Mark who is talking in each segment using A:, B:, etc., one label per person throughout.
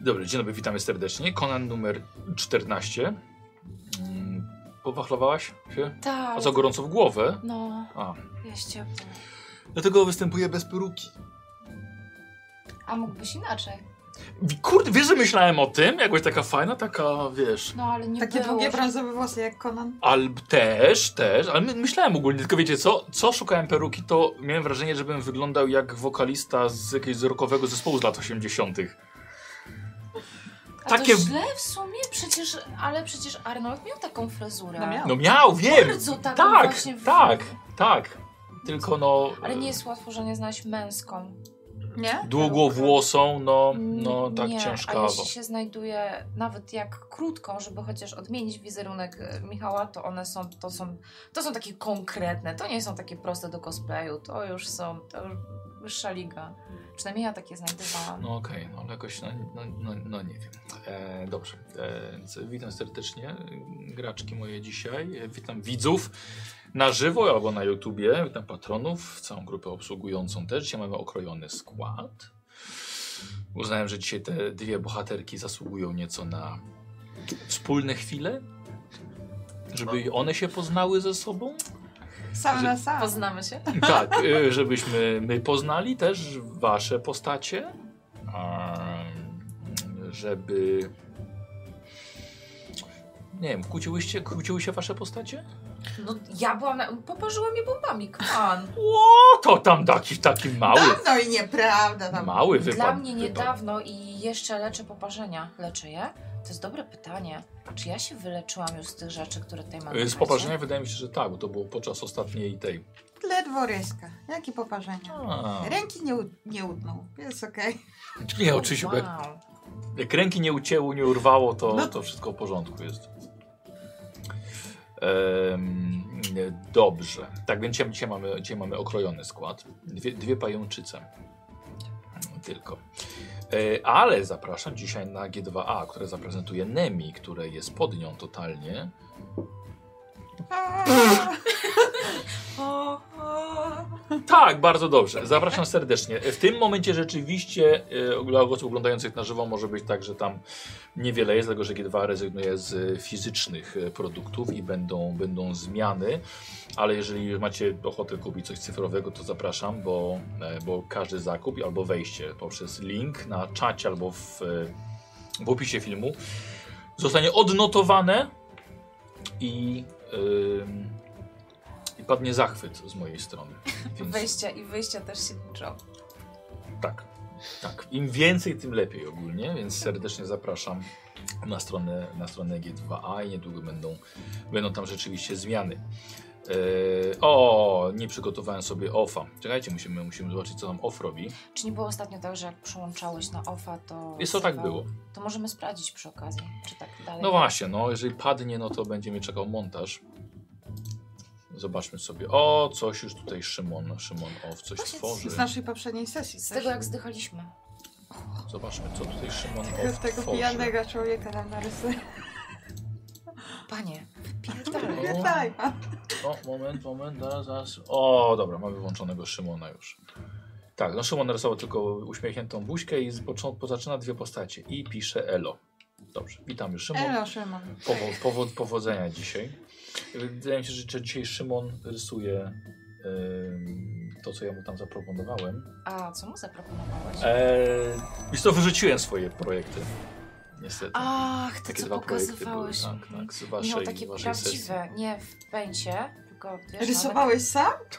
A: Dobry, dzień dobry, witamy serdecznie. Konan numer 14. Mm, Powachlowałaś się?
B: Tak.
A: A co gorąco w głowę?
B: No,
A: A,
B: jest ciepło.
A: dlatego występuję bez peruki.
B: A mógłbyś inaczej.
A: Wi- Kurde, wiesz, że myślałem o tym? Jakbyś taka fajna, taka, wiesz...
B: No, ale nie
C: Takie
B: było.
C: długie brązowe włosy jak Conan.
A: Alb też, też, ale my, myślałem ogólnie, tylko wiecie co, co szukałem peruki, to miałem wrażenie, żebym wyglądał jak wokalista z jakiegoś rockowego zespołu z lat 80.
B: A
A: takie-
B: to źle w sumie, przecież, ale przecież Arnold miał taką frazurę.
C: No miał.
A: No miał, wiem!
B: Bardzo taką
A: Tak,
B: właśnie. w-
A: tak, tak. Tylko no...
B: Ale nie jest łatwo, że nie znaleźć męską.
C: Nie?
A: Długowłosą, no,
B: Mm,
A: no tak
B: nie, A
A: ciężkawo.
B: jeśli się znajduje nawet jak krótką, żeby chociaż odmienić wizerunek e, Michała, to one są, to są, to są takie konkretne. To nie są takie proste do cosplayu. To już są, to już wyższa liga. Przynajmniej ja takie znajdowałam.
A: No okej, no ale jakoś, no, no, no, no nie wiem. E, dobrze, e, więc witam serdecznie e, graczki moje dzisiaj, e, witam widzów na żywo albo na YouTubie, witam patronów, całą grupę obsługującą też. Dzisiaj mamy okrojony skład. Uznałem, że dzisiaj te dwie bohaterki zasługują nieco na wspólne chwile, żeby i one się poznały ze sobą.
C: Sam na sam.
B: Poznamy się?
A: Tak, y, żebyśmy my poznali też wasze postacie, em, żeby... Nie wiem, kłóciłyście, kłóciły się wasze postacie?
B: No ja byłam, na... poparzyła mnie bombami, kwan.
A: O, No to tam taki, taki mały,
C: Dawno i nieprawda tam.
A: mały Y, wypad.
B: Dla mnie
A: wypad.
B: niedawno i jeszcze leczę poparzenia. Leczę je? To jest dobre pytanie. Czy ja się wyleczyłam już z tych rzeczy, które tutaj mam? na
A: Y, Z
B: razie?
A: poparzenia wydaje mi się, że tak, bo to było podczas ostatniej tej...
C: Ledwo ryska. Jakie poparzenia.
A: A,
C: Ręki nie, u- nie utnął. Jest okej.
A: nie, oczywiście, bo jak,
B: Wow.
A: jak ręki nie ucięło, nie urwało, to,
C: No.
A: to wszystko w porządku jest. Em, dobrze. Tak więc dzisiaj- dzisiaj mamy, dzisiaj mamy okrojony skład. Dwie, dwie pajączyce. Tylko. E, ale zapraszam dzisiaj na G2A, które zaprezentuje Nemi, które jest pod nią totalnie.
C: Aaa.
B: O, o.
A: Tak, bardzo dobrze. Zapraszam serdecznie. W tym momencie rzeczywiście e, dla osób oglądających na żywo może być tak, że tam niewiele jest, dlatego że G2 rezygnuje z fizycznych e, produktów i będą, będą zmiany. Ale jeżeli macie ochotę kupić coś cyfrowego, to zapraszam, bo, e, bo każdy zakup albo wejście poprzez link na czacie albo w, e, w opisie filmu zostanie odnotowane i, ym, i padnie zachwyt z mojej strony. Więc-
B: Wejścia i wyjścia też się liczą.
A: tak, tak. Im więcej, tym lepiej ogólnie, więc serdecznie zapraszam na stronę, na stronę G2A i niedługo będą, będą tam rzeczywiście zmiany. Eee, o, nie przygotowałem sobie OFA. Czekajcie, musimy, musimy zobaczyć, co nam OF robi.
B: Czy nie było ostatnio tak, że jak przełączałeś na OFA, to...
A: Jest to tak
B: to-
A: było.
B: To możemy sprawdzić przy okazji, czy tak dalej.
A: No właśnie, no jeżeli padnie, no to będzie mnie czekał montaż. Zobaczmy sobie. O, coś już tutaj Szymon, Szymon OF coś
B: Właśnie
A: tworzy.
C: Z naszej poprzedniej sesji.
B: Z
C: też.
B: tego jak zdychaliśmy.
A: Zobaczmy, co tutaj Szymon
C: Tylko
A: OF
C: tego
A: tworzy.
C: pijanego człowieka tam narysuje.
B: Panie,
A: O.
B: wypierdalaj.
C: Wypierdaj.
A: O, moment, moment, zaraz, zaraz. O, dobra, mamy włączonego Szymona już. Tak, no Szymon narysował tylko uśmiechniętą buźkę i z początku zaczyna dwie postacie i pisze Elo. Dobrze, witamy Szymon.
C: Elo, Szymon.
A: Powo powo powodzenia dzisiaj. Wydaje mi się, że że dzisiaj Szymon rysuje ym, to, co ja mu tam zaproponowałem.
B: A co mu zaproponowałeś?
A: Eee, Wiesz co, wyrzuciłem swoje projekty. Niestety.
B: Ach, to co
A: były,
B: pokazywałeś.
A: tak, tak, z waszej,
B: Miał No, takie
A: waszej sesji.
B: prawdziwe, nie w pęcie, tylko wiesz, no,
C: Rysowałeś sam?
A: Tak.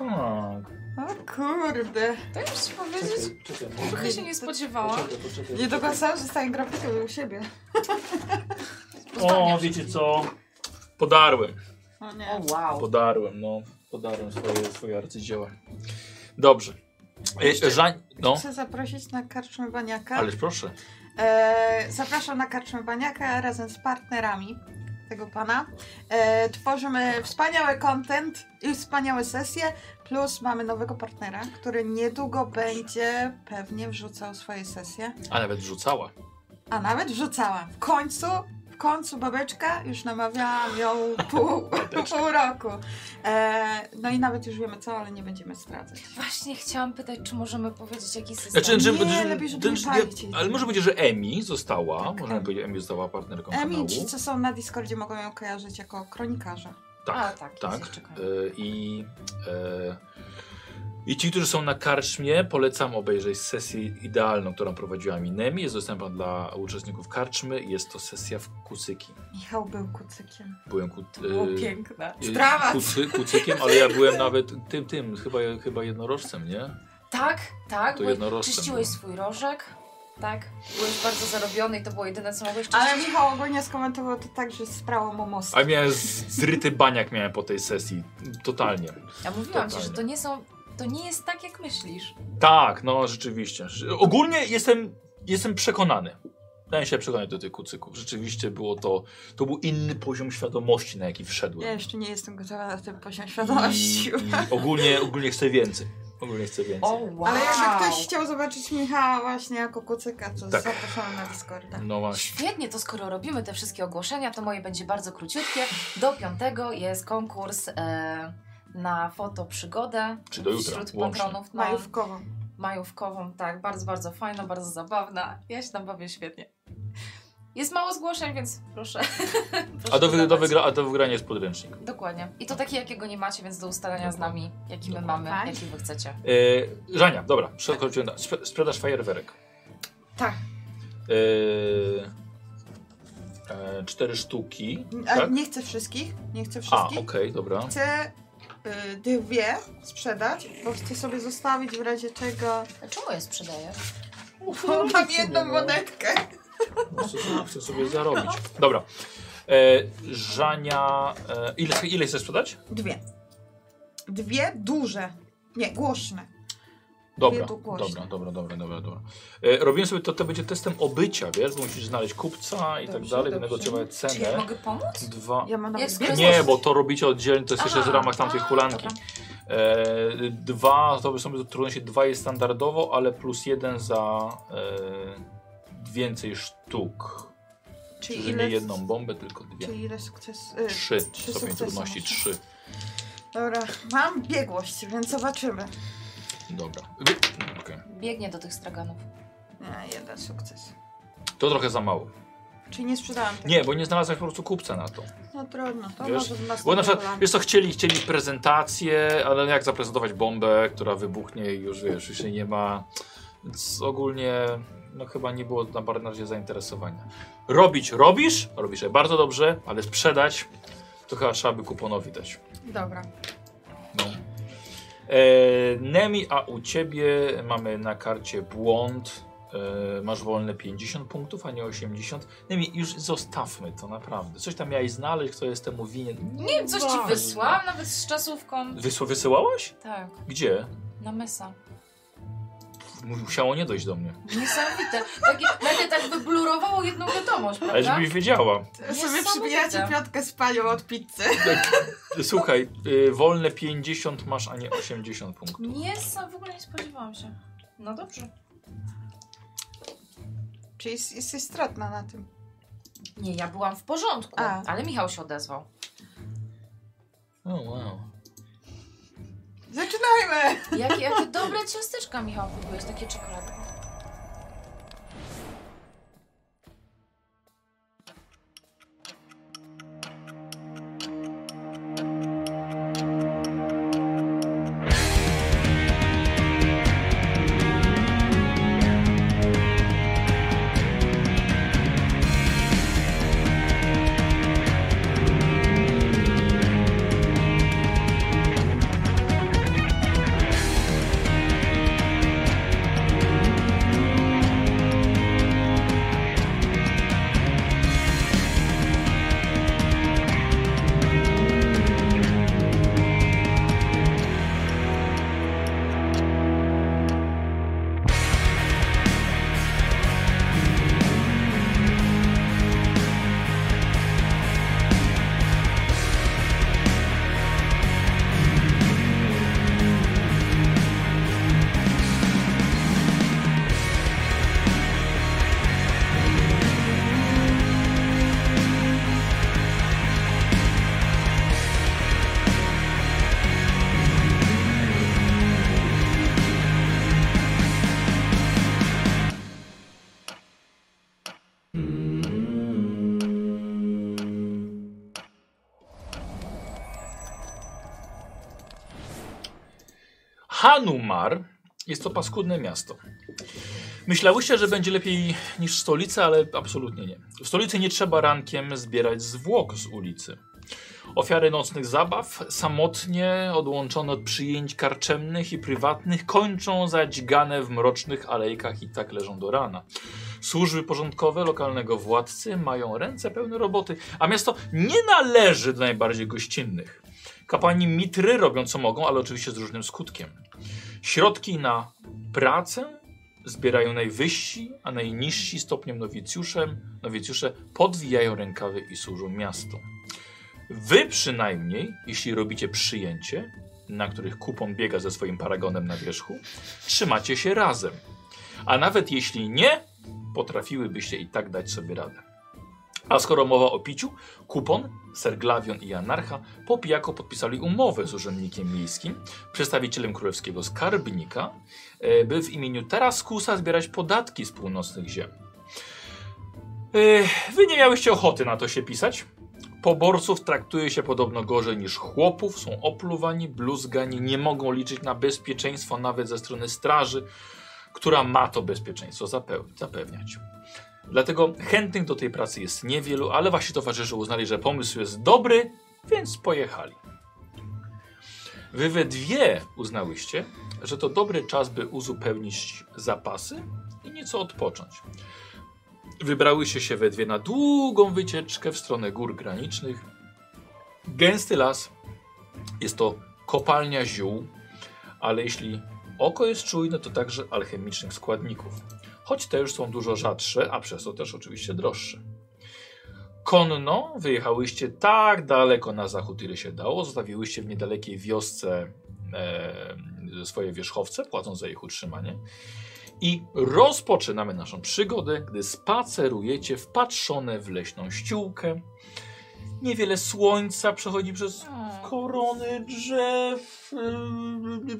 C: O kurde.
B: nawet- To już ci powiedzieć,
A: Czekaj, czekaj,
B: trochę się nie spodziewałam.
A: Poczekaj, poczekaj,
C: Nie
A: poczekaj.
C: do końca zostanie grafiką u siebie.
A: O, wiecie co? Podarłem,
C: O
B: O
C: nie.
B: wow.
A: podarłem, no. Podarłem swoje, swoje arcydzieła. Dobrze. E, ża- no,
C: Chcę zaprosić na karczmę baniaka.
A: ależ proszę.
C: E, zapraszam na karczmę Baniaka razem z partnerami tego pana. E, tworzymy wspaniały content i wspaniałe sesje, plus mamy nowego partnera, który niedługo będzie pewnie wrzucał swoje sesje,
A: A nawet rzucała.
C: a nawet wrzucała. W końcu, w końcu babeczka, już namawiałam ją pół, pół roku. E, no i nawet już wiemy co, ale nie będziemy zdradzać.
B: Właśnie chciałam pytać, czy możemy powiedzieć, jaki system.
A: Znaczy, że,
C: Nie,
A: że,
C: lepiej, żeby
A: ten-
C: nie palić jej.
A: ale może będzie, że Emi została,
C: Tak,
A: możemy
C: Emi.
A: powiedzieć, Emi została partnerką
C: Emi, ci
A: kanału.
C: co są na Discordzie mogą ją kojarzyć jako kronikarza.
B: A,
A: Tak,
B: tak, jest
A: tak.
B: jeszcze koniec.
A: Y, I, e, I ci, którzy są na karczmie, polecam obejrzeć sesję idealną, którą prowadziła Minemi. Jest dostępna dla uczestników karczmy. Jest to sesja w kucyki.
C: Michał był kucykiem.
A: Byłem ku,
B: To było
A: y,
B: piękne.
A: y,
C: Brawa!
A: kucy, kucykiem, ale ja byłem nawet tym, tym, chyba, chyba jednorożcem, nie?
B: Tak, tak.
A: To
B: bo
A: jednorożcem
B: Czyściłeś
A: było.
B: swój rożek. Tak. Byłeś bardzo zarobiony i to było jedyne, co mogłeś czyścić.
C: Ale Michał ogólnie skomentował to tak, że sprało mu most.
A: A miałem z- zryty baniak miałem po tej sesji. Totalnie.
B: Ja mówiłam ci, że
A: Totalnie.
B: to nie są. To nie jest tak, jak myślisz.
A: Tak, no rzeczywiście. Ogólnie jestem, jestem przekonany. Dałem się przekonać do tych kucyków. Rzeczywiście było to, to był inny poziom świadomości, na jaki
C: Ja
A: wszedłem.
C: jeszcze nie jestem gotowa na ten poziom
A: I,
C: świadomości.
A: i ogólnie, ogólnie chcę więcej. Ogólnie chcę więcej.
B: O, wow.
C: Ale jakby ktoś chciał zobaczyć Michała właśnie jako kucyka, to
A: Tak.
C: zapraszamy na Discorda.
A: No właśnie.
B: Świetnie, to skoro robimy te wszystkie ogłoszenia, to moje będzie bardzo króciutkie. Do piątego jest konkurs e, na fotoprzygodę
A: Czy do jutra,
B: wśród
A: łącznie.
B: patronów na
C: Majówkowo.
B: majówkową. Tak, bardzo, bardzo fajna, bardzo zabawna. Ja się tam bawię świetnie. Jest mało zgłoszeń, więc proszę. proszę
A: A do, wy, do,
B: dodawać.
A: wygra, a do wygrania jest podręcznik.
B: Dokładnie. I to taki, jakiego nie macie, więc do ustalenia z nami, jaki my
A: Dokładnie.
B: mamy,
C: Tak.
B: jaki wy chcecie.
A: E, Żania, dobra, przechodzimy. na- Sprze sprzedaż fajerwerek.
B: Tak.
A: E, e, cztery sztuki.
C: A
A: Tak?
C: nie chcę wszystkich, nie chcę
A: A, okej,
C: wszystkich.
A: dobra.
C: Chcę y, dwie sprzedać, bo chcę sobie zostawić w razie czego.
B: Czemu je sprzedajesz? no
C: Bo mam jedną monetkę.
A: No, Chcę sobie, chcę sobie zarobić. Dobra. E, Żania. E, ile, ile chcesz sprzedać?
C: Dwie. Dwie duże. Nie, głośne.
A: Dobra,
C: Dwie tu
A: dobra,
C: głośne.
A: dobra, dobra, dobra, dobra. E, robiłem sobie to, to będzie testem obycia, wiesz, bo musisz znaleźć kupca i tak
C: Dobrze,
A: dalej,
C: dobrze.
A: będą trzeba
B: Czy ja
A: cenę.
B: mogę pomóc?
A: Dwa.
C: Ja mam nawet
B: Jak
C: dwie
A: Nie,
B: skorzystać?
A: bo to robicie oddzielnie, to jest jeszcze w
B: A,
A: ramach tamtej
B: a,
A: hulanki.
B: dobra.
A: E, dwa, to by są trudności, dwa jest standardowo, ale plus jeden za e, więcej sztuk. Czyli, nie jedną bombę, tylko dwie.
C: Czyli ile sukces, y,
A: Trzy,
C: trzy
A: stopień
C: sukcesy
A: trudności,
C: muszę.
A: trzy.
C: Dobra, mam biegłość, więc zobaczymy.
A: Dobra. Wy- Okej.
B: Biegnie do tych straganów.
C: Nie, jeden sukces.
A: To trochę za mało.
C: Czyli nie sprzedałam tego.
A: Nie, bo nie znalazłeś po prostu kupca na to.
C: No trudno, to
A: Wiesz?
C: może w
A: Bo na
C: następnym
A: przykład,
C: kolanie.
A: wiesz co, chcieli, chcieli prezentację, ale jak zaprezentować bombę, która wybuchnie i już wiesz, już jej nie ma. Więc ogólnie, no chyba nie było na barnadzie zainteresowania. Robić robisz, robisz je bardzo dobrze, ale sprzedać to chyba trzeba by kuponowi dać.
C: Dobra.
A: No. E, Nemi, a u ciebie mamy na karcie błąd. E, masz wolne 50 punktów, a nie 80. Nemi, już zostawmy to naprawdę. Coś tam miałeś znaleźć, kto jest temu winien.
B: Nie wiem, coś ci
A: Ważne.
B: wysłałam, nawet z czasówką.
A: Wysła, wysyłałaś?
B: Tak,
A: Gdzie?
B: na mesa.
A: Musiało nie dojść do mnie.
B: Niesamowite. Takie, nagle tak wyblurowało jedną wiadomość,
A: Ale
B: prawda?
A: żebyś wiedziała.
C: Sobie przybijacie piątkę z panią od pizzy.
A: Słuchaj, y, wolne 50 masz, a nie 80 punktów.
B: Niesam, w ogóle nie spodziewałam się. No dobrze.
C: Czyli jest, jesteś stratna na tym.
B: Nie, ja byłam w porządku,
C: A.
B: ale Michał się odezwał.
A: O wow.
C: Zaczynajmy!
B: Jakie, jakie dobre ciasteczka, Michał, kupiłeś, takie czekolady.
A: Hanumar jest to paskudne miasto. Myślałyście, że będzie lepiej niż stolica, ale absolutnie nie. W stolicy nie trzeba rankiem zbierać zwłok z ulicy. Ofiary nocnych zabaw, samotnie odłączone od przyjęć karczemnych i prywatnych, kończą zadźgane w mrocznych alejkach i tak leżą do rana. Służby porządkowe lokalnego władcy mają ręce pełne roboty, a miasto nie należy do najbardziej gościnnych. Kapłani mitry robią co mogą, ale oczywiście z różnym skutkiem. Środki na pracę zbierają najwyżsi, a najniżsi stopniem nowicjuszem. Nowicjusze podwijają rękawy i służą miastu. Wy przynajmniej, jeśli robicie przyjęcie, na których kupon biega ze swoim paragonem na wierzchu, trzymacie się razem. A nawet jeśli nie, potrafiłybyście i tak dać sobie radę. A skoro mowa o piciu, kupon, Serglawion i Anarcha po pijaku podpisali umowę z urzędnikiem miejskim, przedstawicielem królewskiego skarbnika, e, by w imieniu Taraskusa zbierać podatki z północnych ziem. E, Wy nie miałyście ochoty na to się pisać. Poborców traktuje się podobno gorzej niż chłopów, są opluwani, bluzgani, nie mogą liczyć na bezpieczeństwo nawet ze strony straży, która ma to bezpieczeństwo zapeł- zapewniać. Dlatego chętnych do tej pracy jest niewielu, ale wasi towarzysze uznali, że pomysł jest dobry, więc pojechali. Wy we dwie uznałyście, że to dobry czas, by uzupełnić zapasy i nieco odpocząć. Wybrałyście się we dwie na długą wycieczkę w stronę gór granicznych. Gęsty las, jest to kopalnia ziół, ale jeśli oko jest czujne, to także alchemicznych składników choć te już są dużo rzadsze, a przez to też oczywiście droższe. Konno wyjechałyście tak daleko na zachód, ile się dało. Zostawiłyście w niedalekiej wiosce e, swoje wierzchowce, płacąc za ich utrzymanie. I rozpoczynamy naszą przygodę, gdy spacerujecie wpatrzone w leśną ściółkę. Niewiele słońca przechodzi przez korony drzew.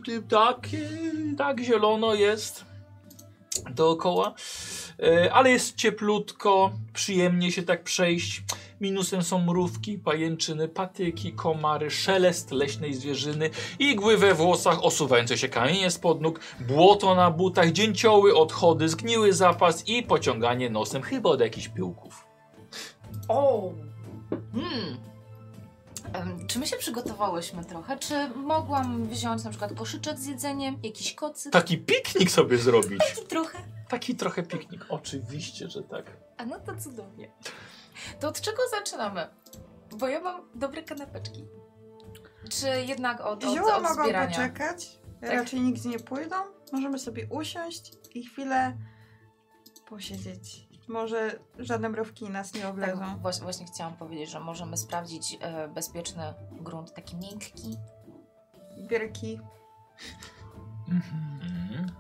A: y, Tak, y, tak zielono jest dookoła. E, Ale jest cieplutko, przyjemnie się tak przejść. Minusem są mrówki, pajęczyny, patyki, komary, szelest leśnej zwierzyny, igły we włosach, osuwające się kamienie spod nóg, błoto na butach, dzięcioły, odchody, zgniły zapas i pociąganie nosem chyba od jakichś pyłków.
B: O! Hmm. Em, Czy my się przygotowałyśmy trochę? Czy mogłam wziąć na przykład koszyczek z jedzeniem, jakiś kocyk?
A: Taki piknik sobie zrobić.
B: I trochę.
A: Taki trochę piknik. Oczywiście, że tak.
B: A no to cudownie. To od czego zaczynamy? Bo ja mam dobre kanapeczki. Czy jednak od, od,
C: Zioła
B: od
C: mogą
B: zbierania?
C: poczekać,
B: Tak.
C: raczej nigdzie nie pójdą. Możemy sobie usiąść i chwilę posiedzieć. Może żadne mrówki nas nie
B: Tak,
C: oblezą.
B: właśnie, właśnie chciałam powiedzieć, że możemy sprawdzić e, bezpieczny grunt, taki miękki. Tak.
C: Wielki.
A: Mhm.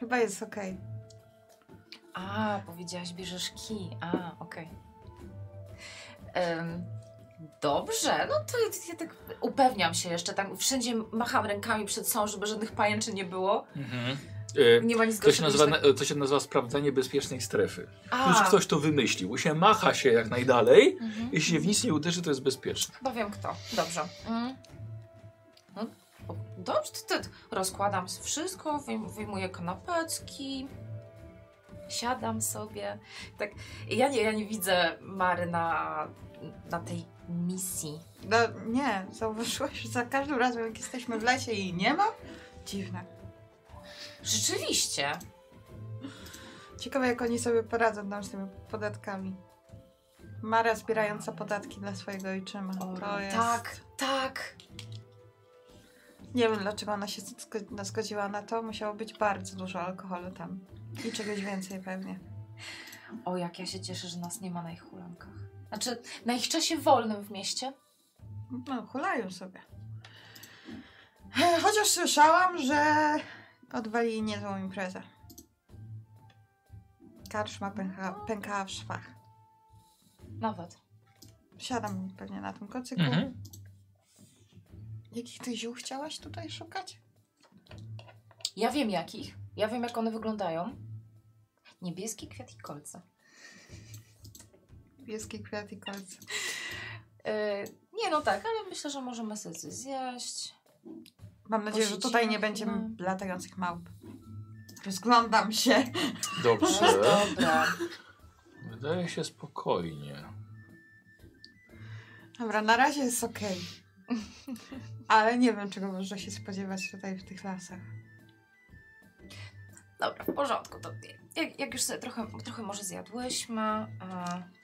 C: Chyba jest okej.
B: A, powiedziałaś, bierzesz kij. A, okej. Em, dobrze, no to ja- ja tak upewniam się jeszcze, tak wszędzie macham rękami przed sobą, żeby żadnych pajęczy nie było.
A: Mhm. E,
B: Nie ma nic
A: To się,
B: gorszego niż
A: nazywa,
B: tak-
A: to się nazywa sprawdzanie bezpiecznej strefy.
B: A,
A: Już ktoś to wymyślił. Się macha się jak najdalej.
B: mhm.
A: Jeśli w nic nie uderzy, to jest bezpieczne.
B: Chyba wiem kto. Dobrze. Mm. No, o, dobrze, to, to rozkładam wszystko, wyjm- wyjmuję kanapeczki, siadam sobie. Tak, ja nie, ja nie widzę Mary na, na tej misji.
C: No, nie, zauważyłaś, że za każdym razem jak jesteśmy w lesie i jej nie ma? Dziwne.
B: Rzeczywiście.
C: Ciekawe jak oni sobie poradzą tam z tymi podatkami. Mara zbierająca podatki dla swojego ojczyma.
B: O,
C: to jest...
B: Tak, tak.
C: Nie wiem dlaczego ona się zgo- zgodziła na to. Musiało być bardzo dużo alkoholu tam. I czegoś więcej pewnie.
B: O, jak ja się cieszę, że nas nie ma na ich hulankach. Znaczy, na ich czasie wolnym w mieście.
C: No, hulają sobie. Chociaż słyszałam, że odwalili niezłą imprezę. Karczma pęka, pękała w szwach.
B: Nawet.
C: Siadam pewnie na tym kocyku. Jakich ty ziół chciałaś tutaj szukać?
B: Ja wiem jakich. Ja wiem, jak one wyglądają. Niebieski kwiat i kolce.
C: Wiejski kwiat i kolce.
B: E, nie, no tak, ale myślę, że możemy sobie coś zjeść.
C: Mam nadzieję, że
B: Posiedzimy
C: tutaj nie
B: chyba.
C: będzie latających małp. Rozglądam się.
B: No
A: Dobrze.
B: dobra.
A: Wydaje się spokojnie.
C: Dobra, na razie jest okej. Ale nie wiem, czego można się spodziewać tutaj w tych lasach.
B: Dobra, w porządku. To jak, jak już sobie trochę, trochę może zjadłyśmy, e,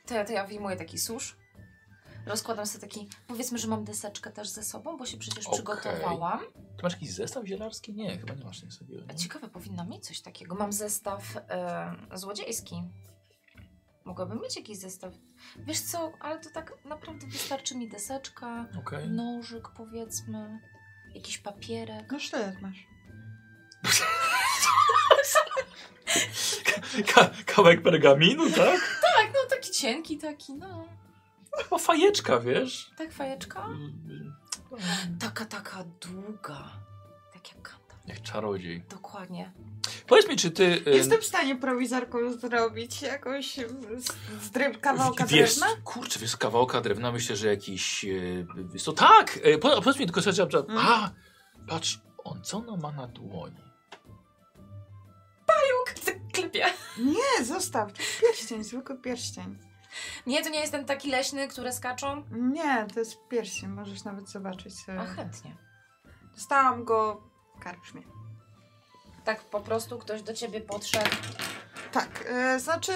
B: to ja, to ja wyjmuję taki susz. Rozkładam sobie taki, powiedzmy, że mam deseczkę też ze sobą, bo się przecież
A: Okej.
B: przygotowałam.
A: Ty masz jakiś zestaw zielarski? Nie, chyba nie masz nic takiego.
B: A
A: nie?
B: Ciekawe, powinna mieć coś takiego. Mam zestaw e, złodziejski. Mogłabym mieć jakiś zestaw. Wiesz co, ale to tak naprawdę wystarczy mi deseczka,
A: Okej.
B: nożyk powiedzmy, jakiś papierek.
C: No sztylet masz.
A: Ka- kawałek pergaminu, tak?
B: Tak, no taki cienki taki, no.
A: Chyba fajeczka, wiesz?
B: Tak, fajeczka?
A: Mm,
B: Taka, taka długa. Tak jak kanta.
A: Jak czarodziej.
B: Dokładnie.
A: Powiedz mi, czy ty... e,
C: Jestem w stanie prowizorką zrobić jakąś z, z dryb, kawałka
A: wiesz,
C: drewna?
A: Kurczę, wiesz, z kawałka drewna myślę, że jakiś... Yy, to tak! e, po, powiedz mi tylko, że...
C: Mm.
A: A! Patrz, on co ona ma na dłoni?
B: Klepie.
C: Nie, zostaw. To jest pierścień, zwykły pierścień.
B: Nie, to nie jest ten taki leśny, które skaczą?
C: Nie, to jest pierścień, możesz nawet zobaczyć e, sobie.
B: A chętnie.
C: Dostałam go w karczmie.
B: Tak po prostu ktoś do ciebie podszedł.
C: Tak, e, znaczy,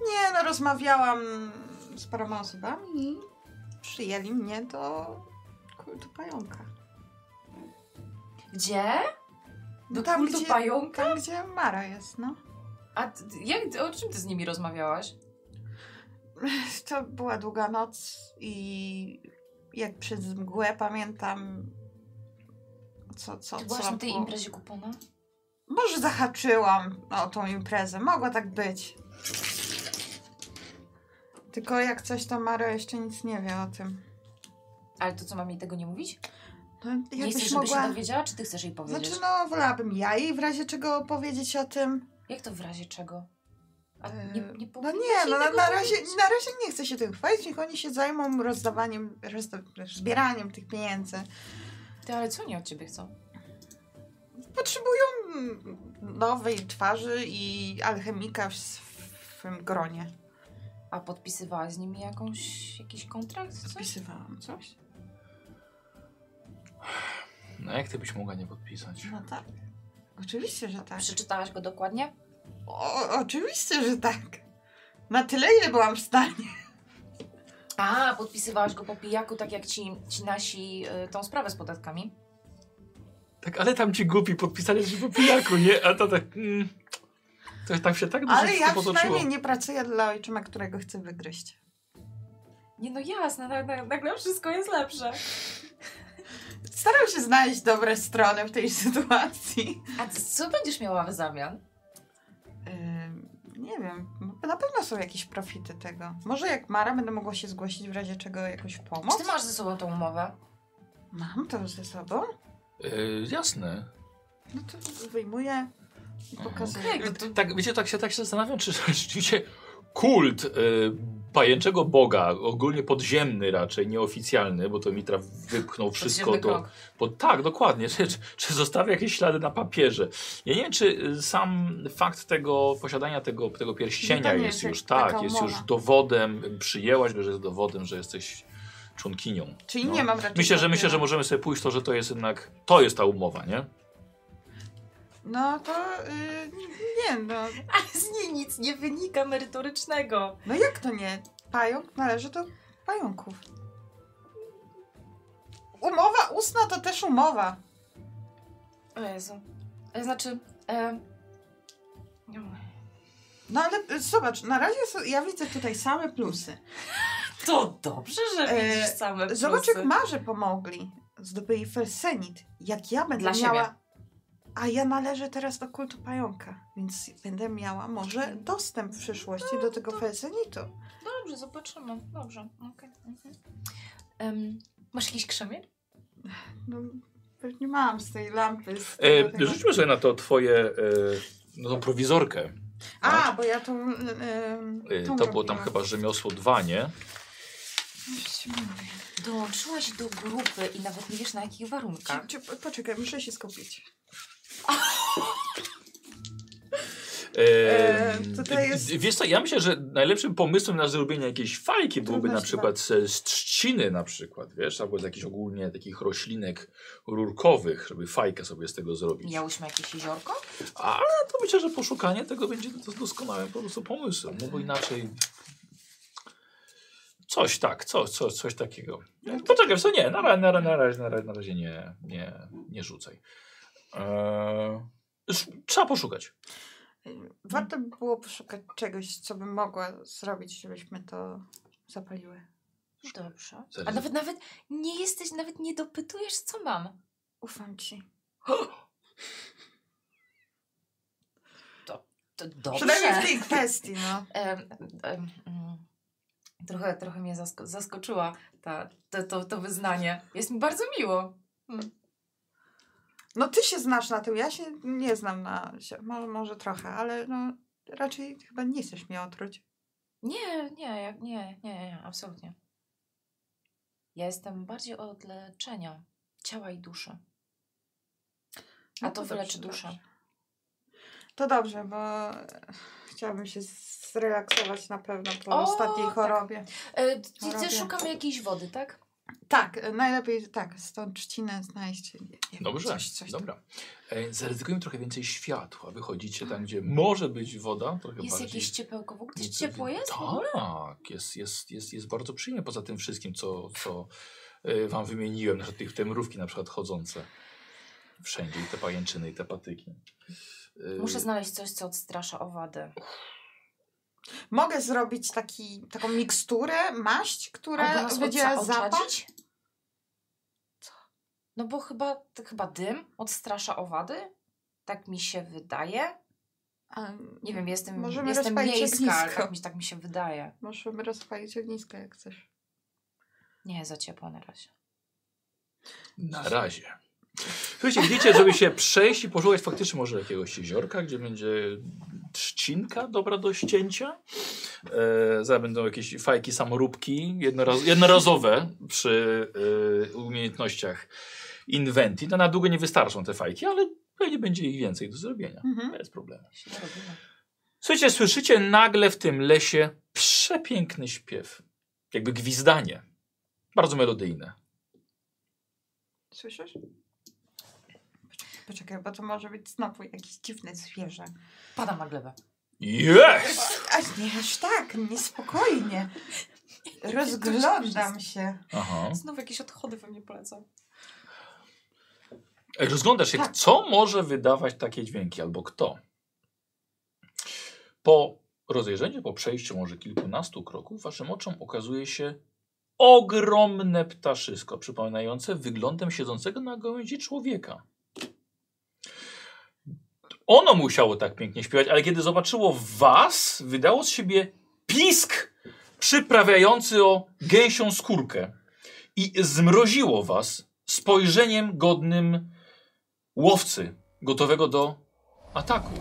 C: nie, no rozmawiałam z paroma osobami i przyjęli mnie do kultu pająka.
B: Gdzie? Do
C: No Tam,
B: kultu
C: gdzie-
B: pająka?
C: Tam, gdzie Mara jest, no.
B: A ty, jak, o czym ty z nimi rozmawiałaś?
C: To była długa noc i jak przez mgłę pamiętam, co, co,
B: Ty
C: co
B: byłaś na tej
C: było.
B: imprezie kupona?
C: Może zahaczyłam o tą imprezę, mogło tak być. Tylko jak coś, to Mara jeszcze nic nie wie o tym.
B: Ale to co, mam jej tego nie mówić?
C: No,
B: nie
C: jakbyś
B: chcesz, żeby
C: mogła...
B: się dowiedziała, czy ty chcesz jej powiedzieć?
C: Znaczy, no, wolałabym ja jej w razie czego powiedzieć o tym. No
B: Jak to w razie czego? A
C: E,
B: nie, nie
C: No
B: powinnaś
C: nie,
B: jej
C: no, na,
B: tego
C: na, razie,
B: powiedzieć?
C: na razie nie chcę się tym chwalić, niech oni się zajmą rozdawaniem, rozda, zbieraniem tych pieniędzy.
B: Ty, ale co oni od ciebie chcą?
C: Potrzebują mm, nowej twarzy i alchemika w swym gronie.
B: A podpisywałaś z nimi jakąś, jakiś kontrakt? Coś?
C: Wpisywałam coś?
A: No jak ty byś mogła nie podpisać?
C: No tak. Oczywiście, że tak.
B: Przeczytałaś go dokładnie?
C: O, oczywiście, że tak. Na tyle, ile byłam w stanie.
B: A, podpisywałaś go po pijaku, tak jak ci, ci nasi y, tą sprawę z podatkami.
A: Tak, ale tam ci głupi podpisali się po pijaku, nie? A to tak... Mm, to tam się tak dużo
C: Ale ja
A: wszystko potoczyło.
C: przynajmniej nie pracuję dla ojczyma, którego chcę wygryźć.
B: Nie no jasne, na, na, nagle wszystko jest lepsze.
C: Staram się znaleźć dobre strony w tej sytuacji.
B: A ty, co będziesz miała w zamian?
C: Ym, nie wiem, na pewno są jakieś profity tego. Może jak Mara będę mogła się zgłosić w razie czego jakąś
B: Czy
C: pomoc?
B: ty masz ze sobą tą umowę?
C: Mam to ze sobą.
A: Y, jasne.
C: No to wyjmuję i pokazuję.
B: Okej, no to-
A: Tak, wiecie, tak się, tak się zastanawiam, czy rzeczywiście kult y, pajęczego boga, ogólnie podziemny raczej, nieoficjalny, bo to Mitra wypchnął wszystko
B: Podziemny
A: do...
B: krąg.
A: Bo, tak, dokładnie, czy, czy, czy zostawia jakieś ślady na papierze. Ja nie wiem, czy y, sam fakt tego, posiadania tego, tego
C: No
A: pierścienia
C: to nie
A: jest
C: jest
A: już,
C: jak-
A: tak,
C: taka
A: jest
C: umowa.
A: już dowodem, przyjęłaś go, że jest dowodem, że jesteś członkinią.
C: Czyli
A: No.
C: nie mam raczej.
A: Myślę, że
C: problemu.
A: myślę, że możemy sobie pójść to, że to jest jednak, to jest ta umowa, nie? E,
C: No to y, nie no.
B: Ale z niej nic nie wynika merytorycznego.
C: No jak to nie? Pająk należy do pająków. Umowa ustna to też umowa.
B: O Jezu. E, Znaczy... E... nie mówię.
C: No ale y, zobacz, na razie są- ja widzę tutaj same plusy.
B: To dobrze, że
C: E,
B: widzisz same plusy.
C: Zobacz, jak Marze pomogli. Zdobyli felsenit. Jak ja będę
B: Dla siebie.
C: miała. A ja należę teraz do kultu pająka, więc będę miała może dostęp w przyszłości do tego felsenitu.
B: Dobrze, zobaczymy. Dobrze, okej. mhm. Em, masz jakiś krzemień?
C: No, pewnie mam z tej lampy. Z tego,
A: E,
C: tego.
A: rzućmy sobie na to twoje, e, no tą prowizorkę.
C: A, bo ja tą. Y,
A: Y,
C: tą
A: E, To było tam
C: robiłam.
A: chyba rzemiosło dwa, nie?
B: Dołączyłaś do grupy i nawet nie wiesz na jakich warunkach.
C: Ci- ci- Poczekaj, muszę się skupić.
A: E,
C: E, tutaj jest-
A: Wiesz co, ja myślę, że najlepszym pomysłem na zrobienie jakiejś fajki byłoby na
C: Trudno się
A: przykład z, z trzciny na przykład, wiesz, albo z jakichś ogólnie takich roślinek rurkowych, żeby fajkę sobie z tego zrobić.
B: Miałyśmy jakieś jeziorko?
A: Ale to myślę, że poszukanie tego będzie dos- doskonałym po prostu pomysłem, no bo inaczej... Coś tak, co, co, coś takiego.
C: No
A: Poczekaj, co nie, na, ra- na, ra- na, razie, na, ra- na razie nie, nie, nie rzucaj. E, sz- trzeba poszukać.
C: Warto by było poszukać czegoś, co bym mogła zrobić, żebyśmy to zapaliły.
B: Dobrze.
A: Zaraz.
B: A nawet nawet nie jesteś, nawet nie dopytujesz, co mam.
C: Ufam ci.
B: To dobrze.
C: Przynajmniej w tej kwestii, no.
B: Em, em, mm. trochę, trochę mnie zasko- zaskoczyła ta, to, to, to wyznanie. Jest mi bardzo miło.
C: No ty się znasz na tym, ja się nie znam na... się- Może, może trochę, ale no raczej chyba nie chcesz mnie otruć.
B: Nie, nie, jak- nie, nie, nie, absolutnie. Ja jestem bardziej od leczenia ciała i duszy. A
C: No
B: to
C: dobrze,
B: wyleczy duszę.
C: dobrze. To dobrze, bo e, chciałabym się zrelaksować na pewno po
B: O,
C: ostatniej
B: tak.
C: chorobie.
B: E, ty, ty
C: Robię.
B: szukamy jakiejś wody, tak?
C: Tak, najlepiej tak, z tą trzcinę znaleźć. nie wiem,
A: Dobrze,
C: coś, coś
A: dobra. E, zaryzykujmy trochę więcej światła. Wychodzicie tam, gdzie może być woda. Trochę
B: Tak. Jest
A: bardziej...
B: jakieś ciepełko? W ogóle gdzieś
A: nieco-
B: ciepło jest? w ogóle?
A: Tak, jest, jest, jest, jest bardzo przyjemnie poza tym wszystkim, co, co e, wam wymieniłem. Na przykład tych- te mrówki na przykład chodzące wszędzie i te pajęczyny i te patyki. E,
B: Muszę znaleźć coś, co odstrasza owady.
C: Mogę zrobić taki, taką miksturę, maść,
B: Albo
C: która
B: nas
C: wydziela
B: odca-
C: zapach.
B: odczadzić? No bo chyba, to chyba dym odstrasza owady? Tak mi się wydaje.
C: A,
B: Nie wiem, jestem,
C: Możemy
B: jestem
C: rozpalić
B: miejska, ale
C: ognisko.
B: tak mi, tak mi się wydaje.
C: Możemy rozpalić ognisko, jak chcesz.
B: Nie, za ciepło na razie.
A: Na razie. Słuchajcie, widzicie, żeby się przejść i poszukać faktycznie może jakiegoś jeziorka, gdzie będzie trzcinka dobra do ścięcia. E, zaraz będą jakieś fajki, samoróbki jednoraz, jednorazowe przy e, umiejętnościach inwenty. No, na długo nie wystarczą te fajki, ale pewnie będzie ich więcej do zrobienia.
C: Mhm.
A: Bez problemu.
B: Tak Się robimy.
A: Słuchajcie, słyszycie nagle w tym lesie przepiękny śpiew. Jakby gwizdanie. Bardzo melodyjne.
C: Słyszysz? Poczekaj, poczekaj, bo to może być znowu jakieś dziwne zwierzę.
B: Padam na glebę.
A: Jest!
C: A nie aż tak, niespokojnie. Rozglądam się.
A: Aha.
B: Znowu jakieś odchody we mnie polecą.
A: Rozglądasz się,
C: Tak.
A: co może wydawać takie dźwięki, albo kto. Po rozejrzeniu, po przejściu może kilkunastu kroków, waszym oczom okazuje się ogromne ptaszysko, przypominające wyglądem siedzącego na gałęzi człowieka. Ono musiało tak pięknie śpiewać, ale kiedy zobaczyło was, wydało z siebie pisk przyprawiający o gęsią skórkę i zmroziło was spojrzeniem godnym łowcy gotowego do ataku.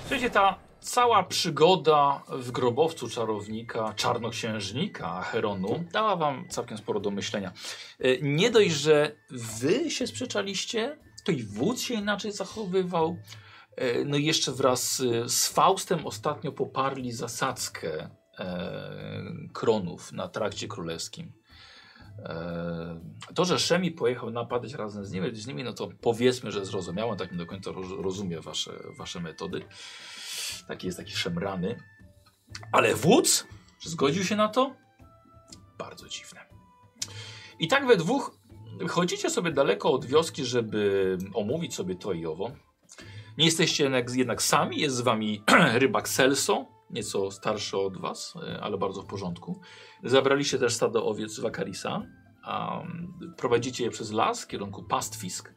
A: Słuchajcie, ta cała przygoda w grobowcu czarownika, czarnoksiężnika Heronu dała wam całkiem sporo do myślenia. E, Nie dość, że wy się sprzeczaliście, to i wódz się inaczej zachowywał. E, No i jeszcze wraz e, z Faustem ostatnio poparli zasadzkę e, kronów na trakcie królewskim. E, To, że Szemi pojechał napadać razem z nimi, z nimi, no to powiedzmy, że zrozumiałem, tak nie do końca roz- rozumie wasze, wasze metody. Taki jest taki szemrany. Ale wódz, że zgodził się na to? Bardzo dziwne. I tak we dwóch chodzicie sobie daleko od wioski, żeby omówić sobie to i owo. Nie jesteście jednak, jednak sami, jest z wami rybak Celso, nieco starszy od was, e, ale bardzo w porządku. Zabraliście też stado owiec Wakarisa. a, mm, prowadzicie je przez las w kierunku pastwisk.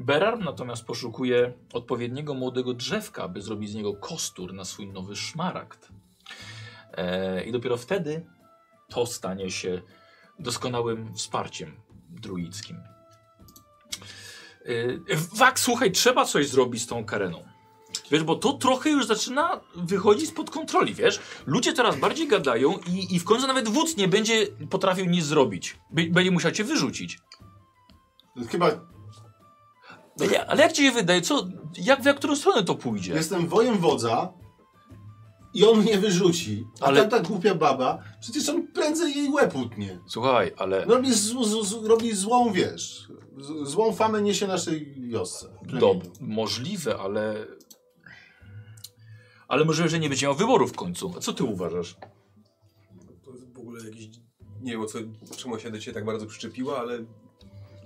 A: Berar natomiast poszukuje odpowiedniego młodego drzewka, aby zrobić z niego kostur na swój nowy szmaragd. E, I dopiero wtedy to stanie się doskonałym wsparciem druickim. E, Wak, słuchaj, trzeba coś zrobić z tą kareną. Wiesz, bo to trochę już zaczyna wychodzić spod kontroli, wiesz? Ludzie coraz bardziej gadają i, i w końcu nawet wódz nie będzie potrafił nic zrobić. Be- Będzie musiał cię wyrzucić.
D: Chyba
A: No ja- Ale jak ci się wydaje, co, jak, w jak którą stronę to pójdzie?
D: jestem wojem wodza i on mnie wyrzuci. A
A: Ale-
D: Ale... ta głupia baba, przecież on prędzej jej łeb utnie.
A: Słuchaj, ale
D: Robi, z, z, z, robi złą, wiesz, z, złą famę niesie naszej wiosce. plemieniu.
A: dob, możliwe, ale... Ale możliwe, że nie będzie miał wyboru w końcu. A co ty uważasz?
E: To jest w ogóle jakiś... Nie wiem, o co, czemu się do ciebie tak bardzo przyczepiła, ale...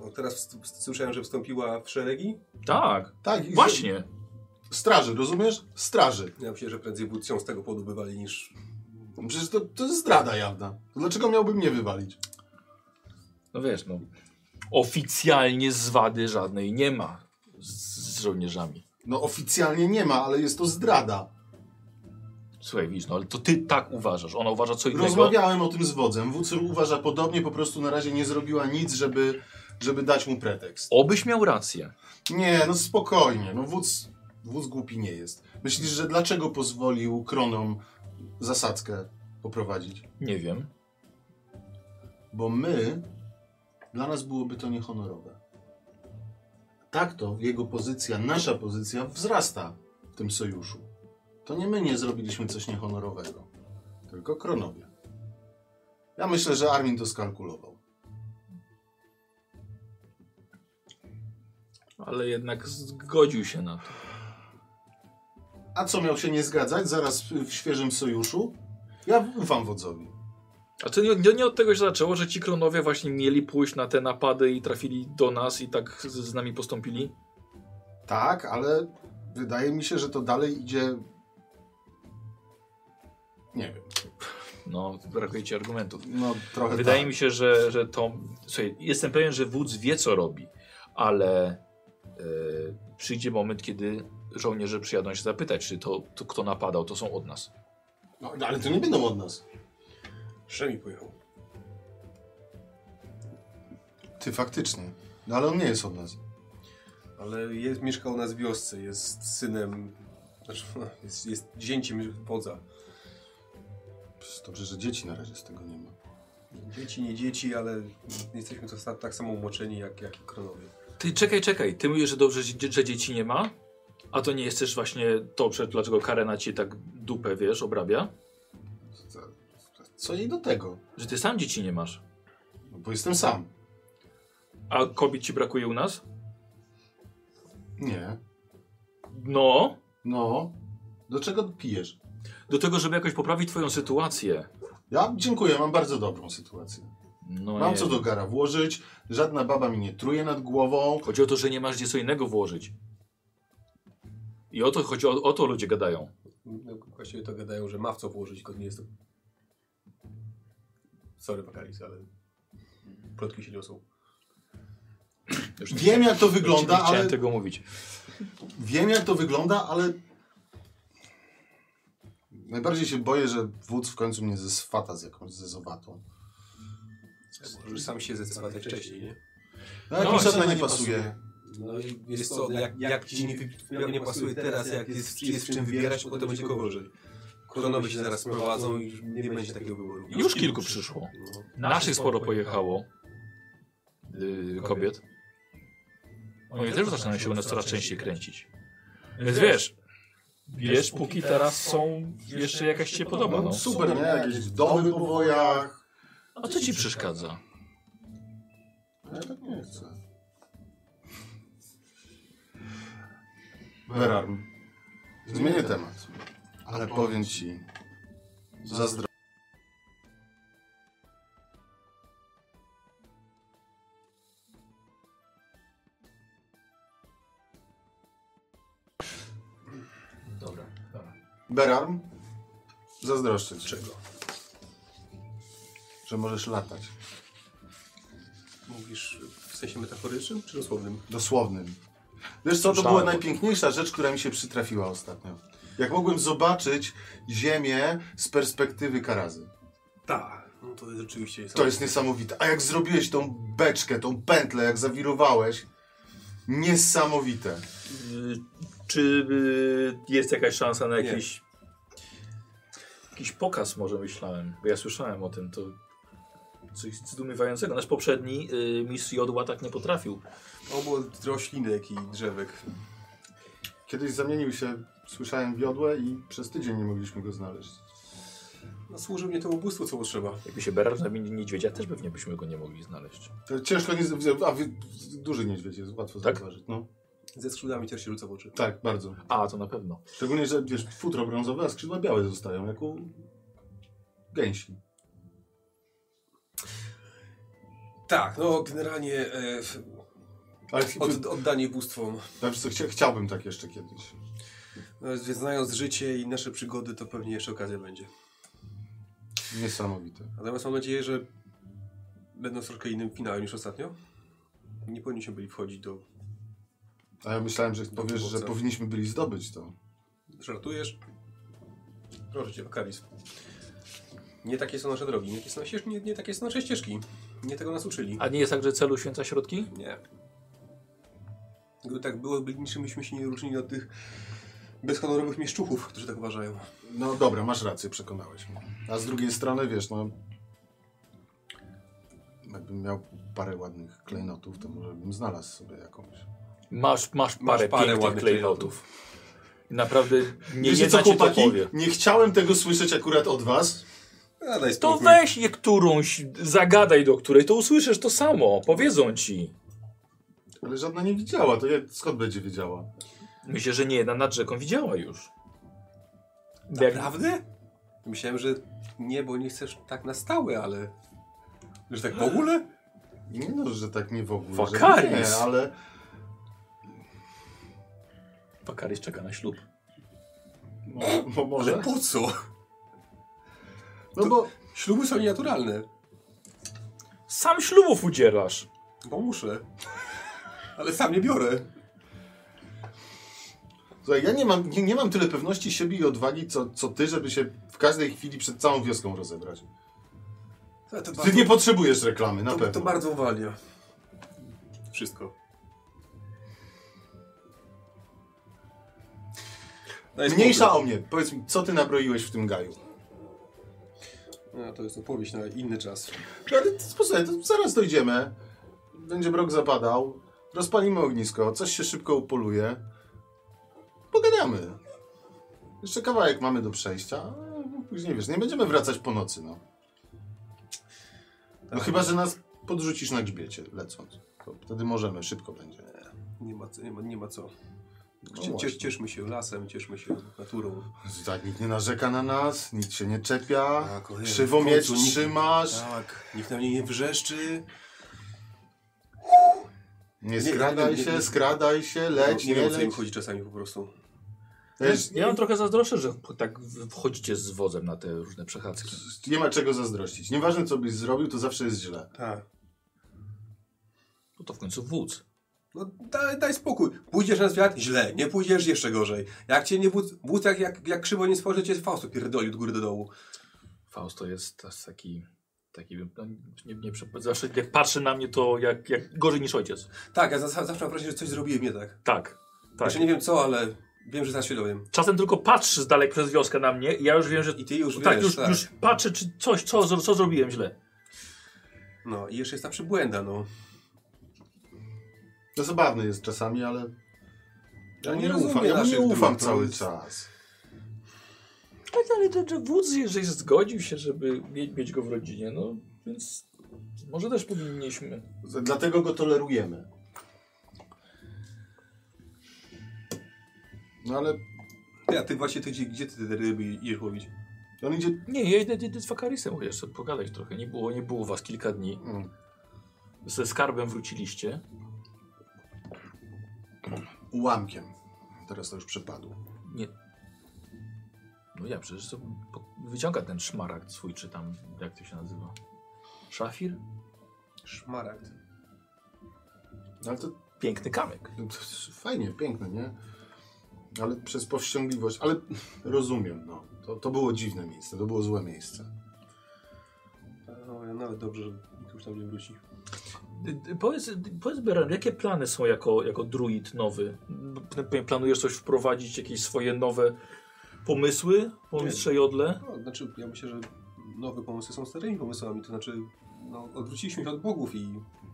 E: No, teraz wst- słyszałem, że wstąpiła w szeregi.
A: Tak,
D: Tak, i
A: właśnie.
D: Z, straży, rozumiesz? Straży.
E: Ja myślę, że prędzej wódz ją z tego powodu bywali niż...
D: Przecież to, to jest zdrada jawna. Dlaczego miałbym mnie wywalić?
A: No wiesz, no... Oficjalnie zwady żadnej nie ma z, z żołnierzami.
D: No oficjalnie nie ma, ale jest to zdrada.
A: Słuchaj, widzisz, no ale to ty tak uważasz. Ona uważa co innego.
D: Rozmawiałem o tym z wodzem. Wódz uważa podobnie, po prostu na razie nie zrobiła nic, żeby, żeby dać mu pretekst.
A: Obyś miał rację.
D: Nie, no spokojnie. No wódz, wódz głupi nie jest. Myślisz, że dlaczego pozwolił kronom zasadzkę poprowadzić?
A: Nie wiem.
D: Bo my, dla nas byłoby to niehonorowe. Tak to jego pozycja, nasza pozycja wzrasta w tym sojuszu. To nie my nie zrobiliśmy coś niehonorowego, tylko kronowie. Ja myślę, że Armin to skalkulował.
A: Ale jednak zgodził się na to.
D: A co miał się nie zgadzać zaraz w w świeżym sojuszu? Ja ufam wodzowi.
A: A to nie, nie, nie od tego się zaczęło, że ci kronowie właśnie mieli pójść na te napady i trafili do nas i tak z, z nami postąpili?
D: Tak, ale wydaje mi się, że to dalej idzie. Nie wiem.
A: No, brakuje ci argumentów.
D: No trochę.
A: Wydaje
D: tak.
A: mi się, że, że to... Słuchaj, jestem pewien, że wódz wie co robi, ale e, przyjdzie moment, kiedy żołnierze przyjadą się zapytać, czy to, to kto napadał, to są od nas.
D: No, ale to nie będą od nas.
E: Szemi pojechał.
D: Ty faktycznie. No ale on nie jest od nas.
E: Ale jest, mieszka u nas w wiosce, jest synem... Znaczy, jest, jest zięciem wodza.
D: Psz, Dobrze, że dzieci na razie z tego nie ma.
E: Dzieci, nie dzieci, ale jesteśmy to sa- tak samo umoczeni jak, jak i kronowie.
A: Ty, czekaj, czekaj, ty mówisz, że dobrze, że, że dzieci nie ma? A to nie jest też właśnie to, przed, dlaczego Karena ci tak dupę, wiesz, obrabia?
D: Co, co jej do tego?
A: Że ty sam dzieci nie masz.
D: No, bo jestem sam.
A: A kobiet ci brakuje u nas?
D: Nie.
A: No,
D: No. Do czego pijesz?
A: do tego, żeby jakoś poprawić twoją sytuację.
D: Ja dziękuję, mam bardzo dobrą sytuację.
A: No
D: Mam
A: nie.
D: co do gara włożyć, żadna baba mi nie truje nad głową.
A: Chodzi o to, że nie masz gdzie co innego włożyć. I o to chodzi, o, o to ludzie gadają.
E: No, właściwie to gadają, że ma w co włożyć, tylko nie jest to... Sorry, Pakalis, ale plotki się niosą.
A: Już nie-
D: Wiem jak to
A: już
D: wygląda,
A: nie chciałem
D: ale
A: tego mówić.
D: Wiem, jak to wygląda, ale. Najbardziej się boję, że wódz w końcu mnie zeswata z jakąś zezowatą.
E: Możesz sam się zdecydować wcześniej, nie?
D: No, jak
A: No,
D: mi
A: żadna
D: żadna nie pasuje.
E: No i wiesz co, jak, jak ci nie, wy- jak nie pasuje teraz, jak jest, czy jest w czym wybierać, potem będzie kogo gorzej. Koronowie się zaraz sprowadzą i już nie będzie takiego wyboru.
A: Już kilku przyszło.
E: No.
A: Naszych sporo pojechało yy, kobiet. Oni też zaczynają się u nas coraz częściej kręcić. Więc wiesz, wiesz, póki teraz są, jeszcze jakaś ci się podoba. No.
D: No, super, nie?
F: Super,
D: Jakieś wdowy po wojach.
A: A co ci przeszkadza?
D: Ja tak nie chcę. Werarm. Zmienię temat. Ale powiem ci, zazdro...
A: Dobra, dobra.
D: Berarm, zazdroszczę ci. Czego? Że możesz latać.
E: Mówisz w sensie metaforycznym czy dosłownym?
D: Dosłownym. Wiesz co, to
A: Słyszałem
D: była
A: o tym.
D: najpiękniejsza rzecz, która mi się przytrafiła ostatnio. Jak mogłem zobaczyć Ziemię z perspektywy Karazy.
E: Tak, no to rzeczywiście jest.
D: To jest niesamowite. A jak zrobiłeś tą beczkę, tą pętlę, jak zawirowałeś, niesamowite.
A: Czy y, jest jakaś szansa na jakiś, jakiś pokaz może myślałem, bo ja słyszałem o tym, to coś zdumiewającego. Nasz poprzedni y, mistrz Jodła tak nie potrafił.
E: Obłot roślinek i drzewek.
D: Kiedyś zamienił się, słyszałem wiodłe i przez tydzień nie mogliśmy go znaleźć.
E: No, służy mnie to ubóstwo, co potrzeba.
A: Jakby się Berar zamienił niedźwiedzia, też pewnie byśmy go nie mogli znaleźć.
D: To ciężko nie... z- A wy, duży niedźwiedź jest, łatwo
A: Tak?
D: zauważyć. No,
E: Ze skrzydłami też się rzuca w oczy.
D: tak, bardzo.
A: A, to na pewno.
D: Szczególnie, że wiesz, futro brązowe, a skrzydła białe zostają, jak u gęsi.
E: Tak, no generalnie e, f-
D: Ale chyba,
E: od, oddanie bóstwom.
D: ja wiesz co, chcia, chciałbym tak jeszcze kiedyś.
E: No, znając życie i nasze przygody, to pewnie jeszcze okazja będzie.
D: Niesamowite.
E: Natomiast mam nadzieję, że będą z troszkę innym finałem niż ostatnio. Nie powinniśmy byli wchodzić do...
D: A ja myślałem, że powiesz, że
E: Dowódca.
D: powinniśmy byli zdobyć to.
E: Żartujesz? Proszę cię, Akaris. Nie takie są nasze drogi, nie takie są, nasze ścieżki, nie, nie takie są nasze ścieżki. Nie tego nas uczyli.
A: A nie jest tak, że celu święca środki?
E: Nie. Gdyby tak było, by niczym byśmy się nie różnili od tych bezhonorowych mieszczuchów, którzy tak uważają.
D: No dobra, masz rację, przekonałeś mnie. A z drugiej strony, wiesz, no... Jakbym miał parę ładnych klejnotów, to może bym znalazł sobie jakąś.
A: Masz, masz parę,
E: Masz parę
A: pięknych
E: ładnych
A: klejnotów. Naprawdę nie
D: Wiecie co,
A: jedna ci to
D: chłopaki?
A: powie.
D: Nie chciałem tego słyszeć akurat od was.
E: A daj
A: To
E: spokój.
A: weź je którąś, zagadaj do której, to usłyszysz to samo, powiedzą ci.
D: Ale żadna nie widziała, to jak, skąd będzie wiedziała?
A: Myślę, że nie jedna nad rzeką widziała już.
E: Naprawdę? Myślałem, że nie, bo nie chcesz tak na stałe, ale... Że tak w ogóle?
D: Nie no, że tak nie w ogóle. że
A: Wakaris.
D: Nie, ale
A: Pakaris czeka na ślub.
D: no, bo może.
E: Ale po co?
D: No bo
E: Śluby są nienaturalne.
A: Sam ślubów udzielasz.
E: Bo muszę. Ale sam nie biorę.
D: słuchaj, ja nie mam, nie, nie mam tyle pewności siebie i odwagi, co, co ty, żeby się w każdej chwili przed całą wioską rozebrać.
E: To, to,
D: Ty nie potrzebujesz reklamy, na
E: to,
D: pewno.
E: to bardzo uwalnia. Wszystko. Daj spokój.
D: Mniejsza o mnie. Powiedz mi, co ty nabroiłeś w tym gaju?
E: No, to jest opowieść na inny czas.
D: No, Ale to- posłuchaj, to zaraz dojdziemy. Będzie mrok zapadał. Rozpalimy ognisko. Coś się szybko upoluje. Pogadamy. Jeszcze kawałek mamy do przejścia. a Później wiesz, nie będziemy wracać po nocy, no. No chyba, że nas podrzucisz na grzbiecie lecąc. To wtedy możemy, szybko będzie.
E: Nie ma, co- nie ma, nie ma co.
D: No
E: Cie, cies,
D: właśnie.
E: cieszmy się lasem, cieszmy się naturą.
D: Tak, nikt nie narzeka na nas, nikt się nie czepia.
E: Tak, ojej,
D: Krzywo
E: w
D: miecz
E: końcu nikt-
D: trzymasz.
E: Tak, nikt na mnie nie wrzeszczy.
D: Nie
E: nie, nie,
D: skradaj
E: nie,
D: się,
E: nie.
D: skradaj się, leć,
E: nie
D: nie
E: wiem, o co im
D: leć.
E: chodzi czasami po prostu.
D: Wiesz,
A: Ja wam trochę zazdroszczę, że tak wchodzicie z wozem na te różne przechadzki.
D: Nie ma czego zazdrościć. Nieważne, co byś zrobił, to zawsze jest źle.
E: Tak.
A: No to w końcu wódz.
E: No daj, daj spokój. Pójdziesz na świat? Źle. Nie pójdziesz? Jeszcze gorzej. Jak cię nie wódz, wódz jak, jak, jak krzywo nie spojrzy, cię Fausto pierdoli od góry do dołu.
A: Faust to jest też taki Taki bym, no, nie, nie, prze- zawsze jak patrzy na mnie to jak, jak gorzej niż ojciec.
E: Tak, ja za- zawsze mam wrażenie, że coś zrobiłem nie tak.
A: Tak, tak.
E: Jeszcze nie wiem co, ale wiem, że zaraz się dowiem.
A: Czasem tylko patrzy z dalek przez wioskę na mnie i ja już wiem, że
E: I ty już
A: tak,
E: wiesz,
A: już,
E: tak.
A: już patrzę czy coś, co, zro- co zrobiłem źle.
E: No i jeszcze jest ta przybłęda, no.
D: To zabawne jest czasami, ale ja
E: On
D: nie
E: rozumie
D: ufam, ja mu
E: naszych
D: nie ufam
E: dróg, no. to
D: cały
E: jest-
D: czas.
A: Tak, ale to, że wódz, jeżeli zgodził się, żeby mieć, mieć go w rodzinie, no więc może też powinniśmy.
D: Z- Dlatego go tolerujemy. No ale
E: Ty, a ty właśnie, ty, gdzie, gdzie ty te ryby idziesz łowić?
D: on idzie...
A: Nie, ja idę, idę z wakarisem jeszcze pogadać trochę. Nie było, nie było was kilka dni.
D: Mm.
A: Ze skarbem wróciliście.
D: ułamkiem. Teraz to już przepadło.
A: No ja przecież to po- wyciąga ten szmaragd swój, czy tam jak to się nazywa? Szafir?
E: Szmaragd.
D: No Ale to, no,
A: Piękny kamyk.
D: to, to fajnie, piękne, nie? Ale przez powściągliwość. Ale rozumiem, no. To, to było dziwne miejsce, to było złe miejsce.
E: No, ja nawet dobrze, że ktoś tam nie wróci.
A: Y, y, Powiedz, y, powiedz Beran, jakie plany są jako, jako druid nowy? P- p- Planujesz coś wprowadzić, jakieś swoje nowe pomysły po
E: Nie.
A: mistrze Jodle?
E: No, znaczy, ja myślę, że nowe pomysły są starymi pomysłami, to znaczy, no, odwróciliśmy się od bogów i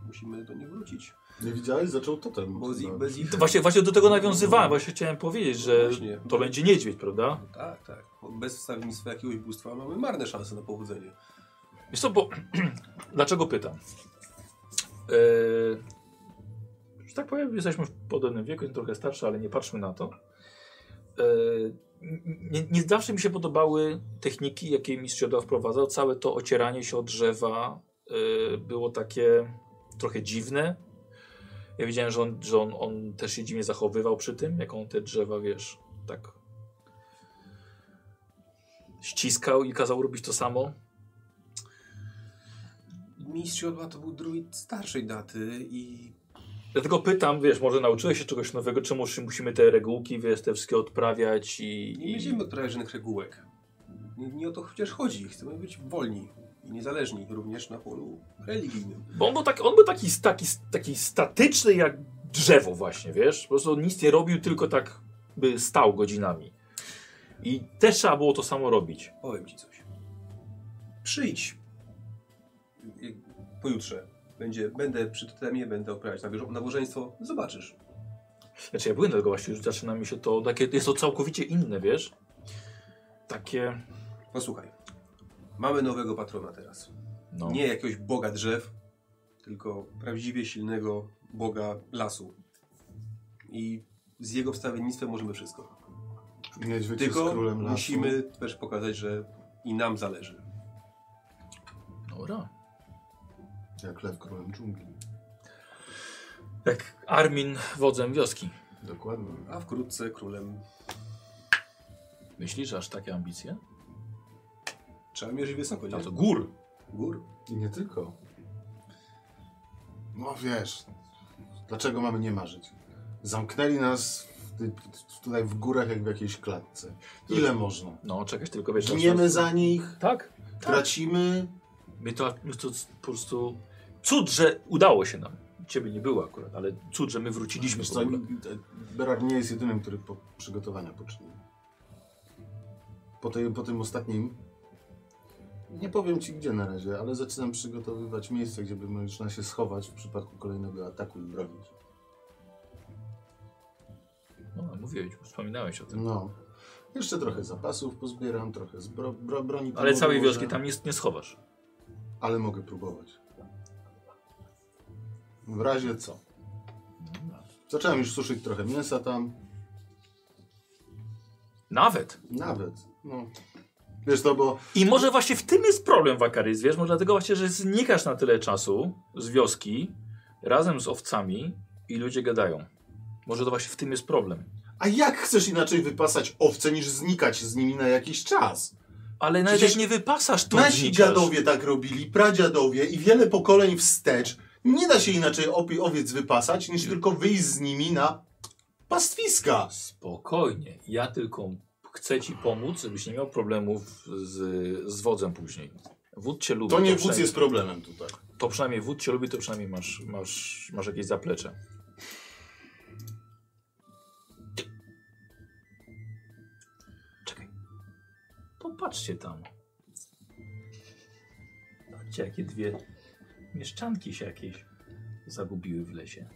E: musimy do nich wrócić.
D: Nie widziałeś? Zaczął totem.
E: Bo z ich,
D: No.
E: bez ich...
A: To właśnie, właśnie do tego nawiązywałem, właśnie chciałem powiedzieć, że
E: Właśnie.
A: to będzie niedźwiedź, prawda?
E: Tak, tak. Bo bez wstawiennictwa jakiegoś bóstwa mamy marne szanse na powodzenie.
A: Wiesz co, bo dlaczego pytam? E, że tak powiem, jesteśmy w podobnym wieku, jestem trochę starszy, ale nie patrzmy na to. E, nie, nie zawsze mi się podobały techniki, jakie mistrz Joda wprowadzał. Całe to ocieranie się o drzewa e, było takie trochę dziwne. Ja widziałem, że, on, że on, on też się dziwnie zachowywał przy tym, jak on te drzewa, wiesz, tak ściskał i kazał robić to samo.
E: Mistrz Jodła to był druid starszej daty i
A: Dlatego pytam, wiesz, może nauczyłeś się czegoś nowego, czemu się musimy te regułki, wiesz, te wszystkie odprawiać i...
E: nie
A: i-
E: będziemy odprawiać żadnych regułek. Nie, nie o to chociaż chodzi. Chcemy być wolni i niezależni, również na polu religijnym.
A: Bo on był, tak, on był taki, taki, taki statyczny jak drzewo właśnie, wiesz? Po prostu on nic nie robił, tylko tak by stał godzinami. I też trzeba było to samo robić.
E: Powiem ci coś. Przyjdź y, pojutrze. Będzie, będę przy totemie, będę oprawiać nawierz- nabożeństwo. Zobaczysz.
A: Znaczy ja byłem tego właśnie, już zaczyna mi się to takie, jest to całkowicie inne, wiesz? Takie,
E: Posłuchaj. Mamy nowego patrona teraz.
A: no,
E: Nie jakiegoś boga drzew, tylko prawdziwie silnego boga lasu. I z jego wstawiennictwem możemy wszystko.
D: Niedźwiedź jest
E: Tylko
D: królem lasu.
E: musimy też pokazać, że i nam zależy.
A: dobra.
D: Jak lew królem dżungli.
A: Jak Armin wodzem wioski.
D: Dokładnie.
E: A wkrótce królem
A: Myślisz, że aż takie ambicje?
E: trzeba mierzyć wysoko, nie?
A: No to gór.
E: Gór.
D: I nie tylko. No wiesz, dlaczego mamy nie marzyć? Zamknęli nas w, ty- tutaj w górach jak w jakiejś klatce. Ile można?
A: No, czekać tylko, wiesz... aż-
D: Gniemy za nich,
A: Tak,
D: tracimy.
A: My to, my to po prostu. Cud, że udało się nam. Ciebie nie było akurat, ale cud, że my wróciliśmy
D: Wiesz
A: w
D: co,
A: ogóle.
D: Berar nie jest jedynym, który po przygotowania poczynił. Po, tej, po tym ostatnim, nie powiem ci gdzie na razie, ale zaczynam przygotowywać miejsce, gdzie by można się schować w przypadku kolejnego ataku i bronić.
A: No, mówiłeś, wspominałeś o tym.
D: No. Jeszcze trochę zapasów pozbieram, trochę zbro, bro, broni. tam
A: Ale całej
D: odłożę,
A: wioski tam nie, nie schowasz.
D: Ale mogę próbować. W razie co? Zacząłem już suszyć trochę mięsa tam.
A: Nawet.
D: Nawet. No. Wiesz to, bo
A: I może właśnie w tym jest problem Wakarys, wiesz? Może dlatego właśnie, że znikasz na tyle czasu z wioski razem z owcami i ludzie gadają. Może to właśnie w tym jest problem.
D: a jak chcesz inaczej wypasać owce niż znikać z nimi na jakiś czas?
A: Ale nawet
D: Przecież
A: jak nie wypasasz, to
D: Nasi
A: znikasz.
D: dziadowie tak robili, pradziadowie i wiele pokoleń wstecz. Nie da się inaczej opie- owiec wypasać niż tylko wyjść z nimi na pastwiska.
A: Spokojnie, ja tylko chcę ci pomóc, żebyś nie miał problemów z, z wodzem później. Wód cię lubi.
D: To nie wódz
A: przynajmniej-
D: jest problemem tutaj.
A: To przynajmniej wód cię lubi, to przynajmniej masz, masz, masz jakieś zaplecze. Czekaj. Popatrzcie tam. Patrzcie, jakie dwie mieszczanki się jakieś zagubiły w lesie.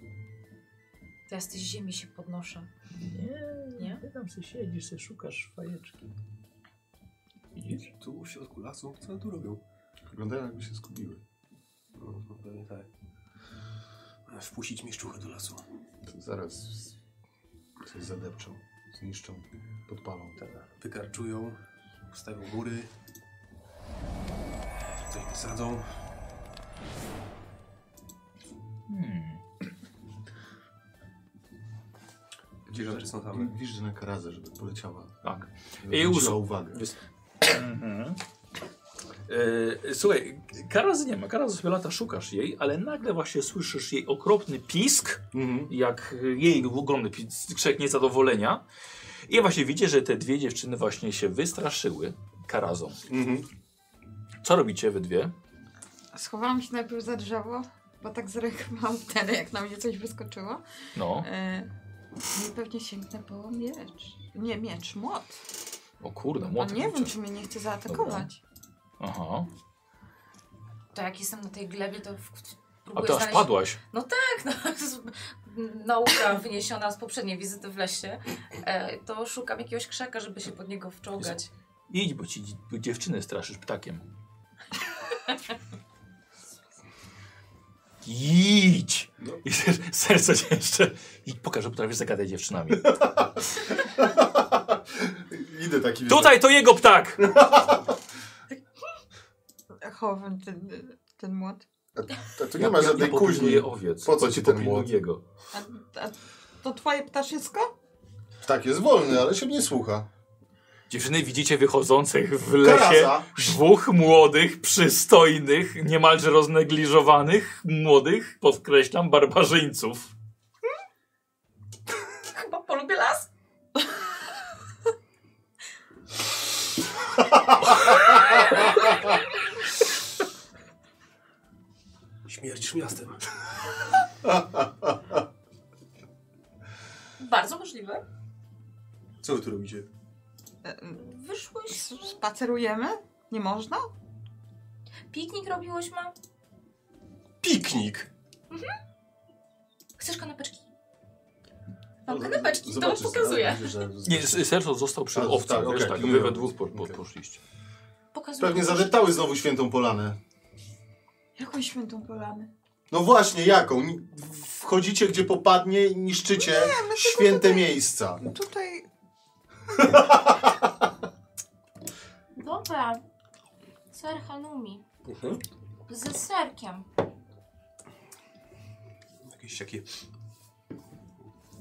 B: To ja z tej ziemi się podnoszę.
A: Nie,
B: Nie?
A: Ty tam sobie siedzisz, sobie szukasz fajeczki. Widzisz?
E: Tu w środku lasu, co tu robią?
D: Wyglądają jakby się skupiły.
E: No, no pewnie tak. Wpuścić mieszczuchę do lasu.
D: To zaraz coś zadepczą, zniszczą, podpalą.
E: Wykarczują, ustawią góry. Coś wysadzą.
A: Hmm.
E: Dzierżawcze są
D: Tam
E: same.
D: Widzisz, że na karazę, żeby poleciała.
A: Tak.
D: żeby
A: I
D: zwróciła
A: usu-
D: uwagę.
A: Wys- Mhm. E, Słuchaj, Karaz nie ma. Karaz sobie lata, szukasz jej, ale nagle właśnie słyszysz jej okropny pisk,
D: Mhm.
A: jak jej ogromny pisk, krzyk niezadowolenia. I właśnie widzicie, że te dwie dziewczyny właśnie się wystraszyły Karazą.
D: Mhm.
A: Co robicie wy dwie?
C: Schowałam się najpierw za drzewo, bo tak zrechwałam wtedy, jak na mnie coś wyskoczyło.
A: No,
C: E, no i pewnie sięgnę po miecz. Nie, miecz, młot.
A: o kurde,
C: A
A: młotek.
C: nie wiem,
A: kurczę.
C: czy mnie nie chce zaatakować.
A: Aha.
B: To jak jestem na tej glebie, to w, w,
A: A
B: próbuję
A: ty aż
B: znaleźć...
A: padłaś.
B: Tak, no, to jest nauka wyniesiona z poprzedniej wizyty w lesie. E, to szukam jakiegoś krzaka, żeby się pod niego wczołgać.
A: Idź, bo ci dzi- bo dziewczyny straszysz ptakiem. Idź!
E: No.
A: I serce cię jeszcze. I pokażę, potrafisz zagadać dziewczynami.
D: Idę taki...
A: Tutaj to jego ptak!
C: Chowam ten, ten młot.
D: A tu nie ma żadnej
A: ja
D: kuźni.
A: popilnuję owiec.
D: Po co ci ten
A: Popilnuj
D: młot?
A: jego.
C: A, a to twoje ptaszysko?
D: Tak, jest wolny, ale się mnie słucha.
A: Dziewczyny widzicie wychodzących w lesie
D: Karaza!
A: dwóch młodych, przystojnych, niemalże roznegliżowanych, młodych, podkreślam, barbarzyńców.
B: Chyba polubię las.
E: Śmierdzisz miastem.
B: Bardzo możliwe.
E: Co wy tu robicie?
C: E, Wyszłyś, spacerujemy? Nie można?
B: Piknik robiłyśmy.
E: Piknik!
B: Chcesz kanapeczki? Mam kanapeczki, to
D: No, Zobaczysz,
B: pokazuję.
D: zobaczysz, że-
A: Nie, s- Serso został przy
D: A,
A: owcy,
D: tak,
A: wiesz,
D: okej,
A: tak,
D: nie
A: wy
D: wiem,
A: we dwóch po, po,
D: okej.
A: poszliście.
B: Pokazuję.
D: Pewnie zadeptały znowu świętą polanę.
C: Jaką świętą polanę?
D: No właśnie, jaką? Ni- Wchodzicie gdzie popadnie i niszczycie święte miejsca.
C: Tutaj
F: Dobra. Ser halloumi.
E: Mhm.
F: Ze serkiem.
E: Jakieś takie...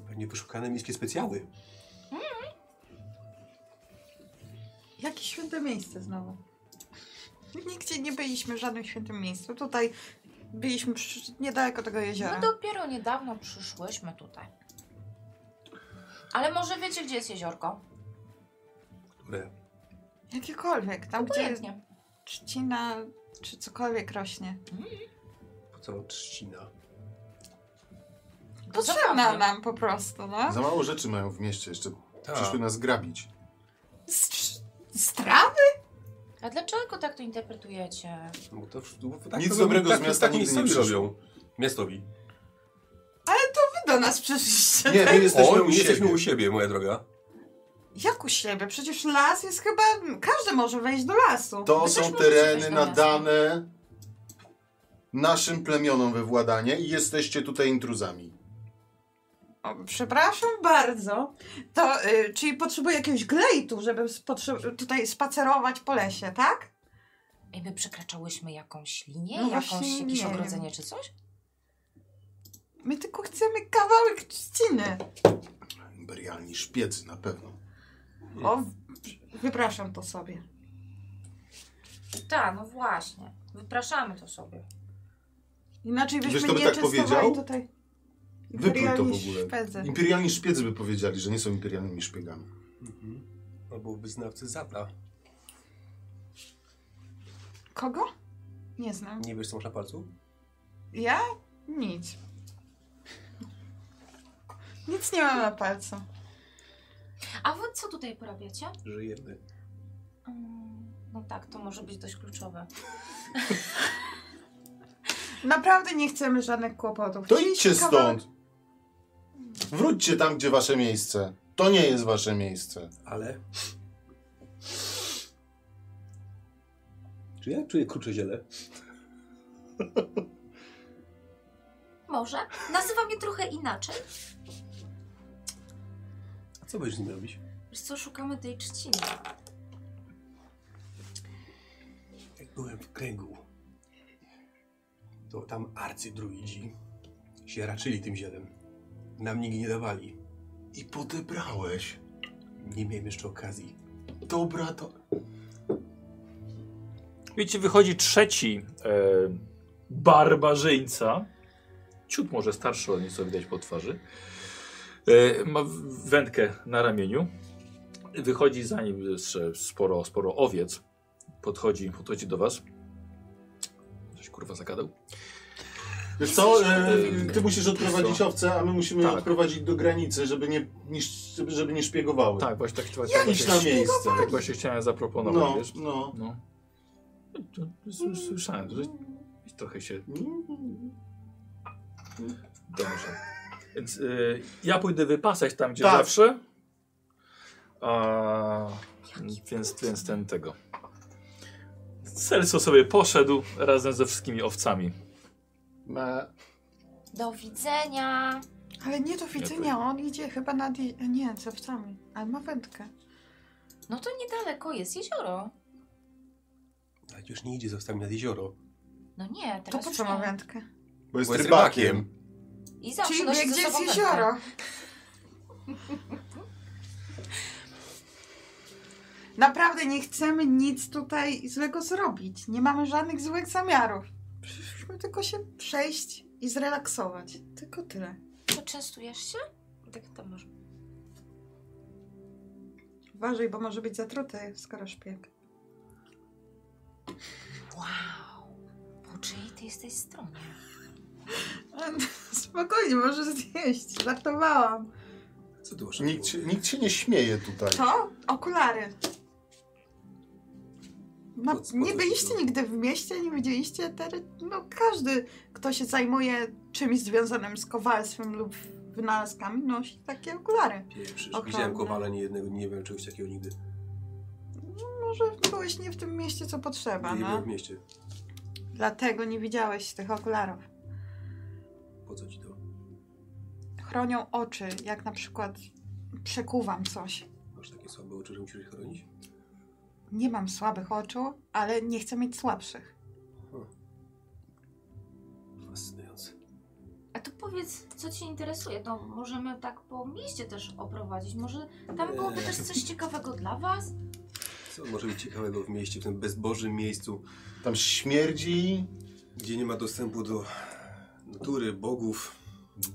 E: Pewnie wyszukane miejskie specjały.
C: Jakie święte miejsce znowu? Nigdzie nie byliśmy w żadnym świętym miejscu. Tutaj byliśmy przy, niedaleko tego jeziora.
F: No dopiero niedawno przyszłyśmy tutaj. Ale może wiecie, gdzie jest jeziorko?
E: Które...
C: Jakiekolwiek, tam gdzie jest
F: Pojętnie.
C: trzcina czy cokolwiek rośnie.
E: Po co trzcina?
C: Potrzebna nam po prostu, no.
D: Za mało rzeczy mają w mieście, jeszcze
A: Tak.
D: przyszły nas grabić.
C: Z, trz- z trawy?
F: A dlaczego tak to interpretujecie?
E: Bo to, bo tak
D: Nic
E: to
D: dobrego
E: robią-
D: z
E: tak-
D: miasta
E: tak
D: nigdy nie
E: miejscowi
D: przyszło.
E: robią. Miastowi.
C: Wy do nas przyszliście.
D: Nie, my jesteśmy
E: o,
D: u
E: my jesteśmy
D: siebie.
E: u siebie, moja droga.
C: Jak u siebie? Przecież las jest chyba... Każdy może wejść do lasu.
D: To
F: Wy też
D: są
F: możecie
D: tereny
F: wejść do
D: nadane naszym plemionom we władanie i jesteście tutaj intruzami.
C: O, przepraszam bardzo. To, y, czyli potrzebuję jakiegoś glejtu, żeby spotrze- tutaj spacerować po lesie, tak?
F: I my przekraczałyśmy jakąś linię,
C: No właśnie
F: jakąś,
C: nie
F: jakieś
C: wiem.
F: ogrodzenie czy coś?
C: My tylko chcemy kawałek trzciny.
D: Imperialni szpiedzy na pewno.
C: O, w- wypraszam to sobie.
F: Tak, no właśnie. Wypraszamy to sobie.
C: Inaczej byśmy
D: Wiesz, kto by
C: nie
D: tak
C: czystowali
D: powiedział?
C: tutaj.
D: Wypluj to w
C: imperialni
D: ogóle.
C: Szpedzy.
D: Imperialni szpiedzy by powiedzieli, że nie są imperialnymi szpiegami.
E: Mhm. Albo wyznawcy Zata.
C: Kogo? Nie znam.
E: Nie wiesz, co masz na palcu?
C: Ja? Nic. Nic nie mam na palcu.
B: A wy co tutaj porabiacie?
E: Żyjemy.
B: Mm, No tak, to może być dość kluczowe.
C: Naprawdę nie chcemy żadnych kłopotów.
D: To
C: Chcieliśmy
D: idźcie
C: kawałek-
D: stąd! Wróćcie tam, gdzie wasze miejsce. To nie jest wasze miejsce.
E: Ale... Czy ja czuję krucze ziele?
B: Może? Nazywam je trochę inaczej.
E: A co będziesz z nim robić?
B: Wiesz co, szukamy tej trzciny.
E: Jak byłem w kręgu, to tam arcydruidzi się raczyli tym zielem. Nam nigdy nie dawali.
D: I podebrałeś.
E: Nie miałem jeszcze okazji.
D: Dobra, to...
A: Wiecie, wychodzi trzeci e, barbarzyńca. Ciut może starszy, ale nieco widać po twarzy. E, ma w- wędkę na ramieniu. Wychodzi za nim jeszcze sporo, sporo owiec. Podchodzi, podchodzi do was. Coś kurwa zagadał.
D: Wiesz co, e, ty musisz odprowadzić
A: Co?
D: owce, a my musimy
A: Tak.
D: odprowadzić do granicy, żeby nie, nisz- żeby- żeby nie szpiegowały.
A: Tak, właśnie tak,
D: Ja
A: tak,
D: idź na miejsce.
A: tak właśnie chciałem zaproponować.
D: No,
A: wiesz?
D: no.
A: No. To- to s- Słyszałem, że trochę się Dobrze. Więc y, ja pójdę wypasać tam, gdzie
D: Tak.
A: zawsze. A, więc, więc ten tego. Serco sobie poszedł razem ze wszystkimi owcami.
D: Ma-
B: Do widzenia.
C: Ale nie do widzenia, on idzie chyba na... Di- nie, z owcami. Ale ma wędkę.
B: No to niedaleko jest jezioro.
E: Nawet już nie idzie z owcami nad jezioro.
B: No nie,
C: To
B: teraz
C: po
B: już
C: co ma
B: nie.
C: wędkę?
D: Bo jest
E: Bo jest
D: rybakiem.
B: I zawsze
C: Czyli
B: nosi
C: wie,
B: Tak, ze
C: gdzie jest
B: sobą wędkę.
C: jezioro. Naprawdę nie chcemy nic tutaj złego zrobić. Nie mamy żadnych złych zamiarów. Przyszliśmy tylko się przejść i zrelaksować. Tylko tyle.
B: To częstujesz się? Tak to może.
C: Uważaj, bo może być zatruty, skoro szpieg.
B: Wow. Po czyjej ty jesteś stronie?
C: Spokojnie, może zjeść. Żartowałam.
E: Co ty masz na
D: Nikt, się-
E: głowie?
D: nikt się nie śmieje tutaj.
C: To? Okulary. No,
E: Po co- po
C: nie
E: co
C: byliście
E: ci to?
C: nigdy w mieście, nie widzieliście tery... No każdy, kto się zajmuje czymś związanym z kowalstwem lub wynalazkami, nosi takie okulary.
E: Pieprzysz.
C: Ogromne.
E: Widziałem kowala nie jednego, nie wiem czegoś takiego nigdy.
C: Może byłeś nie w tym mieście, co potrzeba,
E: Nie byłem
C: no.
E: w mieście.
C: Dlatego nie widziałeś tych okularów.
E: Po co ci to?
C: Chronią oczy, jak na przykład przekuwam coś.
E: Masz takie słabe oczy, że musisz je chronić?
C: Nie mam słabych oczu, ale nie chcę mieć słabszych.
E: Fascynujące.
B: A to powiedz, co cię interesuje? To możemy tak po mieście też oprowadzić. Może tam
E: Nie.
B: byłoby też coś ciekawego dla was?
E: Co może być ciekawego w mieście, w tym bezbożym miejscu,
D: Tam śmierdzi,
E: gdzie nie ma dostępu do natury, bogów.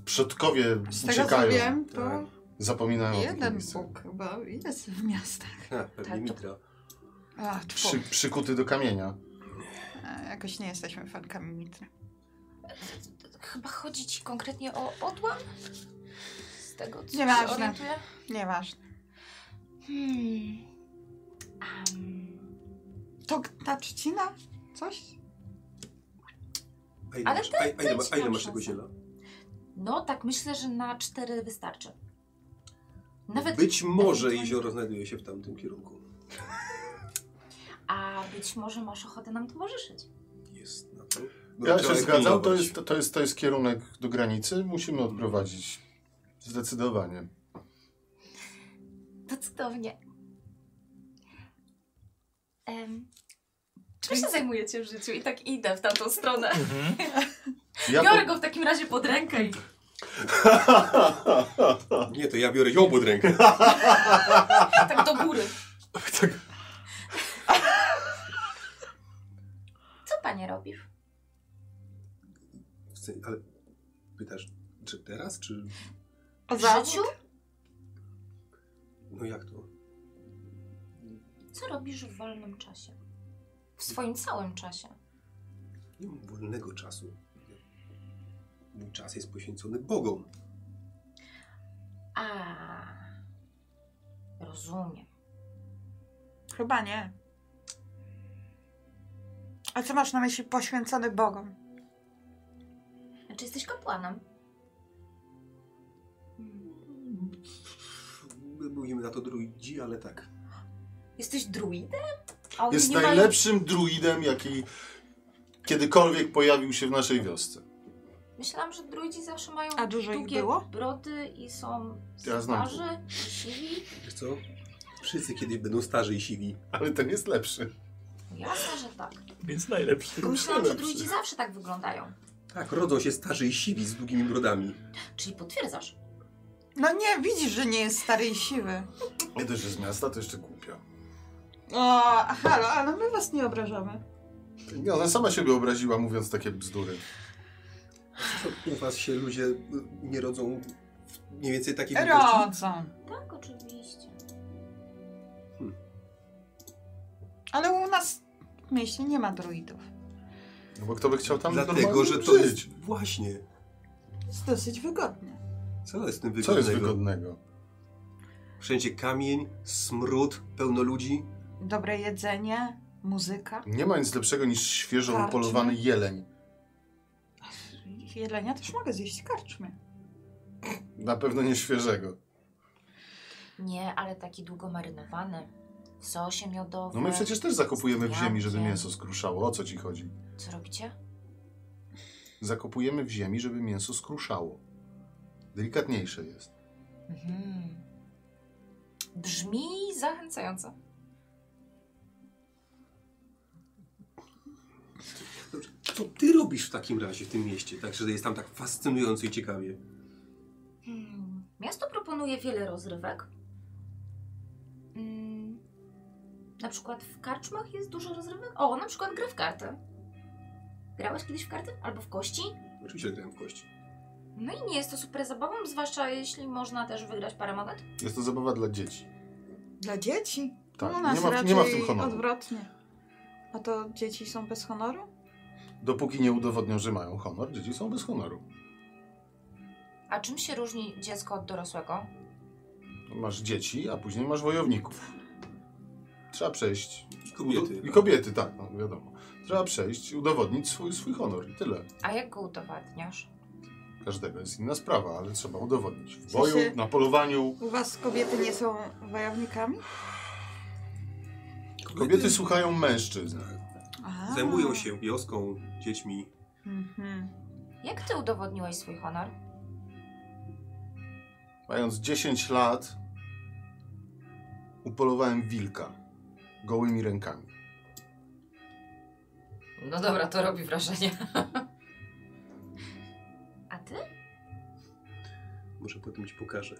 D: przodkowie
C: Z tego co
D: uciekają,
C: wiem, to
D: zapominają o tak tym
C: jeden
D: miejscu.
C: Bóg chyba jest w miastach.
E: Ha, pewnie
B: Tak, to-
E: mitra.
C: A, tfu.
D: Przy, przykuty do kamienia.
C: E, Jakoś nie jesteśmy fankami Mitry.
B: Chyba chodzi ci konkretnie o odłam? Z tego, co się
C: Nieważne.
B: orientuję?
C: Nieważne.
B: Hmm. Am,
C: To g- ta trzcina? Coś?
E: A ile
B: Ale
E: masz, a, a ile, ma- a ile
B: ciekawsza
E: masz tego
B: są.
E: ziela?
B: no tak, myślę, że na cztery wystarczy. Nawet
E: Być może
B: ewentualnie-
E: jezioro znajduje się w tamtym kierunku.
B: A być może masz ochotę nam towarzyszyć.
E: Jest na to.
D: Ja
E: Trzeba
D: się
E: je
D: zgadzam, to
E: pilnować.
D: jest, to, jest, to jest kierunek do granicy. Musimy odprowadzić. Zdecydowanie.
B: To cudownie. Em, czym się zajmujecie w życiu? I tak idę w tamtą stronę.
A: Mhm.
D: Ja
B: Biorę go w takim razie pod rękę i...
E: Nie, to ja biorę ją pod rękę.
B: tak do góry.
D: Tak.
B: Co panie robisz?
E: Chcę- Ale pytasz, czy teraz, czy...
C: O
B: W życiu?
E: No jak to?
B: Co robisz w wolnym czasie? W swoim całym czasie.
E: Nie mam wolnego czasu. Mój czas jest poświęcony Bogom.
B: A. Rozumiem.
C: Chyba nie. A co masz na myśli poświęcony Bogom?
B: Czy Znaczy, jesteś kapłanem?
E: My mówimy na to druidzi, ale tak.
B: Jesteś druidem? A oni
D: Jest
B: nie mają-
D: najlepszym druidem, jaki kiedykolwiek pojawił się w naszej wiosce.
B: Myślałam, że druidzi zawsze mają
C: A dużo ich
B: długie
C: było?
B: brody i są
D: Ja znam.
B: starzy i siwi.
E: Wiesz co? Wszyscy kiedyś będą starzy i siwi.
D: Ale ten jest lepszy.
B: Jasne, że tak.
A: Więc najlepszy.
B: Tylko myślałam, że
D: Lepszy.
B: druidzi zawsze tak wyglądają.
E: Tak, rodzą się starzy i siwi z długimi brodami.
B: Czyli potwierdzasz.
C: No nie, widzisz, że nie jest starej siły.
D: Nie dość, że z miasta, to jeszcze głupia.
C: O, halo, ale my was nie obrażamy.
D: Nie, ona sama siebie obraziła, mówiąc takie bzdury.
E: Co, u was się ludzie y, nie rodzą w mniej więcej takiej wielkości?
C: Rodzą.
B: Tak, oczywiście.
C: Ale u nas w mieście nie ma druidów.
D: No bo kto by chciał tam
E: Dlatego,
D: normalnie
E: że to
D: żyć?
E: jest... Właśnie.
C: Jest dosyć wygodnie.
E: Co jest w tym
D: Co jest
E: wygodnego?
D: wygodnego?
E: Wszędzie kamień, smród, pełno ludzi.
C: Dobre jedzenie, muzyka.
D: Nie ma nic lepszego niż świeżo
C: Karczmy.
D: upolowany jeleń.
C: Jelenia też mogę zjeść w karczmie.
D: Na pewno nie świeżego.
B: Nie, ale taki długo marynowany. W sosie
D: No
B: miodowym.
D: my przecież też zakopujemy w ziemi, żeby
B: Ja wiem.
D: mięso skruszało. O co ci chodzi?
B: Co robicie?
D: Zakopujemy w ziemi, żeby mięso skruszało. Delikatniejsze jest.
B: Mhm.
G: Brzmi zachęcająco.
E: Dobrze. Co ty robisz w takim razie w tym mieście? Także jest tam tak fascynująco i ciekawie.
B: Hmm. Miasto proponuje wiele rozrywek. Mm. Na przykład w karczmach jest dużo rozrywek. O, na przykład gra w karty. Grałeś kiedyś w karty? Albo w kości?
E: Oczywiście grałem w kości.
B: No i nie jest to super zabawą, zwłaszcza jeśli można też wygrać parę monet.
D: Jest to zabawa dla dzieci.
C: Dla dzieci?
D: Tak,
C: U nas
D: nie, ma,
C: raczej
D: nie ma w tym honoru.
C: odwrotnie. A to dzieci są bez honoru?
D: Dopóki nie udowodnią, że mają honor, dzieci są bez honoru.
G: A czym się różni dziecko od dorosłego?
D: Masz dzieci, a później masz wojowników. Trzeba przejść.
E: I kobiety.
D: I kobiety, tak, no wiadomo. Trzeba przejść i udowodnić swój, swój honor i tyle.
G: A jak go udowadniasz?
D: Każdego jest inna sprawa, ale trzeba udowodnić. W
C: sensie-
D: boju, na polowaniu.
C: U was kobiety nie są wojownikami?
D: Kobiety słuchają mężczyzn.
C: A.
E: Zajmują się wioską, dziećmi.
C: Mhm.
G: Jak ty udowodniłeś swój honor?
D: Mając 10 lat, upolowałem wilka gołymi rękami.
G: No dobra, to robi wrażenie.
B: A ty?
E: Może potem ci pokażę.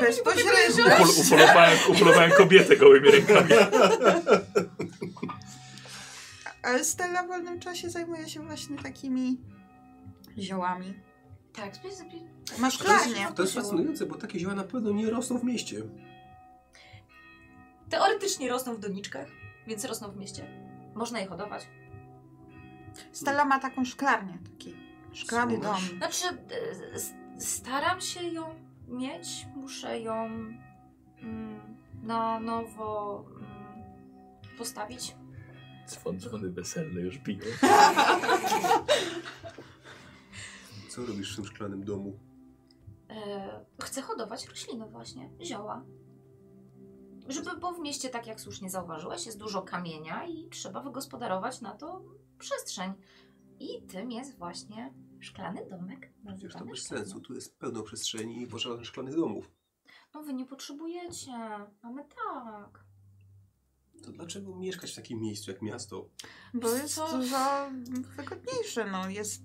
C: Bezpośrednio.
A: upolowałem, upolowałem kobietę gołymi rękami.
C: Ale Stella w wolnym czasie zajmuje się właśnie takimi ziołami.
B: Tak, spójrz, spójrz.
C: Masz
E: A to jest-
C: klanie.
E: To jest fascynujące, bo takie zioła na pewno nie rosną w mieście.
B: Teoretycznie rosną w doniczkach, więc rosną w mieście. Można je hodować.
C: Stella ma taką szklarnię, taki szklany dom.
E: Słuchasz?
B: Znaczy, e, s- staram się ją mieć, muszę ją mm, na nowo mm, postawić.
A: Dzwon, dzwony weselne już biją.
E: Co robisz w tym szklanym domu?
B: E, chcę hodować rośliny właśnie, zioła. Żeby, bo w mieście, tak jak słusznie zauważyłeś, jest dużo kamienia i trzeba wygospodarować na to przestrzeń. I tym jest właśnie szklany domek.
E: Wiesz, to
B: nazywany
E: bez
B: szklanym.
E: sensu. Tu jest pełno przestrzeni i potrzeba szklanych domów.
B: No wy nie potrzebujecie, mamy tak.
E: To dlaczego mieszkać w takim miejscu jak miasto?
C: Bo jest
B: Co?
C: dużo wygodniejsze, no jest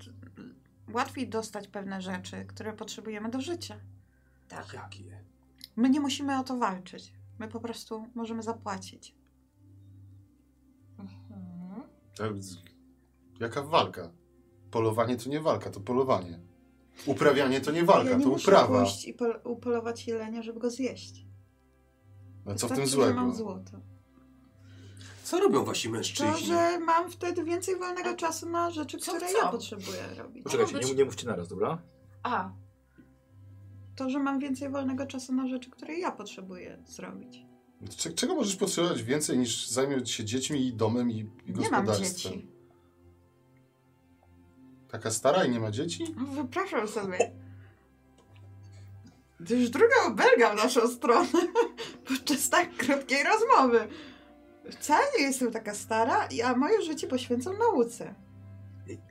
C: łatwiej dostać pewne rzeczy, które potrzebujemy do życia.
B: Tak.
E: Jakie?
C: My nie musimy o to walczyć. My po prostu możemy zapłacić.
B: Mhm.
D: Tak, z- Jaka walka? Polowanie to nie walka, to polowanie. Uprawianie to nie
C: ja
D: walka,
C: nie
D: to
C: muszę
D: uprawa.
C: pójść i pol- upolować jelenia, żeby go zjeść.
D: No co w
C: Wystarczy,
D: tym
C: Że
D: złego?
C: mam złoto.
E: Co robią wasi
C: To,
E: mężczyźni?
C: że mam wtedy więcej wolnego czasu na rzeczy,
B: Co
C: które
B: chcą?
C: ja potrzebuję robić.
A: Poczekajcie,
F: być-
A: nie, nie mówcie naraz, dobra?
B: A,
C: To, że mam więcej wolnego czasu na rzeczy, które ja potrzebuję zrobić.
D: No Cze- Czego możesz potrzebować więcej niż zajmieć się dziećmi i domem i, i
C: Nie mam
D: gospodarstwem?
C: dzieci.
D: Taka stara i nie ma dzieci?
C: No, Wypraszam sobie. To już druga obelga w naszą stronę podczas tak krótkiej rozmowy. Wcale nie jestem taka stara, i- a moje życie poświęcam nauce.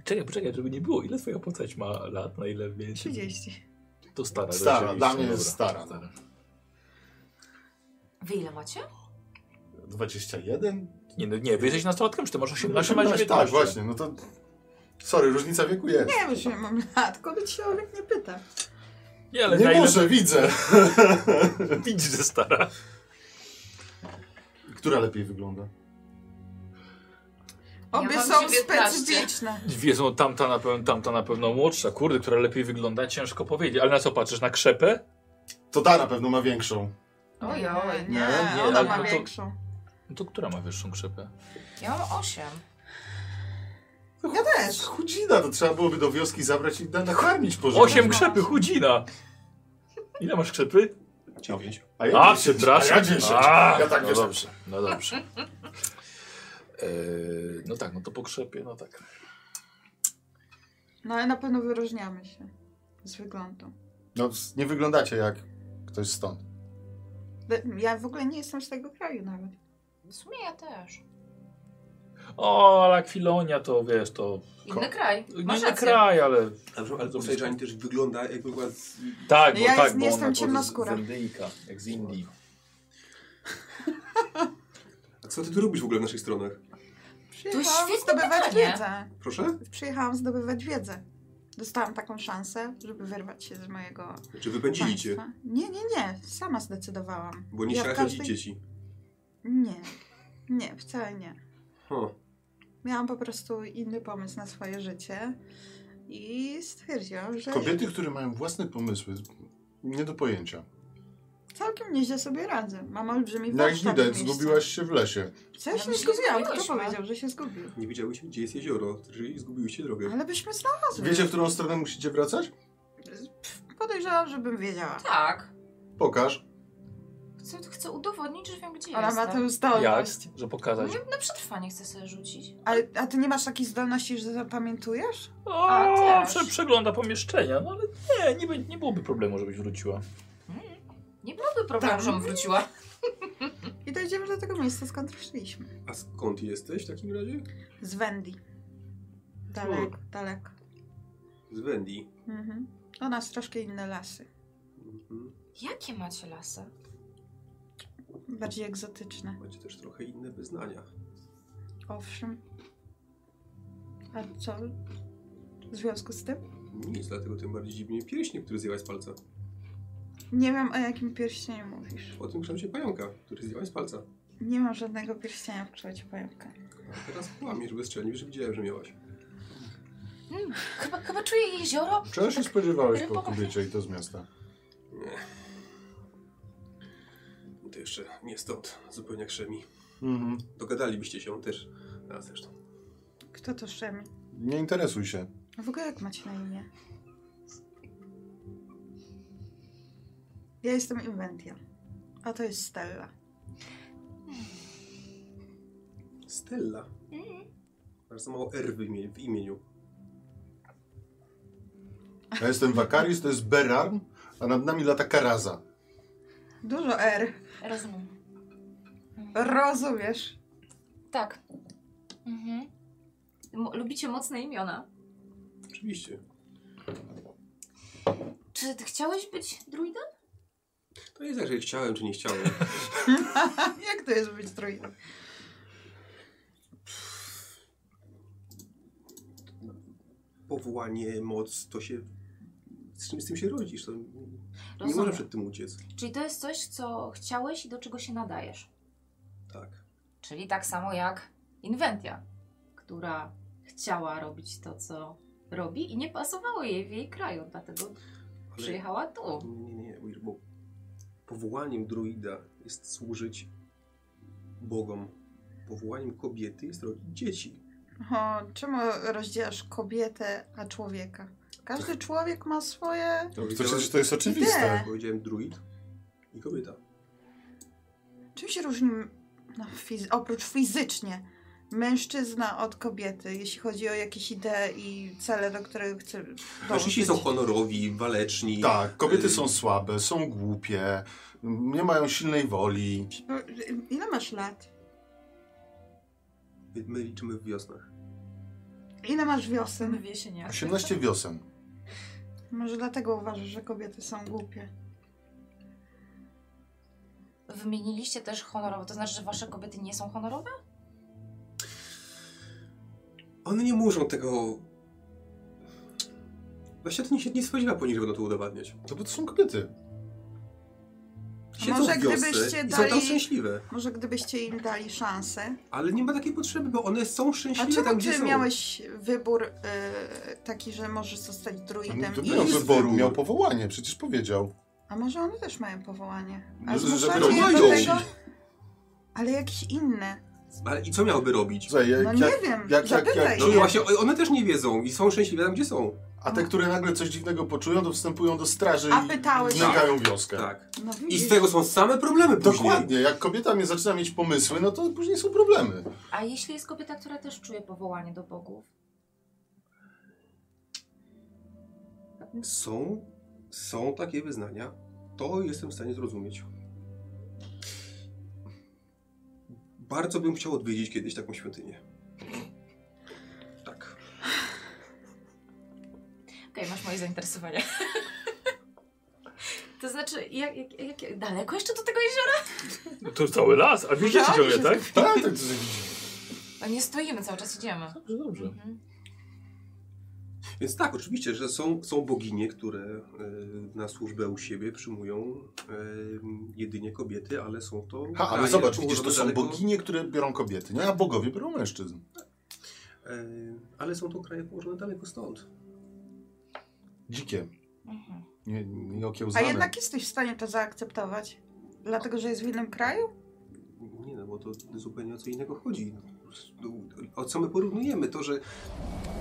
A: Czekaj, poczekaj, żeby nie było. Ile twoja postać ma lat, na ile więcej?
C: 30.
A: To stara.
D: Stara,
A: rzeczywiście,
D: dla mnie jest
A: dobra.
D: stara. no.
B: wy ile macie?
D: 21?
A: Nie, no, nie, wy jesteś nastolatkiem, czy ty masz 18, masz 19.
D: Tak, właśnie, no to... Sorry, różnica wieku jest.
C: Nie wiem, że ja mam lat, kogo człowiek nie pyta.
A: Nie, ale
D: Nie
A: na ile
D: muszę, widzę.
A: widzisz, że stara.
D: Która lepiej wygląda?
C: Obie
B: mam
C: są
B: 19.
C: specyficzne.
A: Wiedzą, no, tamta na, pewno, tamta na pewno młodsza, kurde, która lepiej wygląda, ciężko powiedzieć. Ale na co patrzysz, na krzepę?
D: To ta na pewno ma większą.
B: Ojej,
C: nie,
D: nie, nie,
C: ona
A: ale
C: ma
A: to- to-
C: większą.
A: No to która ma wyższą krzepę?
B: Ja mam 8.
C: Ja też.
D: Chudzina, to trzeba byłoby do wioski zabrać i na- nakarmić porządnie.
A: Osiem krzepy, chudzina! Ile masz krzepy?
E: Dziewięć.
D: A ja
A: A,
D: 10,
A: przepraszam.
D: a ja 10.
A: A,
D: ja tak
A: no
D: wiesz,
A: dobrze, no dobrze. Eee, no tak, no to po krzepie, no tak.
C: No ale na pewno wyróżniamy się z wyglądu.
D: No, s- nie wyglądacie jak ktoś stąd.
C: Be- Ja w ogóle nie jestem z tego kraju nawet.
B: W sumie ja też.
A: O, ale Akwilonia to wiesz, to
B: Inny kraj.
A: nie
B: Masz
A: na
B: rację.
A: kraj, ale.
E: Dobrze, ale postać Żani też wygląda jakby była z...
A: Tak,
C: No
A: bo
C: ja
A: tak,
C: jest-
A: bo
C: jestem
A: ona była z-
C: ciemnoskóra.
A: Z Indyjka, jak z Indii.
E: A co ty tu robisz w ogóle w naszych stronach?
C: Przyjechałam
B: świetne
C: zdobywać
B: pytanie.
C: wiedzę.
E: Proszę?
C: Przyjechałam zdobywać wiedzę. Dostałam taką szansę, żeby wyrwać się z mojego
E: Czy wypędzili cię?
C: państwa. Nie, nie, nie. Sama zdecydowałam.
E: Bo nie
C: No Ja w
E: chciała
C: każdej-
E: chodzić dzieci.
C: Nie. Nie, wcale nie.
E: Huh.
C: Miałam po prostu inny pomysł na swoje życie i stwierdziłam, że
D: Kobiety, które mają własne pomysły, nie do pojęcia.
C: całkiem nieźle sobie radzę. Mam olbrzymi
D: No jak
C: warsztat
D: widać,
C: w mieście.
D: zgubiłaś się w lesie.
C: Co
B: Ja
C: ja się nie
B: myślę, że
C: zgubiłam? Kto
B: zgubiłyśmy.
C: powiedział, że się zgubił?
E: Nie wiedziałyśmy, gdzie jest jezioro, czyli zgubiłyście drogę.
C: Ale byśmy znalazły.
D: Wiecie, w którą stronę musicie wracać?
C: Pff, Podejrzewam, żebym wiedziała.
B: Tak.
D: Pokaż.
F: Chcę, chcę udowodnić, że wiem, gdzie
C: Ona ma
F: jestem.
C: tę
A: Jak?
C: zdolność.
A: Że pokazać.
B: Mhm.
F: Nie, na przetrwanie chcę sobie rzucić.
C: A, a ty nie masz takiej zdolności, że zapamiętujesz?
B: A,
A: O,
B: też.
A: prze, przegląda pomieszczenia, no ale nie, nie, be- nie byłoby problemu, żebyś wróciła.
F: Nie byłoby problemu,
C: Tak.
F: żebym wróciła.
C: I dojdziemy do tego miejsca, skąd ruszyliśmy.
E: A skąd jesteś w takim razie?
C: Z Wendy. Daleko, daleko.
E: Z Wendii.
C: Mhm. U nas troszkę inne lasy.
E: Mhm.
F: Jakie macie lasy?
C: Bardziej egzotyczne.
E: Macie też trochę inne wyznania.
C: Owszem. A co w związku z tym?
E: Nic, dlatego tym bardziej dziwnie pierśnie, który zjęłaś z palca.
C: Nie wiem, o jakim pierścieniu mówisz.
E: O tym kształcie pająka, który zjęłaś z palca.
C: Nie mam żadnego pierścienia w kształcie pająka.
E: A teraz kłamiesz bezczelnie, że widziałem, że miałaś.
F: Chyba, chyba czuję jezioro.
D: Czego się spodziewałeś po kobiecie i to z miasta?
E: Nie. No To jeszcze nie stąd, zupełnie jak Szemi.
D: Mhm.
E: Dogadalibyście się też, a zresztą.
C: Kto to Szemi?
D: Nie interesuj się.
C: A W ogóle jak macie na imię? Ja jestem Inventia. A to jest Stella.
E: Stella.
C: Mhm.
E: Bardzo mało R w, imie, w imieniu.
D: Ja jestem Wakaris, to jest Berarm, a nad nami lata Karaza.
C: Dużo R.
F: Rozumiem. Mhm.
C: Rozumiesz?
F: Tak. Mhm. Mo- lubicie mocne imiona.
E: Oczywiście.
F: Czy ty chciałeś być druidem?
E: To jest tak, że chciałem czy nie chciałem.
C: jak to jest być trójką?
E: Powołanie, moc, to się... Z czym z tym się rodzisz? To nie
F: Rozumiem.
E: można przed tym uciec.
F: Czyli to jest coś, co chciałeś i do czego się nadajesz.
E: Tak.
F: Czyli tak samo jak Inventia, która chciała robić to, co robi i nie pasowało jej w jej kraju, dlatego przyjechała tu.
E: Nie, nie, nie, Will, bo powołaniem druida jest służyć bogom. Powołaniem kobiety jest rodzić dzieci.
C: O, czemu rozdzielasz kobietę a człowieka? Każdy człowiek ma swoje.
E: To
D: To
E: powiedziałem-
D: przecież to jest
C: Nie.
D: oczywiste.
E: Tak, Powiedziałem druid i kobieta.
C: Czym się różni no, fiz... oprócz fizycznie mężczyzna od kobiety, jeśli chodzi o jakieś idee i cele, do których chce.
E: Mężczyźni
C: dążyć?
E: są honorowi, waleczni.
D: Tak, kobiety
E: Y,
D: są słabe, są głupie, m, nie mają silnej woli.
C: y, Ile masz lat?
E: My, my liczymy w wiosnach.
C: Ile masz wiosen?
B: Wie się nie.
D: 18 wiosen.
C: Może dlatego uważasz, że kobiety są głupie.
B: Wymieniliście też honorowo, to znaczy, że wasze kobiety nie są honorowe?
E: One nie muszą tego... Właśnie to nie, się nie spodziewa po nich, że będą to udowadniać.
D: To bo to są kobiety.
E: Siedzą
C: może
E: w wiosce
C: gdybyście
E: i są tam
C: dali-
E: szczęśliwe.
C: Może gdybyście im dali szansę.
E: Ale nie ma takiej potrzeby, bo one są
C: A
E: szczęśliwe tam,
C: czemu
E: gdzie
C: ty
E: są.
C: miałeś wybór y, taki, że możesz zostać
D: On
C: druidem?
D: nie
C: i-
D: miał
E: jest
D: wyboru,
E: wybór.
D: miał powołanie, przecież powiedział.
C: A może one też mają powołanie? A
D: Że- że
C: zmuszacie
E: robią.
C: je do
E: Mają.
C: tego? Ale jakieś inne.
E: Ale i co miałyby robić?
D: Słuchaj, jak,
C: No
D: jak,
C: nie wiem,
D: jak-
C: zapytaj.
E: No
D: Nie.
E: właśnie, o- one też nie wiedzą i są szczęśliwe tam, gdzie są.
D: a te, które nagle coś dziwnego poczują, to wstępują do straży
C: A
D: i
C: pytałeś się?
D: nękają wioskę.
E: Tak.
C: No
E: I
C: widzisz.
E: z tego są same problemy później.
D: Dokładnie, jak kobieta mnie zaczyna mieć pomysły, no to później są problemy.
F: A jeśli jest kobieta, która też czuje powołanie do bogów?
E: Są, są takie wyznania. To jestem w stanie zrozumieć. Bardzo bym chciał odwiedzić kiedyś taką świątynię. Tak.
F: Okej, masz moje zainteresowanie. to znaczy, jak, jak, jak, daleko jeszcze do tego jeziora?
A: No to cały las, a wiecie
C: Ja
A: ciągle,
C: się
A: tak?
D: Tak, tak to jest-
B: No nie stoimy, cały czas idziemy.
A: Dobrze, dobrze.
B: Mhm.
E: Więc tak, oczywiście, że są, są boginie, które e, na służbę u siebie przyjmują e, jedynie kobiety, ale są to.
D: Ha, ale
E: kraje
D: zobacz,
E: położone
D: widzisz, to są
E: daleko-
D: boginie, które biorą kobiety, nie? A bogowie biorą mężczyzn.
E: E, ale są to kraje położone daleko stąd.
D: Dzikie,
B: Mhm.
D: nie,
C: A
D: nieokiełzane.
C: jednak jesteś w stanie to zaakceptować? Dlatego, że jest w innym kraju?
E: Nie no, bo to zupełnie o co innego chodzi. O co my porównujemy? To, że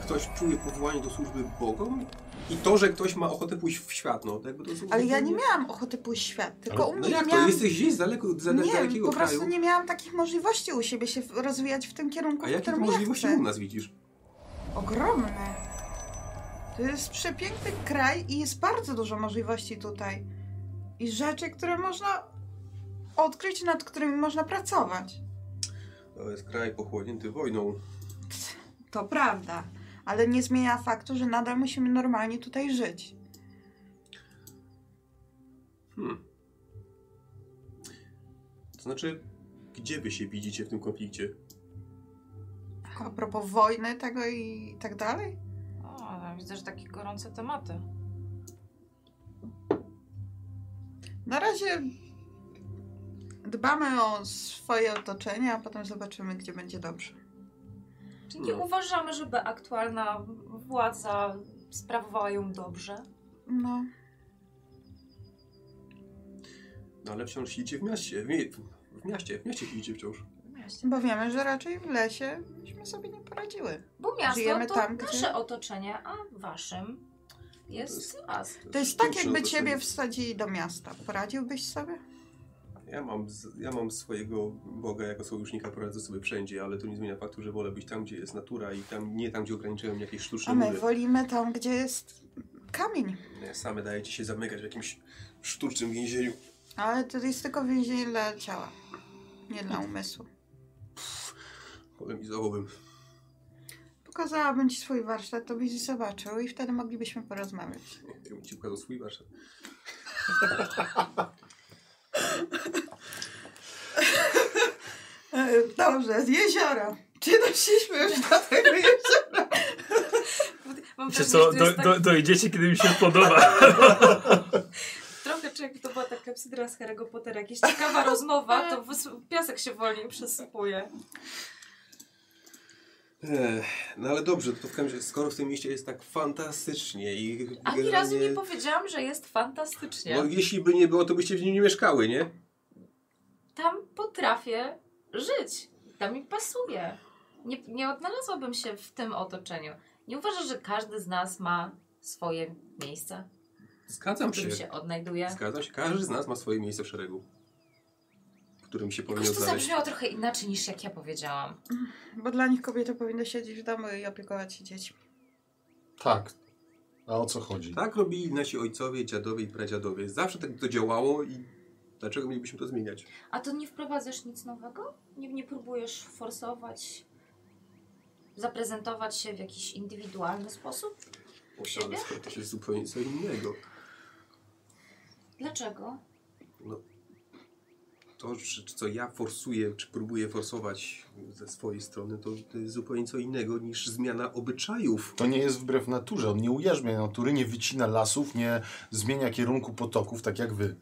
E: ktoś czuje powołanie do służby Bogom i to, że ktoś ma ochotę pójść w świat, no to jakby to są
C: Ale ja nie
E: zupełnie-
C: miałam ochoty pójść w świat, tylko u
E: No
C: mnie
E: jak to?
C: miałam...
E: Jesteś gdzieś z daleko, z
C: nie,
E: dalekiego
C: po prostu
E: kraju,
C: nie miałam takich możliwości u siebie się w- rozwijać w tym kierunku,
E: a
C: w
E: jakie to
C: którym ja
E: możliwości
C: chcę.
E: u nas widzisz?
C: Ogromne. To jest przepiękny kraj i jest bardzo dużo możliwości tutaj. I rzeczy, które można odkryć, nad którymi można pracować.
E: To jest kraj pochłonięty wojną.
C: To prawda, ale nie zmienia faktu, że nadal musimy normalnie tutaj żyć.
E: Hmm. To znaczy, gdzie wy się widzicie w tym konflikcie?
C: A propos wojny tego i tak dalej?
B: O,
F: no,
B: ale widzę, że takie gorące tematy.
C: Na razie dbamy o swoje otoczenie, a potem zobaczymy, gdzie będzie dobrze.
B: Czyli nie
E: No.
B: uważamy, żeby aktualna władza sprawowała ją dobrze?
C: No,
E: No ale wciąż siedzicie w mieście, w, mie- w mieście, w mieście siedzicie wciąż.
F: No
C: bo wiemy, że raczej w lesie byśmy sobie nie poradziły.
F: Bo miasto
C: Żyjemy
F: to
C: tam, gdzie-
F: nasze otoczenie, a waszym jest las.
C: To jest tak, jakby ciebie wsadzili do miasta. Poradziłbyś sobie?
E: Ja mam, z- ja mam swojego Boga jako sojusznika, poradzę sobie wszędzie, ale to nie zmienia faktu, że wolę być tam, gdzie jest natura i tam, nie tam, gdzie ograniczają mnie jakieś sztuczne
C: A my
E: mury.
C: wolimy tam, gdzie jest kamień.
E: Nie, Same dajecie się zamykać w jakimś sztucznym więzieniu.
C: Ale to jest tylko więzienie dla ciała, nie dla umysłu.
E: Polemizowałbym.
C: Pokazałabym ci swój warsztat, to byś zobaczył i wtedy moglibyśmy porozmawiać.
E: Ja bym ci pokazał swój warsztat.
C: E, Dobrze, z jeziora. Czy doszliśmy już do tego jeziora?
F: Mam
A: Wiecie
F: wrażenie, że
A: co, do,
F: to jest tak,
A: do, dojdziecie, kiedy mi się podoba.
F: trochę czy jakby to była taka kapsydra z Harry'ego Pottera, jakaś ciekawa rozmowa, to wys- piasek się wolniej przesypuje.
E: Ech, no ale dobrze, to w każdym razie, skoro w tym mieście jest tak fantastycznie i
B: Ani
E: generalnie-
B: razu nie powiedziałam, że jest fantastycznie.
E: Bo jeśli by nie było, to byście w nim nie mieszkały, nie?
F: Tam potrafię żyć. Tam mi pasuje. Nie, nie odnalazłabym się w tym otoczeniu. Nie uważasz, że każdy z nas ma swoje miejsce, w
E: Zgadzam
F: którym
E: się.
F: się odnajduje?
E: Zgadzam się. Każdy z nas ma swoje miejsce w szeregu, w którym się powinien
F: Jakoś to
E: znaleźć.
F: zabrzmiało trochę inaczej niż jak ja powiedziałam.
C: Bo dla nich kobiety powinny siedzieć w domu i opiekować się dziećmi.
D: Tak. A o co chodzi?
E: Tak robili nasi ojcowie, dziadowie i pradziadowie. Zawsze tak to działało i dlaczego mielibyśmy to zmieniać?
F: A to nie wprowadzasz nic nowego? Nie, nie próbujesz forsować, zaprezentować się w jakiś indywidualny sposób? U siebie?
E: Ale to jest zupełnie co innego.
F: Dlaczego?
E: To, że- co ja forsuję, czy próbuję forsować ze swojej strony, to to jest zupełnie co innego niż zmiana obyczajów.
D: To nie jest wbrew naturze. On nie ujarzmia natury, nie wycina lasów, nie zmienia kierunku potoków, tak jak wy.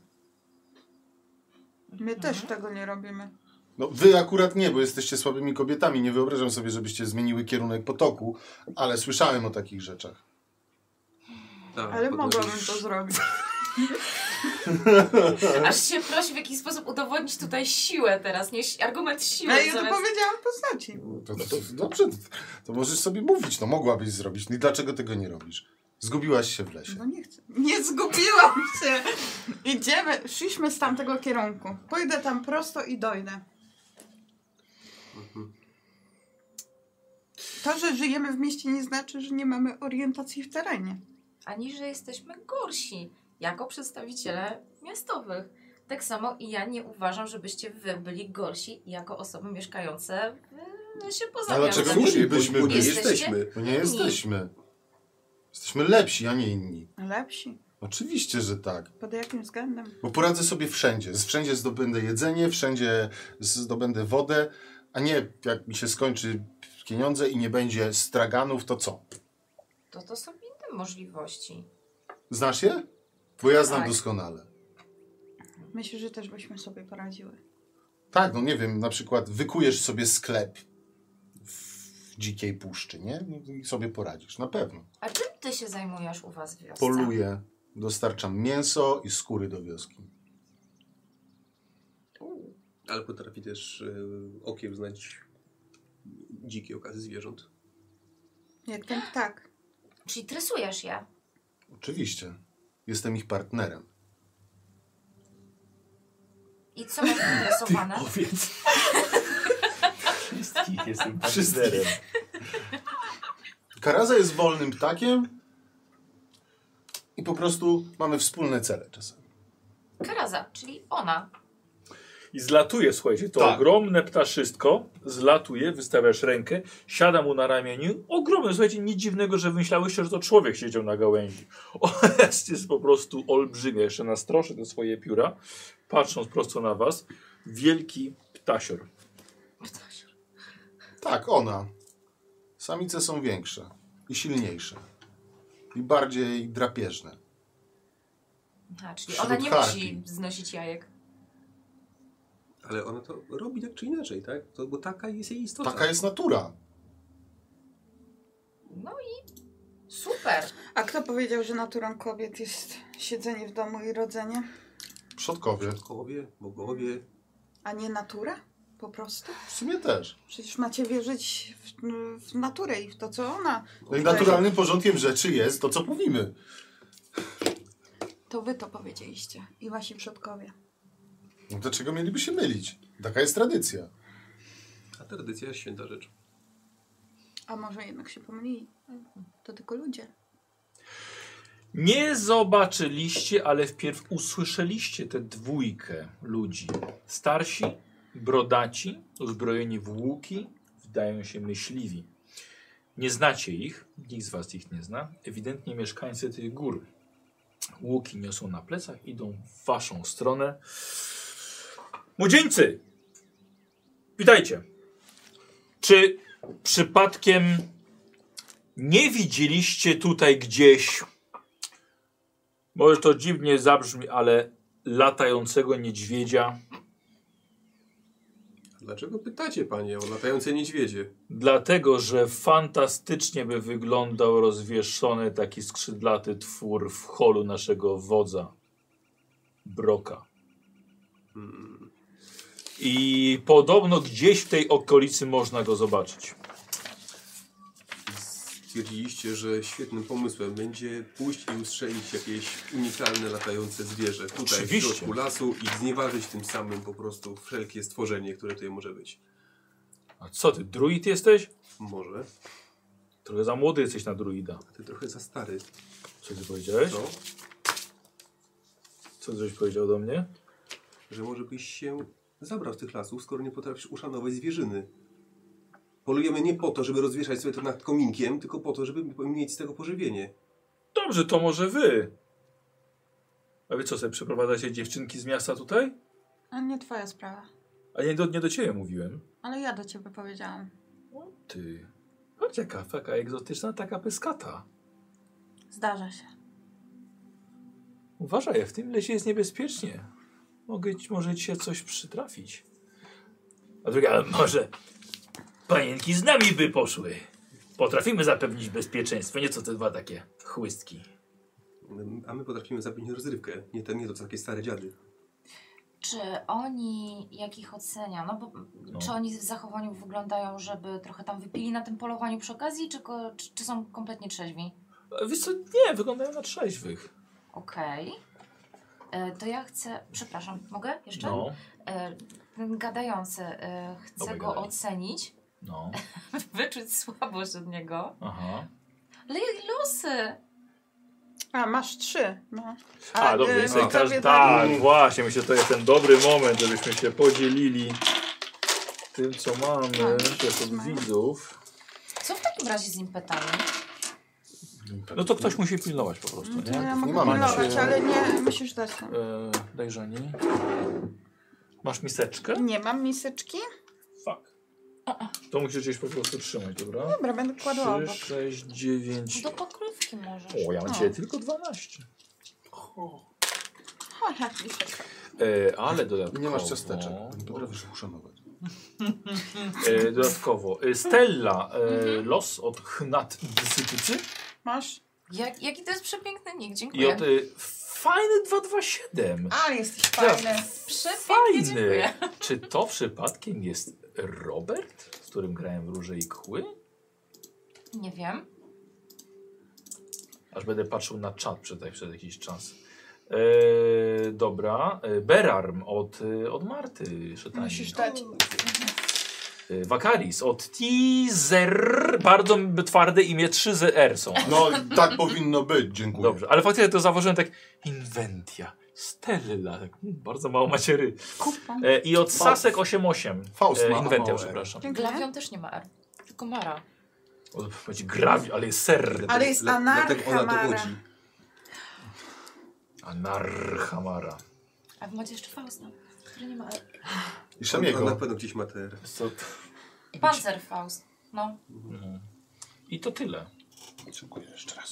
C: My też tego nie robimy.
D: No, wy akurat nie, bo jesteście słabymi kobietami. Nie wyobrażam sobie, żebyście zmieniły kierunek potoku, ale słyszałem o takich rzeczach.
E: Ta,
C: Ale
E: podobnie-
C: mogłabym to zrobić.
B: Aż się prosi w jakiś sposób udowodnić tutaj siłę teraz, nie si- argument siły.
C: Ale No ja to
B: zamiast-
C: powiedziałam w postaci.
D: To, to, dobrze, to możesz sobie mówić. No mogłabyś zrobić. No i dlaczego tego nie robisz? Zgubiłaś się w lesie.
C: No nie chcę. Nie zgubiłam się. Idziemy, szliśmy z tamtego kierunku. Pójdę tam prosto i dojdę.
E: Mhm.
C: To, że żyjemy w mieście nie znaczy, że nie mamy orientacji w terenie.
B: Ani że jesteśmy gorsi jako przedstawiciele miastowych. Tak samo i ja nie uważam, żebyście wy byli gorsi jako osoby mieszkające w się poza
D: A dlaczego
B: miastem.
D: Słusznie,
E: bo, bo nie
B: byliśmy.
E: jesteśmy.
D: No nie jesteśmy. Jesteśmy lepsi, a nie inni.
C: Lepsi.
D: Oczywiście, że tak.
C: Pod jakim względem?
D: Bo poradzę sobie wszędzie. Wszędzie zdobędę jedzenie, wszędzie zdobędę wodę, a nie jak mi się skończy pieniądze i nie będzie straganów, to co?
B: To to są inne możliwości.
D: Znasz je? Bo ja znam
B: Tak.
D: doskonale.
C: Myślę, że też byśmy sobie poradziły.
D: Tak, no nie wiem, na przykład wykujesz sobie sklep w dzikiej puszczy, nie? No I sobie poradzisz, na pewno.
B: A czym ty się zajmujesz u was w wiosce?
D: Poluję, dostarczam mięso i skóry do wioski.
E: Ale potrafi też e, okiem znać dzikie okazy zwierząt.
C: Jak ten ptak.
F: Czyli trysujesz je?
D: Oczywiście. Jestem ich partnerem.
F: I co masz interesowane?
A: Powiedz. Wszystkich jestem partnerem.
D: Karaza jest wolnym ptakiem i po prostu mamy wspólne cele czasami.
F: Karaza, czyli ona.
A: I zlatuje, słuchajcie, to
D: Tak.
A: ogromne ptaszystko, zlatuje, wystawiasz rękę, siada mu na ramieniu, ogromne, słuchajcie, nic dziwnego, że myślałyście, że to człowiek siedział na gałęzi. On jest, jest po prostu olbrzymie, jeszcze nastroszy te swoje pióra, patrząc prosto na was, wielki ptasior.
D: Tak, ona. Samice są większe i silniejsze. I bardziej drapieżne.
F: Aha, czyli ona
D: Wśród
F: nie
D: harpi.
F: musi znosić jajek.
E: Ale ona to robi tak czy inaczej, tak? To, bo taka jest jej istota.
D: Taka jest natura.
F: No i super.
C: A kto powiedział, że naturą kobiet jest siedzenie w domu i rodzenie?
D: Przodkowie.
E: Bogowie, bogowie.
C: A nie natura? Po prostu?
D: W sumie też.
C: Przecież macie wierzyć w, w naturę i w to, co ona.
D: No i naturalnym porządkiem rzeczy jest to, co mówimy.
C: To wy to powiedzieliście. I wasi przodkowie.
D: No Dlaczego mieliby się mylić? Taka jest tradycja.
E: A tradycja jest święta rzecz.
C: A może jednak się pomylili? To tylko ludzie.
A: Nie zobaczyliście, ale wpierw usłyszeliście tę dwójkę ludzi. Starsi, brodaci, uzbrojeni w łuki, wydają się myśliwi. Nie znacie ich, nikt z was ich nie zna. Ewidentnie mieszkańcy tych gór. Łuki niosą na plecach, idą w waszą stronę. Młodzieńcy! Witajcie! Czy przypadkiem nie widzieliście tutaj gdzieś może to dziwnie zabrzmi, ale latającego niedźwiedzia.
E: Dlaczego pytacie, panie, o latające niedźwiedzie?
A: Dlatego, że fantastycznie by wyglądał rozwieszony taki skrzydlaty twór w holu naszego wodza, Broka.
E: Hmm.
A: I podobno gdzieś w tej okolicy można go zobaczyć.
E: Stwierdziliście, że świetnym pomysłem będzie pójść i ustrzelić jakieś unikalne latające zwierzę tutaj
A: Oczywiście.
E: w środku lasu i znieważyć tym samym po prostu wszelkie stworzenie, które tutaj może być.
A: A co ty, druid jesteś?
E: Może.
A: Trochę za młody jesteś na druida.
E: A ty trochę za stary.
A: Co ty powiedziałeś?
E: Co?
A: Co żeś powiedział do mnie?
E: że może byś się zabrał z tych lasów, skoro nie potrafisz uszanować zwierzyny. Polujemy nie po to, żeby rozwieszać sobie to nad kominkiem, tylko po to, żeby mieć z tego pożywienie.
A: Dobrze, to może wy. A wy co, sobie przeprowadzacie dziewczynki z miasta tutaj?
C: A nie twoja sprawa.
A: A nie do, nie do ciebie mówiłem.
C: Ale ja do ciebie powiedziałam.
A: No. Ty. Chodź, jaka taka egzotyczna, taka pyskata.
C: Zdarza się.
A: Uważaj, w tym lesie jest niebezpiecznie. Mogę, ci- może ci się coś przytrafić. A druga, ale może panienki z nami by poszły. Potrafimy zapewnić bezpieczeństwo, nieco te dwa takie chłystki.
E: A my potrafimy zapewnić rozrywkę. Nie, te, nie to co takie stare dziady.
B: Czy oni, jak ich ocenia, no bo czy oni w zachowaniu wyglądają, żeby trochę tam wypili na tym polowaniu przy okazji, czy, ko- czy, czy są kompletnie trzeźwi?
A: A Wiesz co, nie, wyglądają na trzeźwych.
B: Okej. E, To ja chcę, przepraszam, mogę
A: No,
B: jeszcze? E, Ten gadający, e, chcę
A: Dobra,
B: go
A: gadaj.
B: ocenić,
A: no,
B: wyczuć słabość od niego.
A: aha.
B: Ale jak losy!
C: A, masz trzy. No.
A: A, dobrze,
C: y,
A: jest
C: to
A: no.
C: tobie
A: każdy...
C: dali-
A: Tak, właśnie, myślę, że to jest ten dobry moment, żebyśmy się podzielili tym, co mamy
C: Tak,
A: też od
C: mamy.
A: widzów.
B: Co w takim razie z impetami?
A: No to ktoś musi pilnować po prostu,
C: No To ja
A: nie?
D: Nie
C: mogę
D: mamy
C: pilnować,
D: się-
C: ale nie musisz dać. nam.
A: E, daj żeni. Masz miseczkę?
C: Nie mam miseczki.
A: Fuck. To musisz gdzieś po prostu trzymać, dobra?
C: Dobra, będę kładła obok. No
A: 3, 6, 9...
B: Do pokrywki możesz.
A: O, ja mam
C: O.
A: dzisiaj tylko 12.
C: O, tak, jak miseczka.
A: E, ale dodatkowo...
D: Nie masz ciasteczek. Nie potrafisz uszanować.
A: E, dodatkowo. E, Stella,
C: Mhm.
A: e, los od Chnat Dysytycy.
C: Masz?
B: Jak, jaki to jest przepiękny nick,
A: I
B: dziękuję.
A: od y, fajny 227.
C: Ale jesteś
A: Ja-
C: fajny.
B: Przepięknie,
A: Fajny.
B: dziękuję.
A: Czy to przypadkiem jest Robert, z którym grałem w Róże i Kły?
B: Nie wiem.
A: Aż będę patrzył na czat przed, przed jakiś czas. E, dobra. E, Berarm od, y, od Marty Szetani.
C: Musisz dać.
A: E, Wakaris od Tizer. Bardzo m- twarde imię 3ZR są.
D: No i tak powinno być, dziękuję.
A: Dobrze, ale faktycznie to zauważyłem tak. Inventia. Stella. tak, mm, Bardzo mało macie ry.
C: Kupą.
A: E, I od Sasek 88.
D: Faust ma
A: Inventia,
D: małe.
A: przepraszam.
C: Dziękuję.
B: Glawion też nie ma R, tylko Mara.
A: O, Będzie grawi, ale jest ser.
C: Ale jest
E: Dla- Dlatego ona
C: anarchamara.
E: dowodzi.
A: Anarchamara.
B: A wy macie jeszcze Fausta, który nie ma R.
D: I
E: On, on na
D: Szamiego.
E: pewno gdzieś ma te...
A: Co?
B: Panzer Faust. No.
A: I to tyle.
D: Dziękuję jeszcze raz.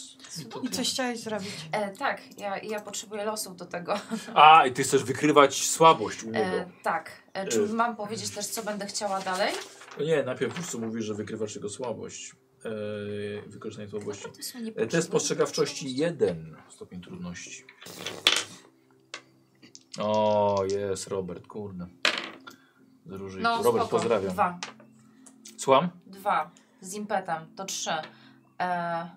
C: I coś chciałeś zrobić.
B: E, tak, ja, ja potrzebuję losów do tego.
A: A, i ty chcesz wykrywać słabość u niego.
B: E, tak. E, czy
A: E.
B: mam powiedzieć też, co będę chciała dalej?
A: Nie, najpierw po prostu mówisz, że wykrywasz jego słabość. Eee, wykorzystanie słabości.
B: Naprawdę są niepotrzebne.
A: Eee, test postrzegawczości 1. Stopień trudności. O, jest Robert, kurde. Z róży i
B: No,
A: kół. Robert,
B: spoko.
A: pozdrawiam.
B: Dwa.
A: Słucham?
B: Dwa. Z impetem. To trzy. E,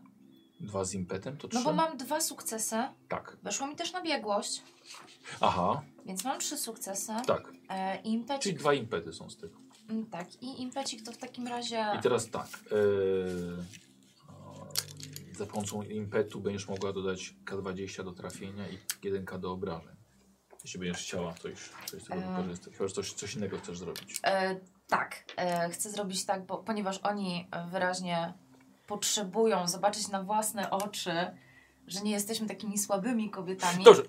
A: Dwa z impetem, to trzy?
B: no bo mam dwa sukcesy.
A: Tak.
B: Weszło mi też na biegłość,
A: Aha,
B: więc mam trzy sukcesy.
A: tak.
B: E, i
A: Czyli
B: impecik,
A: dwa impety są z tego.
B: mm, tak, i impecik to w takim razie...
A: I teraz tak. Yy, yy, za pomocą impetu będziesz mogła dodać K20 do trafienia i 1K do obrażeń. Jeśli będziesz chciała coś, coś z tego
B: Eee.
A: wykorzystać. Chyba, że coś, coś innego chcesz zrobić.
B: E, tak, e, chcę zrobić tak, bo, ponieważ oni e, wyraźnie potrzebują zobaczyć na własne oczy, że nie jesteśmy takimi słabymi kobietami.
A: Dobrze.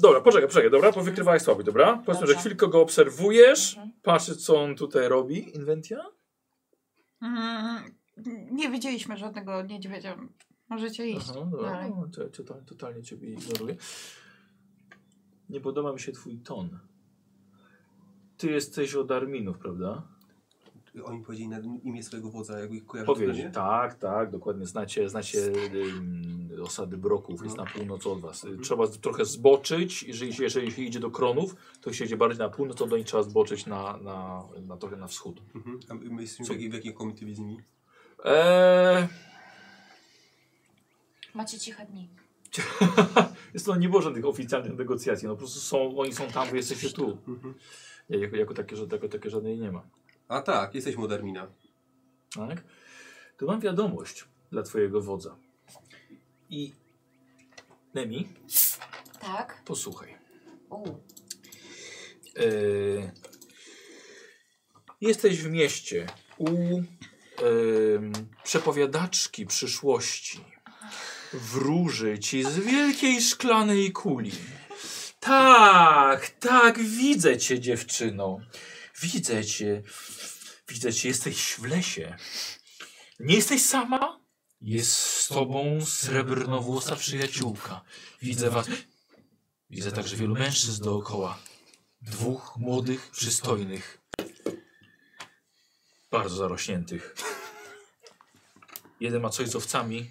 A: Dobra, poczekaj, poczekaj, dobra, bo wykrywałeś słaby, dobra? Powiedzmy, że
B: Dobrze.
A: chwilkę go obserwujesz,
B: Mhm.
A: patrzysz co on tutaj robi, inwentia?
C: Mm, nie widzieliśmy żadnego niedźwiedzia. Możecie iść.
A: Aha, dobra,
C: Dalej.
A: no, to, ja total, totalnie ciebie ignoruję. Nie podoba mi się twój ton. Ty jesteś od Arminów, prawda?
E: Oni powiedzieli na imię swojego wodza, jakby ich kojarzą.
A: Powiedz. Tak, tak, dokładnie. Znacie, znacie ym, osady Broków, jest na północ od was. Y, Trzeba z- trochę zboczyć, jeżeli, się- jeżeli się idzie do Kronów, to się idzie bardziej na północ, to do nich trzeba zboczyć na, na, na trochę na wschód.
E: Mhm. A my jesteśmy w
A: Co?
E: jakiej, w jakiej komitywie z nimi?
A: Eee,
B: Macie ciche dni.
A: jest to no, nie było żadnych oficjalnych negocjacji, no po prostu są, oni są tam, wy jesteście tu.
E: Mhm.
A: Ja, jako, jako, takie, że, jako takie żadnej nie ma.
E: A tak, jesteśmy od Armina.
A: Tak? To mam wiadomość dla twojego wodza. I Nemi,
B: Tak?
A: posłuchaj.
B: U.
A: Eee, jesteś w mieście u em, przepowiadaczki przyszłości. Wróży ci z wielkiej szklanej kuli. Tak, tak, widzę cię, dziewczyno. Widzę cię. Widzę cię, jesteś w lesie. Nie jesteś sama? Jest z tobą srebrnowłosa przyjaciółka. Widzę was. Widzę także wielu mężczyzn dookoła. Dwóch młodych, przystojnych. Bardzo zarośniętych. Jeden ma coś z owcami,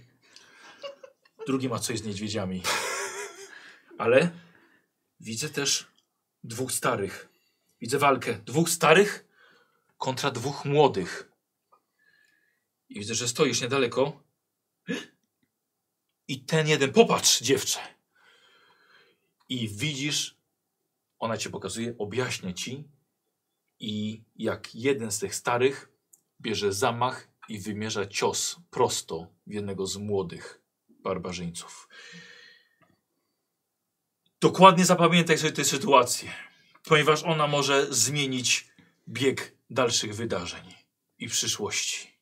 A: drugi ma coś z niedźwiedziami. Ale widzę też dwóch starych. Widzę walkę dwóch starych kontra dwóch młodych. I widzę, że stoisz niedaleko. I ten jeden, popatrz, dziewczę. I widzisz, ona cię pokazuje, objaśnia ci. I jak jeden z tych starych bierze zamach i wymierza cios prosto w jednego z młodych barbarzyńców. Dokładnie zapamiętaj sobie tę sytuację, ponieważ ona może zmienić bieg dalszych wydarzeń i przyszłości.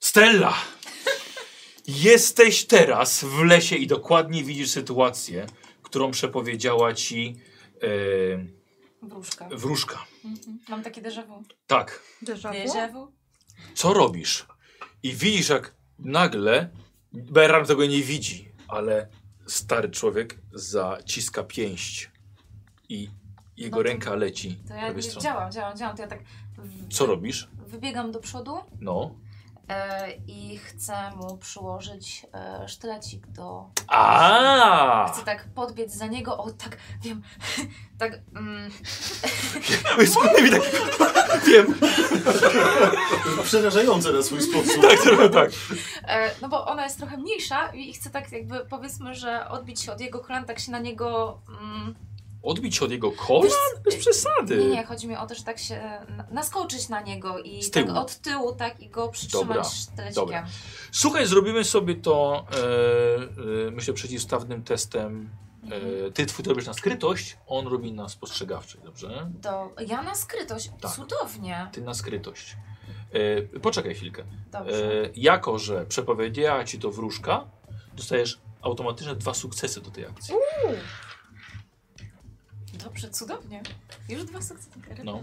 A: Stella! Jesteś teraz w lesie i dokładnie widzisz sytuację, którą przepowiedziała ci e,
B: Wróżka.
A: wróżka.
B: Mam takie déjà vu.
A: Tak,
C: Déjà vu?
B: vu?
A: co robisz? I widzisz, jak nagle Beran tego nie widzi, ale stary człowiek zaciska pięść i jego
B: No to-
A: ręka leci
B: To
A: w
B: ja
A: prawej
B: nie,
A: stronie.
B: działam, działam, działam. To ja tak w,
A: Co robisz?
B: wybiegam do przodu
A: No.
B: e, i chcę mu przyłożyć e, sztylecik do
A: A!
B: Chcę tak podbiec za niego, o tak, wiem, tak, mm,
A: Wysunę mi tak. Wiem,
D: To jest przerażające na swój sposób.
A: tak, trochę tak.
B: e, no bo ona jest trochę mniejsza i chcę tak jakby, powiedzmy, że odbić się od jego kolan, tak się na niego, mm,
A: Odbić się od jego kolan? Bez przesady.
B: nie, nie, chodzi mi o to, że tak się na- naskoczyć na niego i
A: Z
B: tak
A: tyłu.
B: od tyłu, tak, i go przytrzymać
A: Dobra,
B: sztylecikiem.
A: dobra. Słuchaj, zrobimy sobie to, e, e, myślę, przeciwstawnym testem. E, ty twój to robisz na skrytość, on robi na spostrzegawczej, dobrze?
B: Do, ja na skrytość,
A: Tak.
B: cudownie,
A: Ty na skrytość. E, poczekaj chwilkę. E,
B: dobrze.
A: jako, że przepowiedziała ci to wróżka, dostajesz automatycznie dwa sukcesy do tej akcji.
B: Dobrze, cudownie. Już dwa sukcesy.
A: No.
B: No.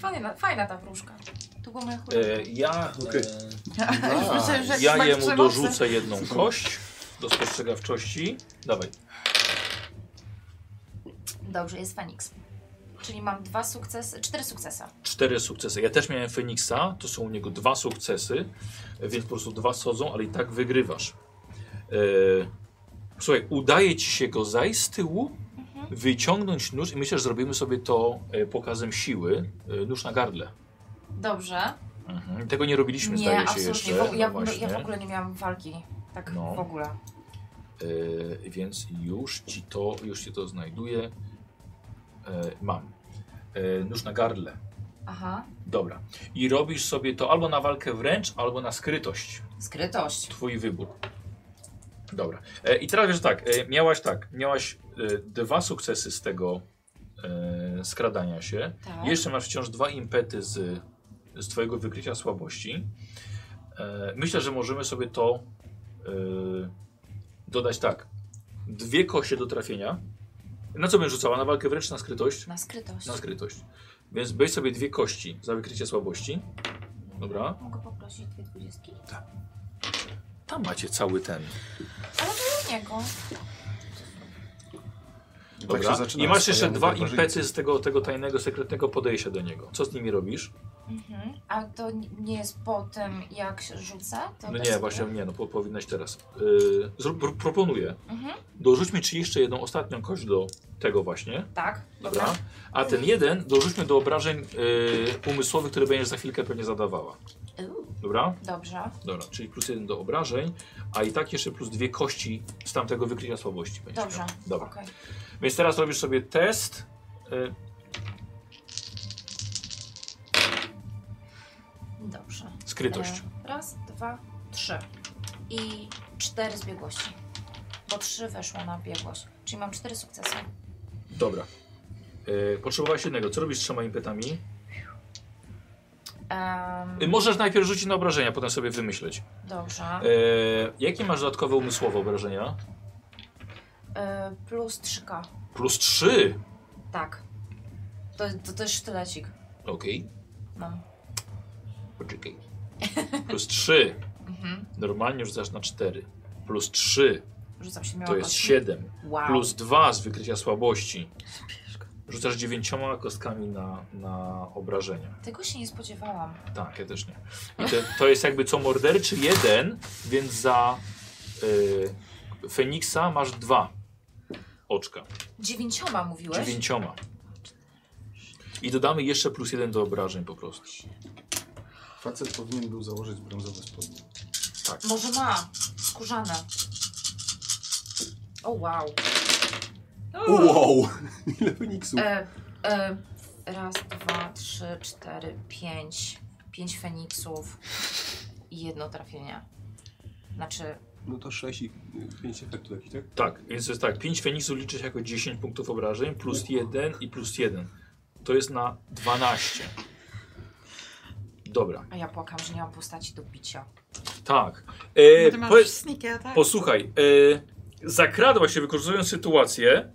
B: Fajna, fajna ta wróżka. Tu była moja
A: E,
B: chórka.
A: ja
E: Okej.
A: e,
C: Już myślałem, że
A: Ja
C: trzymać
A: jemu
C: przemocy.
A: dorzucę jedną kość do spostrzegawczości. Dawaj.
B: Dobrze, jest Feniks. Czyli mam dwa sukcesy, cztery sukcesy.
A: Cztery sukcesy. Ja też miałem Feniksa, to są u niego dwa sukcesy, więc po prostu dwa sodzą, ale i tak wygrywasz. E, słuchaj, udaje ci się go zajść z tyłu,
B: Mhm.
A: wyciągnąć nóż i myślę, że zrobimy sobie to e, pokazem siły. E, nóż na gardle.
B: Dobrze.
A: Mhm. Tego nie robiliśmy, zdaje się jeszcze.
B: W, ja,
A: no
B: no
A: właśnie.
B: ja w ogóle nie miałam walki. Tak
A: No.
B: w ogóle.
A: E, więc już ci to, już ci to znajduję. E, mam. E, nóż na gardle.
B: Aha.
A: Dobra. I robisz sobie to albo na walkę wręcz, albo na skrytość.
B: Skrytość.
A: Twój wybór. Dobra. E, I teraz wiesz tak, e, miałaś tak, miałaś e, dwa sukcesy z tego e, skradania się.
B: Tak.
A: Jeszcze masz wciąż dwa impety z, z twojego wykrycia słabości. E, myślę, że możemy sobie to e, dodać tak. Dwie kosie do trafienia. Na co będziesz rzucała? Na walkę wręcz, na skrytość?
B: Na skrytość.
A: Na skrytość. Więc weź sobie dwie kości za wykrycie słabości. Dobra.
F: Mogę poprosić dwie dwudziestki?
A: Tak. Tam macie cały ten.
B: Ale to u niego.
D: Tak
A: Dobra. I masz jeszcze dwa impecy z tego, tego tajnego, sekretnego podejścia do niego. Co z nimi robisz?
B: Mhm. A to ni- nie jest po tym, jak się rzuca? To
A: No nie,
B: testuję.
A: właśnie nie, no po, powinnaś teraz. Yy, zrób, pro, proponuję.
B: Mhm.
A: Dorzućmy ci jeszcze jedną ostatnią kość do tego właśnie.
B: Tak.
A: Dobra. A ten jeden dorzućmy do obrażeń yy, umysłowych, które będziesz za chwilkę pewnie zadawała.
F: Uuu,
A: Dobra?
B: Dobrze.
A: Dobra, czyli plus jeden do obrażeń, a i tak jeszcze plus dwie kości z tamtego wykrycia słabości będziesz
B: Dobrze.
A: miała. Dobra.
B: Okej.
A: Więc teraz robisz sobie test. Y,
B: Dobrze.
A: skrytość.
B: E, Raz, dwa, trzy. I cztery z biegłości. Bo trzy weszło na biegłość. Czyli mam cztery sukcesy. E.
A: Dobra. Y, potrzebowałaś jednego. Co robisz z trzema impetami?
B: Em,
A: Y, możesz najpierw rzucić na obrażenia, potem sobie wymyśleć.
B: dobrze.
A: Y, jakie masz dodatkowe umysłowe obrażenia?
B: E, plus 3K.
A: Plus trzy.
B: Tak. To, to, to jest sztylecik.
A: Okej.
B: Mam.
A: Poczekaj. Plus trzy.
B: Mhm.
A: Normalnie rzucasz na cztery. Plus trzy.
B: Rzucam się miała
A: to jest
B: kostki.
A: siedem.
B: No, Wow.
A: Plus dwa z wykrycia słabości. Rzucasz dziewięcioma kostkami na, na obrażenia.
B: Tego się nie spodziewałam.
A: Tak, ja też nie. I to, to jest jakby co morderczy jeden, więc za y, Feniksa masz dwa oczka.
B: Dziewięcioma mówiłeś?
A: Dziewięcioma. I dodamy jeszcze plus jeden do obrażeń po prostu.
D: Facet powinien był założyć brązowe spodnie.
A: Tak.
B: Może ma. Skórzane. O wow.
E: Wow! Ile Feniksu?
B: E, e, raz, dwa, trzy, cztery, pięć. Pięć feniksów. I jedno trafienie. Znaczy,
E: No to 6 i 5 efektu jakiś, tak?
A: Tak, więc to jest tak. 5 Feniksów liczy się jako 10 punktów obrażeń, plus jeden i plus jeden. To jest na 12. Dobra,
B: a ja płakam, że nie mam postaci do bicia.
A: tak.
C: Bo
A: E,
C: ty masz
A: powiedz-
C: sneaker, tak?
A: Posłuchaj, e, zakradła się wykorzystując sytuację.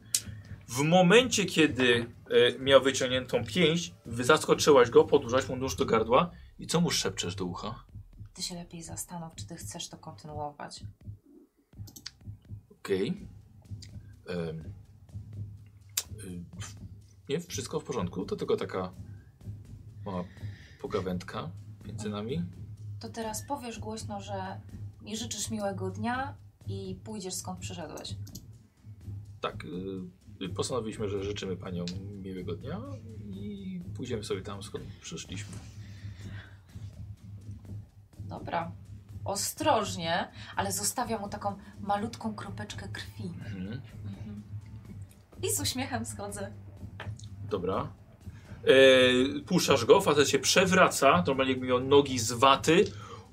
A: W momencie, kiedy e, miał wyciągniętą pięść, wy- zaskoczyłaś go, podłożyłaś mu nóż do gardła i co mu szepczesz do ucha?
B: Ty się lepiej zastanów, czy ty chcesz to kontynuować.
A: Okej. Em, y, Nie, wszystko w porządku, to tylko taka mała pogawędka między nami.
B: To teraz powiesz głośno, że mi życzysz miłego dnia i pójdziesz skąd przyszedłeś.
A: Tak, y, postanowiliśmy, że życzymy paniom miłego dnia i pójdziemy sobie tam, skąd przyszliśmy.
B: Dobra. Ostrożnie, ale zostawia mu taką malutką kropeczkę krwi.
A: Mhm.
B: Mhm. I z uśmiechem schodzę.
A: Dobra. E, puszasz go, facet się przewraca, normalnie jakby miał nogi z waty,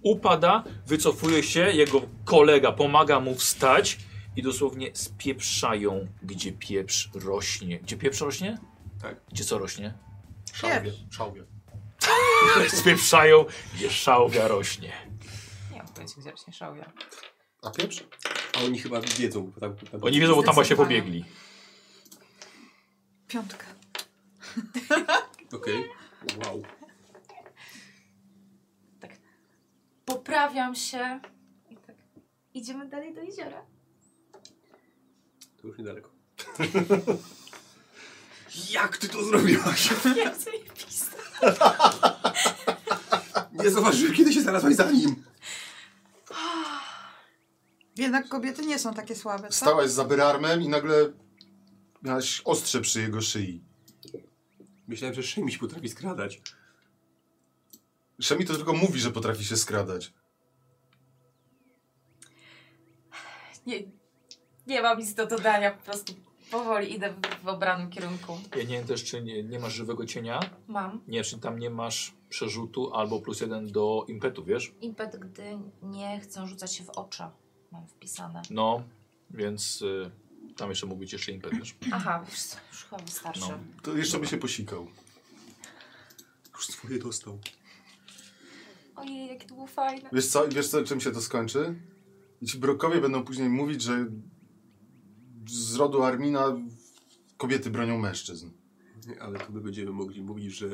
A: upada, wycofuje się, jego kolega pomaga mu wstać i dosłownie spieprzają, gdzie pieprz rośnie. Gdzie pieprz rośnie?
E: Tak.
A: Gdzie co rośnie?
D: Szałwie, szałwie.
A: spieprzają, gdzie szałwia rośnie.
B: Nie mam pojęcia, gdzie się szałwia.
D: A pieprz?
E: A oni chyba wiedzą, bo tam, tam
A: Oni wiedzą, bo tam właśnie
B: Zdecydowanie.
A: pobiegli.
C: Piątka.
E: Okej. Wow.
B: Poprawiam się.
F: I tak. Idziemy dalej do jeziora.
E: To już niedaleko. Jak ty to zrobiłaś?
B: Jak zajebiste.
E: Nie zauważyłem, kiedy się znalazłaś za nim.
C: Jednak kobiety nie są takie słabe, co?
D: Stałaś za Byrarmem i nagle miałaś ostrze przy jego szyi.
E: Myślałem, że Szymiś potrafi skradać.
D: Szemi to tylko mówi, że potrafi się skradać.
B: Nie, nie mam nic do dodania, po prostu powoli idę w, w obranym kierunku.
A: Ja nie wiem też, czy nie, nie masz żywego cienia.
B: Mam
A: Nie, czy tam nie masz przerzutu albo plus jeden do impetu, wiesz?
B: impet, gdy nie chcę rzucać się w oczy. Mam wpisane.
A: No, więc y, tam jeszcze mógł być jeszcze impet, wiesz?
B: Aha, już, już chyba wystarczy.
A: No.
D: To jeszcze by się posikał.
E: Już swoje dostał.
B: Ojej, jakie to było fajne.
D: Wiesz co, wiesz co, czym się to skończy? I ci brokowie będą później mówić, że z rodu Armina kobiety bronią mężczyzn.
E: Nie, Ale to my będziemy mogli mówić, że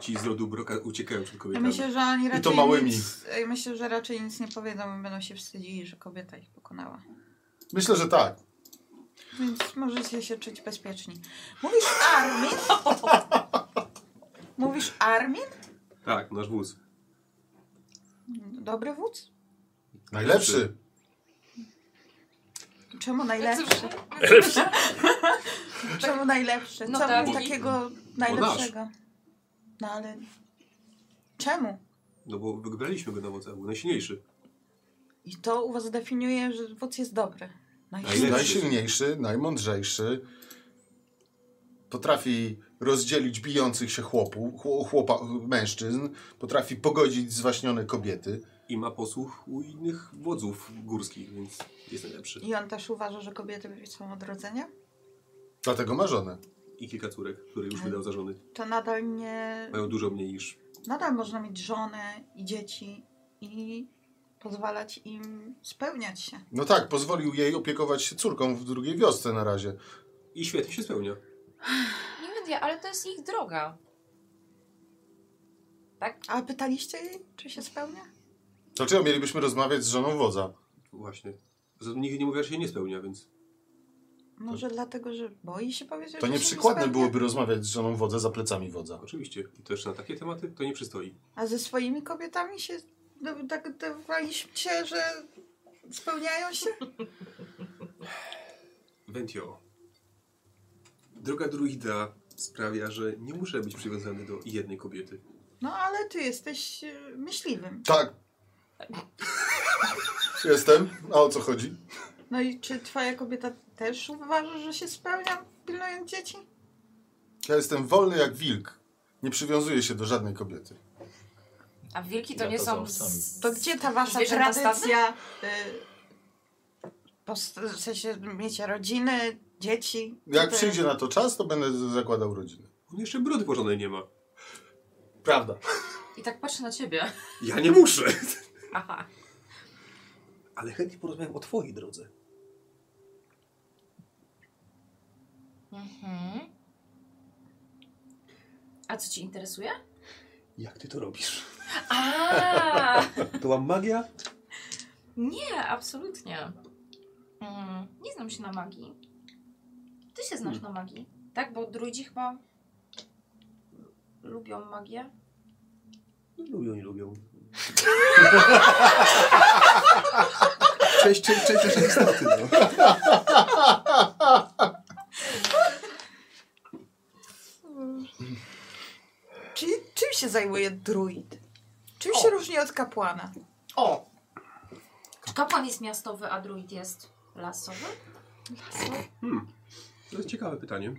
E: ci z rodu Broka uciekają przed
C: Ja
E: kobietami.
C: myślę, że oni raczej
D: to małymi.
C: Nic, ja myślę, że raczej nic nie powiedzą i będą się wstydzili, że kobieta ich pokonała.
D: Myślę, że tak.
C: więc możecie się czuć bezpieczni. Mówisz Armin? Mówisz Armin?
E: Tak, nasz wóz.
C: Dobry wódz?
D: Najlepszy.
C: Czemu najlepszy? Czemu najlepszy?
B: No
C: Co
B: tak.
C: był takiego najlepszego? No ale... Czemu?
E: No bo wybraliśmy go na wodza, był najsilniejszy.
C: I to u was definiuje, że wódz jest dobry. No
E: Najlepszy.
D: Najsilniejszy, najmądrzejszy. Potrafi rozdzielić bijących się chłopu, chło- chłopa, mężczyzn. Potrafi pogodzić zwaśnione kobiety.
E: I ma posłuch u innych wodzów górskich, więc jest najlepszy.
C: I on też uważa, że kobiety są od rodzenia?
D: Dlatego ma żonę.
E: I kilka córek, które
C: Tak.
E: już wydał za żony.
C: To nadal nie...
E: Mają dużo mniej niż
C: Nadal można mieć żonę i dzieci i pozwalać im spełniać się.
D: No tak, pozwolił jej opiekować się córką w drugiej wiosce na razie.
E: I świetnie się spełnia.
B: Nie wiem, ale to jest ich droga.
C: A pytaliście jej, czy się spełnia?
D: Dlaczego mielibyśmy rozmawiać z żoną wodza?
E: Właśnie. Poza tym nigdy nie mówiła, że się nie spełnia, więc
C: Może dlatego, że boi się powiedzieć,
D: To
C: że się
D: nieprzykładne
C: spełnia?
D: byłoby rozmawiać z żoną wodza za plecami wodza.
E: oczywiście. I też na takie tematy to nie przystoi.
C: A ze swoimi kobietami się do- tak dawaliśmy się, że spełniają się?
E: Wentio. Droga druida sprawia, że nie muszę być przywiązany do jednej kobiety.
C: No ale ty jesteś e, myśliwym.
D: Tak. Jestem. A o co chodzi?
C: No i czy twoja kobieta też uważa, że się spełnia pilnując dzieci?
D: Ja jestem wolny jak wilk. Nie przywiązuję się do żadnej kobiety.
B: A wilki to
A: Ja
B: nie
A: to
B: są.
A: są sami.
B: z-
C: To gdzie ta wasza
B: zwierzęta
C: tradycja? Y, post- w sensie miecie rodziny, dzieci?
D: Jak
C: Ty-
D: przyjdzie na to czas, to będę z- zakładał rodzinę.
E: On jeszcze brody porządnej nie ma.
D: Prawda.
B: I tak patrzę na ciebie.
E: Ja nie muszę!
B: Aha.
E: Ale chętnie porozmawiam o twojej drodze.
B: Mhm. A co ci interesuje?
E: Jak ty to robisz?
B: A!
E: To była magia?
B: Nie, absolutnie. Mm,
F: Nie znam się na magii. Ty się znasz
A: Hmm.
F: na magii.
B: tak, bo druidzi chyba lubią magię.
E: Lubią, nie lubią. Cześć, cześć, cześć, cześć, istoty, no.
C: Czy, czym się zajmuje druid? Czym się różni od kapłana?
B: O!
F: Czy kapłan jest miastowy, a druid jest lasowy?
E: Hmm. To jest ciekawe pytanie.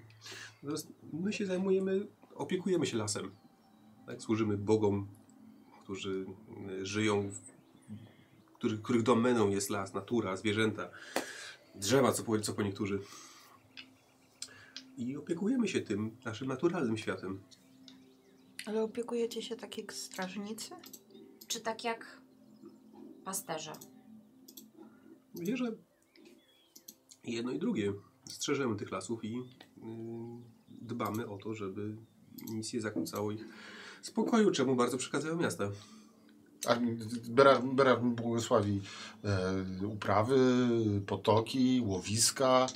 E: Natomiast my się zajmujemy, opiekujemy się lasem. Tak, służymy bogom, którzy y, żyją, w, których, których domeną jest las, natura, zwierzęta, drzewa, co po, co po niektórzy. I opiekujemy się tym naszym naturalnym światem.
C: Ale opiekujecie się tak jak strażnicy?
F: Czy tak jak pasterze?
E: Wierzę jedno i drugie. Strzeżemy tych lasów i y, dbamy o to, żeby nic nie zakłócało ich spokoju, czemu bardzo przeszkadzają miasta.
D: A Bera, Bera błogosławi e, uprawy, potoki, łowiska.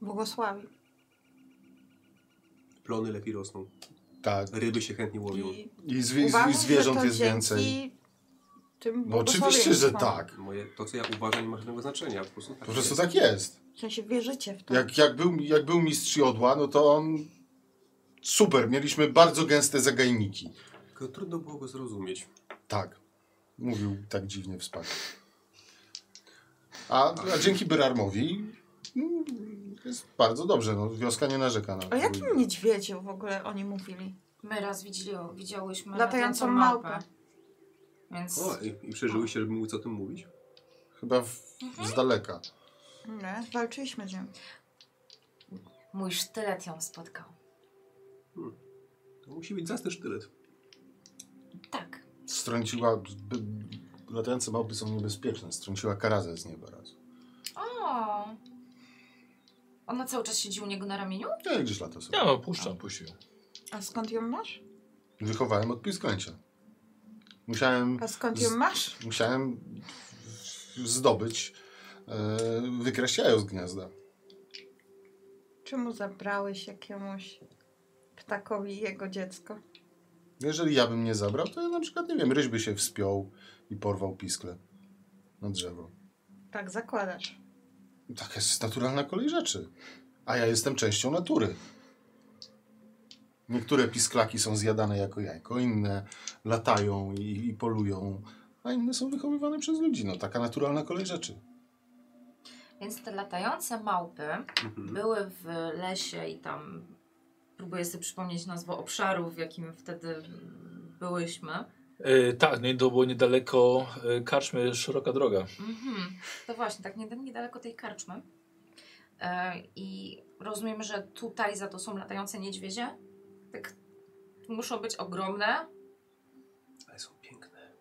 C: Błogosławi.
E: Plony lepiej rosną.
D: Tak.
E: Ryby się chętnie łowią.
C: I
D: I, zwi,
C: uważam,
D: i zwierząt
C: że to
D: jest więcej.
C: dzięki Tym
D: No oczywiście, że
C: błogosławieństwom.
D: tak.
E: Moje, to, co ja uważam, nie ma żadnego znaczenia. Po prostu tak
D: Po prostu
E: jest.
D: tak jest.
C: W sensie wierzycie w to.
D: Jak, jak, był, jak był mistrz jodła, no to on super. Mieliśmy bardzo gęste zagajniki.
E: Tylko trudno było go zrozumieć.
D: Tak. Mówił tak dziwnie w spaniu. A, a dzięki Byrarmowi mm, jest bardzo dobrze. No, wioska nie narzeka na.
C: O jakim niedźwiedziu w ogóle oni mówili?
F: My raz widzieli, widziałyśmy
C: Latającą
F: latającą
C: małpę.
F: Więc
E: O, i, i przeżyłyście, żeby móc o tym mówić?
D: Chyba w, z daleka.
C: Nie, walczyliśmy z nią.
F: mój sztylet ją spotkał.
E: To musi być zasny sztylet.
F: Tak.
D: Strąciła. By, latające małpy są niebezpieczne. Strąciła karazę z nieba raz.
F: O. Ona cały czas siedzi u niego na ramieniu?
D: Ja gdzieś lata sobie.
A: Ja no, puszczam, puścił.
C: A skąd ją masz?
D: Wychowałem od pisklęcia. Musiałem,
C: A skąd ją masz?
D: musiałem zdobyć, e, wykraść jajo z gniazda.
C: Czemu zabrałeś jakiemuś ptakowi jego dziecko?
D: Jeżeli ja bym nie zabrał, to ja na przykład, nie wiem, ryś by się wspiął i porwał piskle na drzewo.
C: Tak zakładasz.
D: Tak jest naturalna kolej rzeczy. A ja jestem częścią natury. Niektóre pisklaki są zjadane jako jajko, inne latają i, i polują, a inne są wychowywane przez ludzi. No taka naturalna kolej rzeczy.
B: Więc te latające małpy
E: Mhm.
B: były w lesie i tam próbuję sobie przypomnieć nazwę obszaru, w jakim wtedy mm, byłyśmy.
A: E, tak, no i to było niedaleko e, karczmy, szeroka droga.
B: Mhm. To właśnie, tak nied- niedaleko tej karczmy. E, I rozumiem, że tutaj za to są latające niedźwiedzie. Tak muszą być ogromne.
E: Ale są piękne.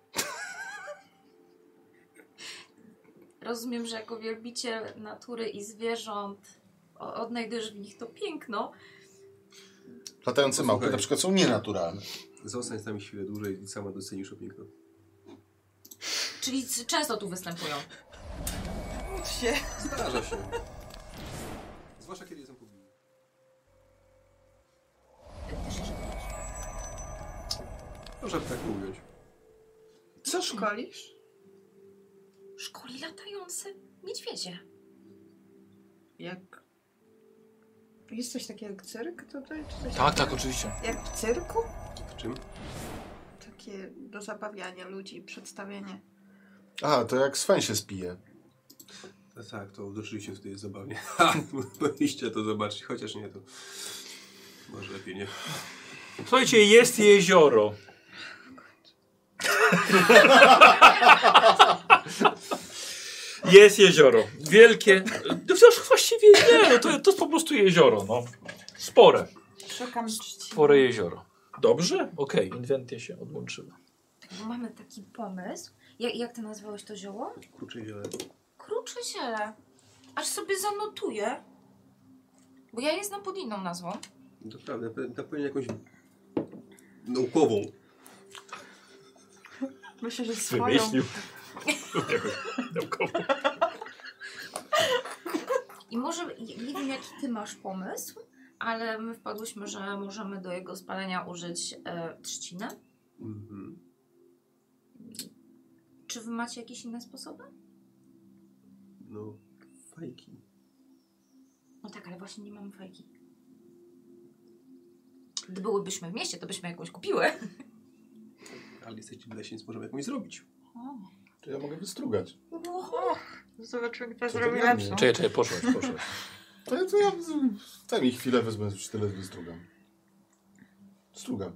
B: Rozumiem, że jako wielbiciel natury i zwierząt o- odnajdujesz w nich to piękno.
D: Latające
E: Posłuchaj.
D: małpy na przykład są nienaturalne.
E: Zostań z nami chwilę dłużej i sama docenisz to piękno.
B: Czyli c- często tu występują.
C: Módl się.
E: Zdarza się. Zwłaszcza kiedy jestem pobliżu. Proszę tak mówić.
C: Co szkolisz?
B: Szkoli latające niedźwiedzie.
C: Jak... Jest coś takiego jak cyrk tutaj? Czy
A: Tak,
C: coś
A: tak,
C: takiego?
A: oczywiście.
C: Jak w cyrku?
E: W czym?
C: Takie do zabawiania ludzi, przedstawienie.
D: A, to jak swen się spije.
E: No tak, to doczyliście w tej zabawie. Ha, powinniście to zobaczyć, chociaż nie to. Może lepiej nie.
A: Słuchajcie, jest jezioro. Jest jezioro. Wielkie. No wciąż właściwie nie, no to, to jest po prostu jezioro, no. Spore.
C: Szukam czci.
A: Spore jezioro. Dobrze? Okej, inwentia się odłączyła.
B: Tak, Bo mamy taki pomysł. Jak, jak ty nazwałeś to zioło?
E: Kurczę, ziele.
B: Krucze ziele. Aż sobie zanotuję.
H: Bo ja jestem pod inną nazwą.
E: Naprawdę, pe- na pewno jakąś naukową.
C: Myślę, że swoją.
A: Wymyślił. Naukowo.
B: I może, nie nie wiem jaki ty masz pomysł, ale my wpadłyśmy, że możemy do jego spalenia użyć e, trzciny.
E: Mhm.
B: Czy wy macie jakieś inne sposoby?
E: No, fajki.
B: No tak, ale właśnie nie mamy fajki. Gdy byłybyśmy w mieście, to byśmy jakąś kupiły.
E: Ale jesteście w lesie, więc możemy jakąś zrobić.
D: To ja mogę wystrugać.
C: O, zobaczymy, kto
D: Co to
C: zrobi
D: dla mnie?
C: lepszą.
A: Czekaj, czekaj, poszłaś, poszłaś.
D: To ja, to ja tam ich chwilę wezmę, tyle wystrugam. Strugam.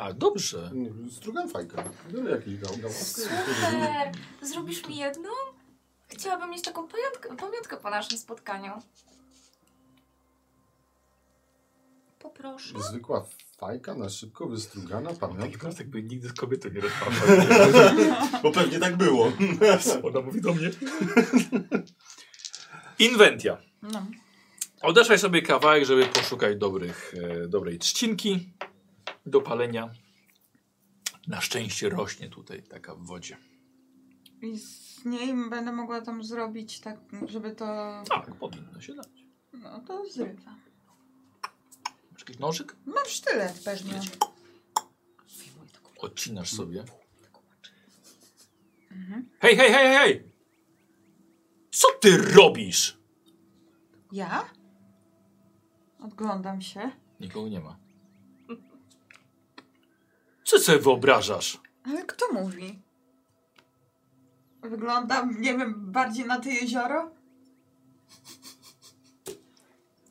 A: A, dobrze.
D: Nie, Strugam fajkę. Biorę No, jakiś gał, gał.
B: Super! Zrobisz mi jedną? Chciałabym mieć taką pamiątkę, pamiątkę po naszym spotkaniu. Poproszę.
D: Zwykła fajka na szybko wystrugana pamiątka.
A: jakby nigdy z kobietą nie rozmawiał.
D: Bo pewnie tak było.
A: Ona mówi do mnie. Inwentia.
C: No.
A: Odeszłaj sobie kawałek, żeby poszukać dobrych, e, dobrej trzcinki do palenia. Na szczęście rośnie tutaj taka w wodzie.
C: I z niej będę mogła tam zrobić tak, żeby to...
A: Tak, powinno się dać.
C: No to zrywam.
A: Masz jakiś nożyk?
C: Mam sztylet pewnie.
A: Odcinasz sobie.
C: Mhm.
A: Hej, hej, hej, hej! Co ty robisz?
C: Ja? Odglądam się.
A: Nikogo nie ma. Co sobie wyobrażasz?
C: Ale kto mówi? Wyglądam, nie wiem, bardziej na to jezioro?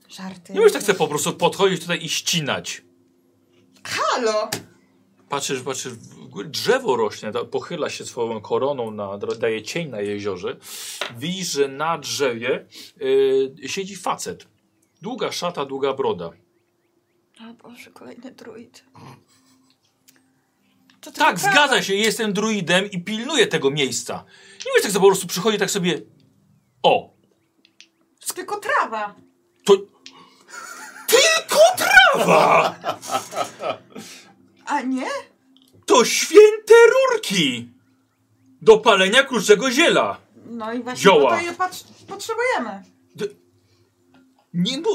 C: Żarty.
A: Nie możesz tak sobie po prostu podchodzić tutaj i ścinać.
C: Halo!
A: Patrzysz, patrzysz, w górę drzewo rośnie, da- pochyla się swoją koroną, na, dra- daje cień na jeziorze. Widzisz, że na drzewie y, siedzi facet. Długa szata, długa broda.
C: O Boże, kolejny druid. To tylko
A: Tak,
C: pra-
A: zgadza się, jestem druidem i pilnuję tego miejsca. Nie wiesz, tak sobie po prostu przychodzi tak sobie... O,
C: To tylko trawa.
A: to... Tylko trawa!
C: A nie?
A: To święte rurki! Do palenia kruczego ziela.
C: No i właśnie
A: Zioła.
C: po to je pat- potrzebujemy.
A: D- Nie bu...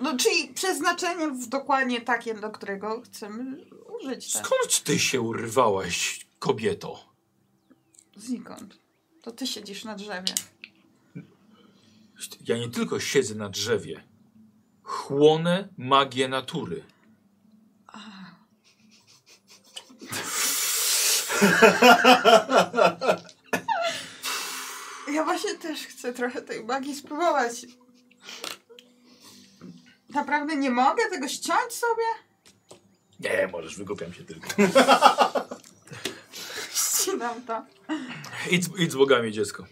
C: No, czyli przeznaczenie w dokładnie takie, do którego chcemy użyć. Tak?
A: Skąd ty się urwałaś, kobieto?
C: Znikąd. To ty siedzisz na drzewie.
A: Ja nie tylko siedzę na drzewie. Chłonę magię natury.
C: Ja właśnie też chcę trochę tej magii spróbować. Naprawdę nie mogę tego ściąć sobie?
A: Nie, możesz, wygłupiam się tylko.
C: Ścinam to.
A: Idź, idź z bogami, dziecko.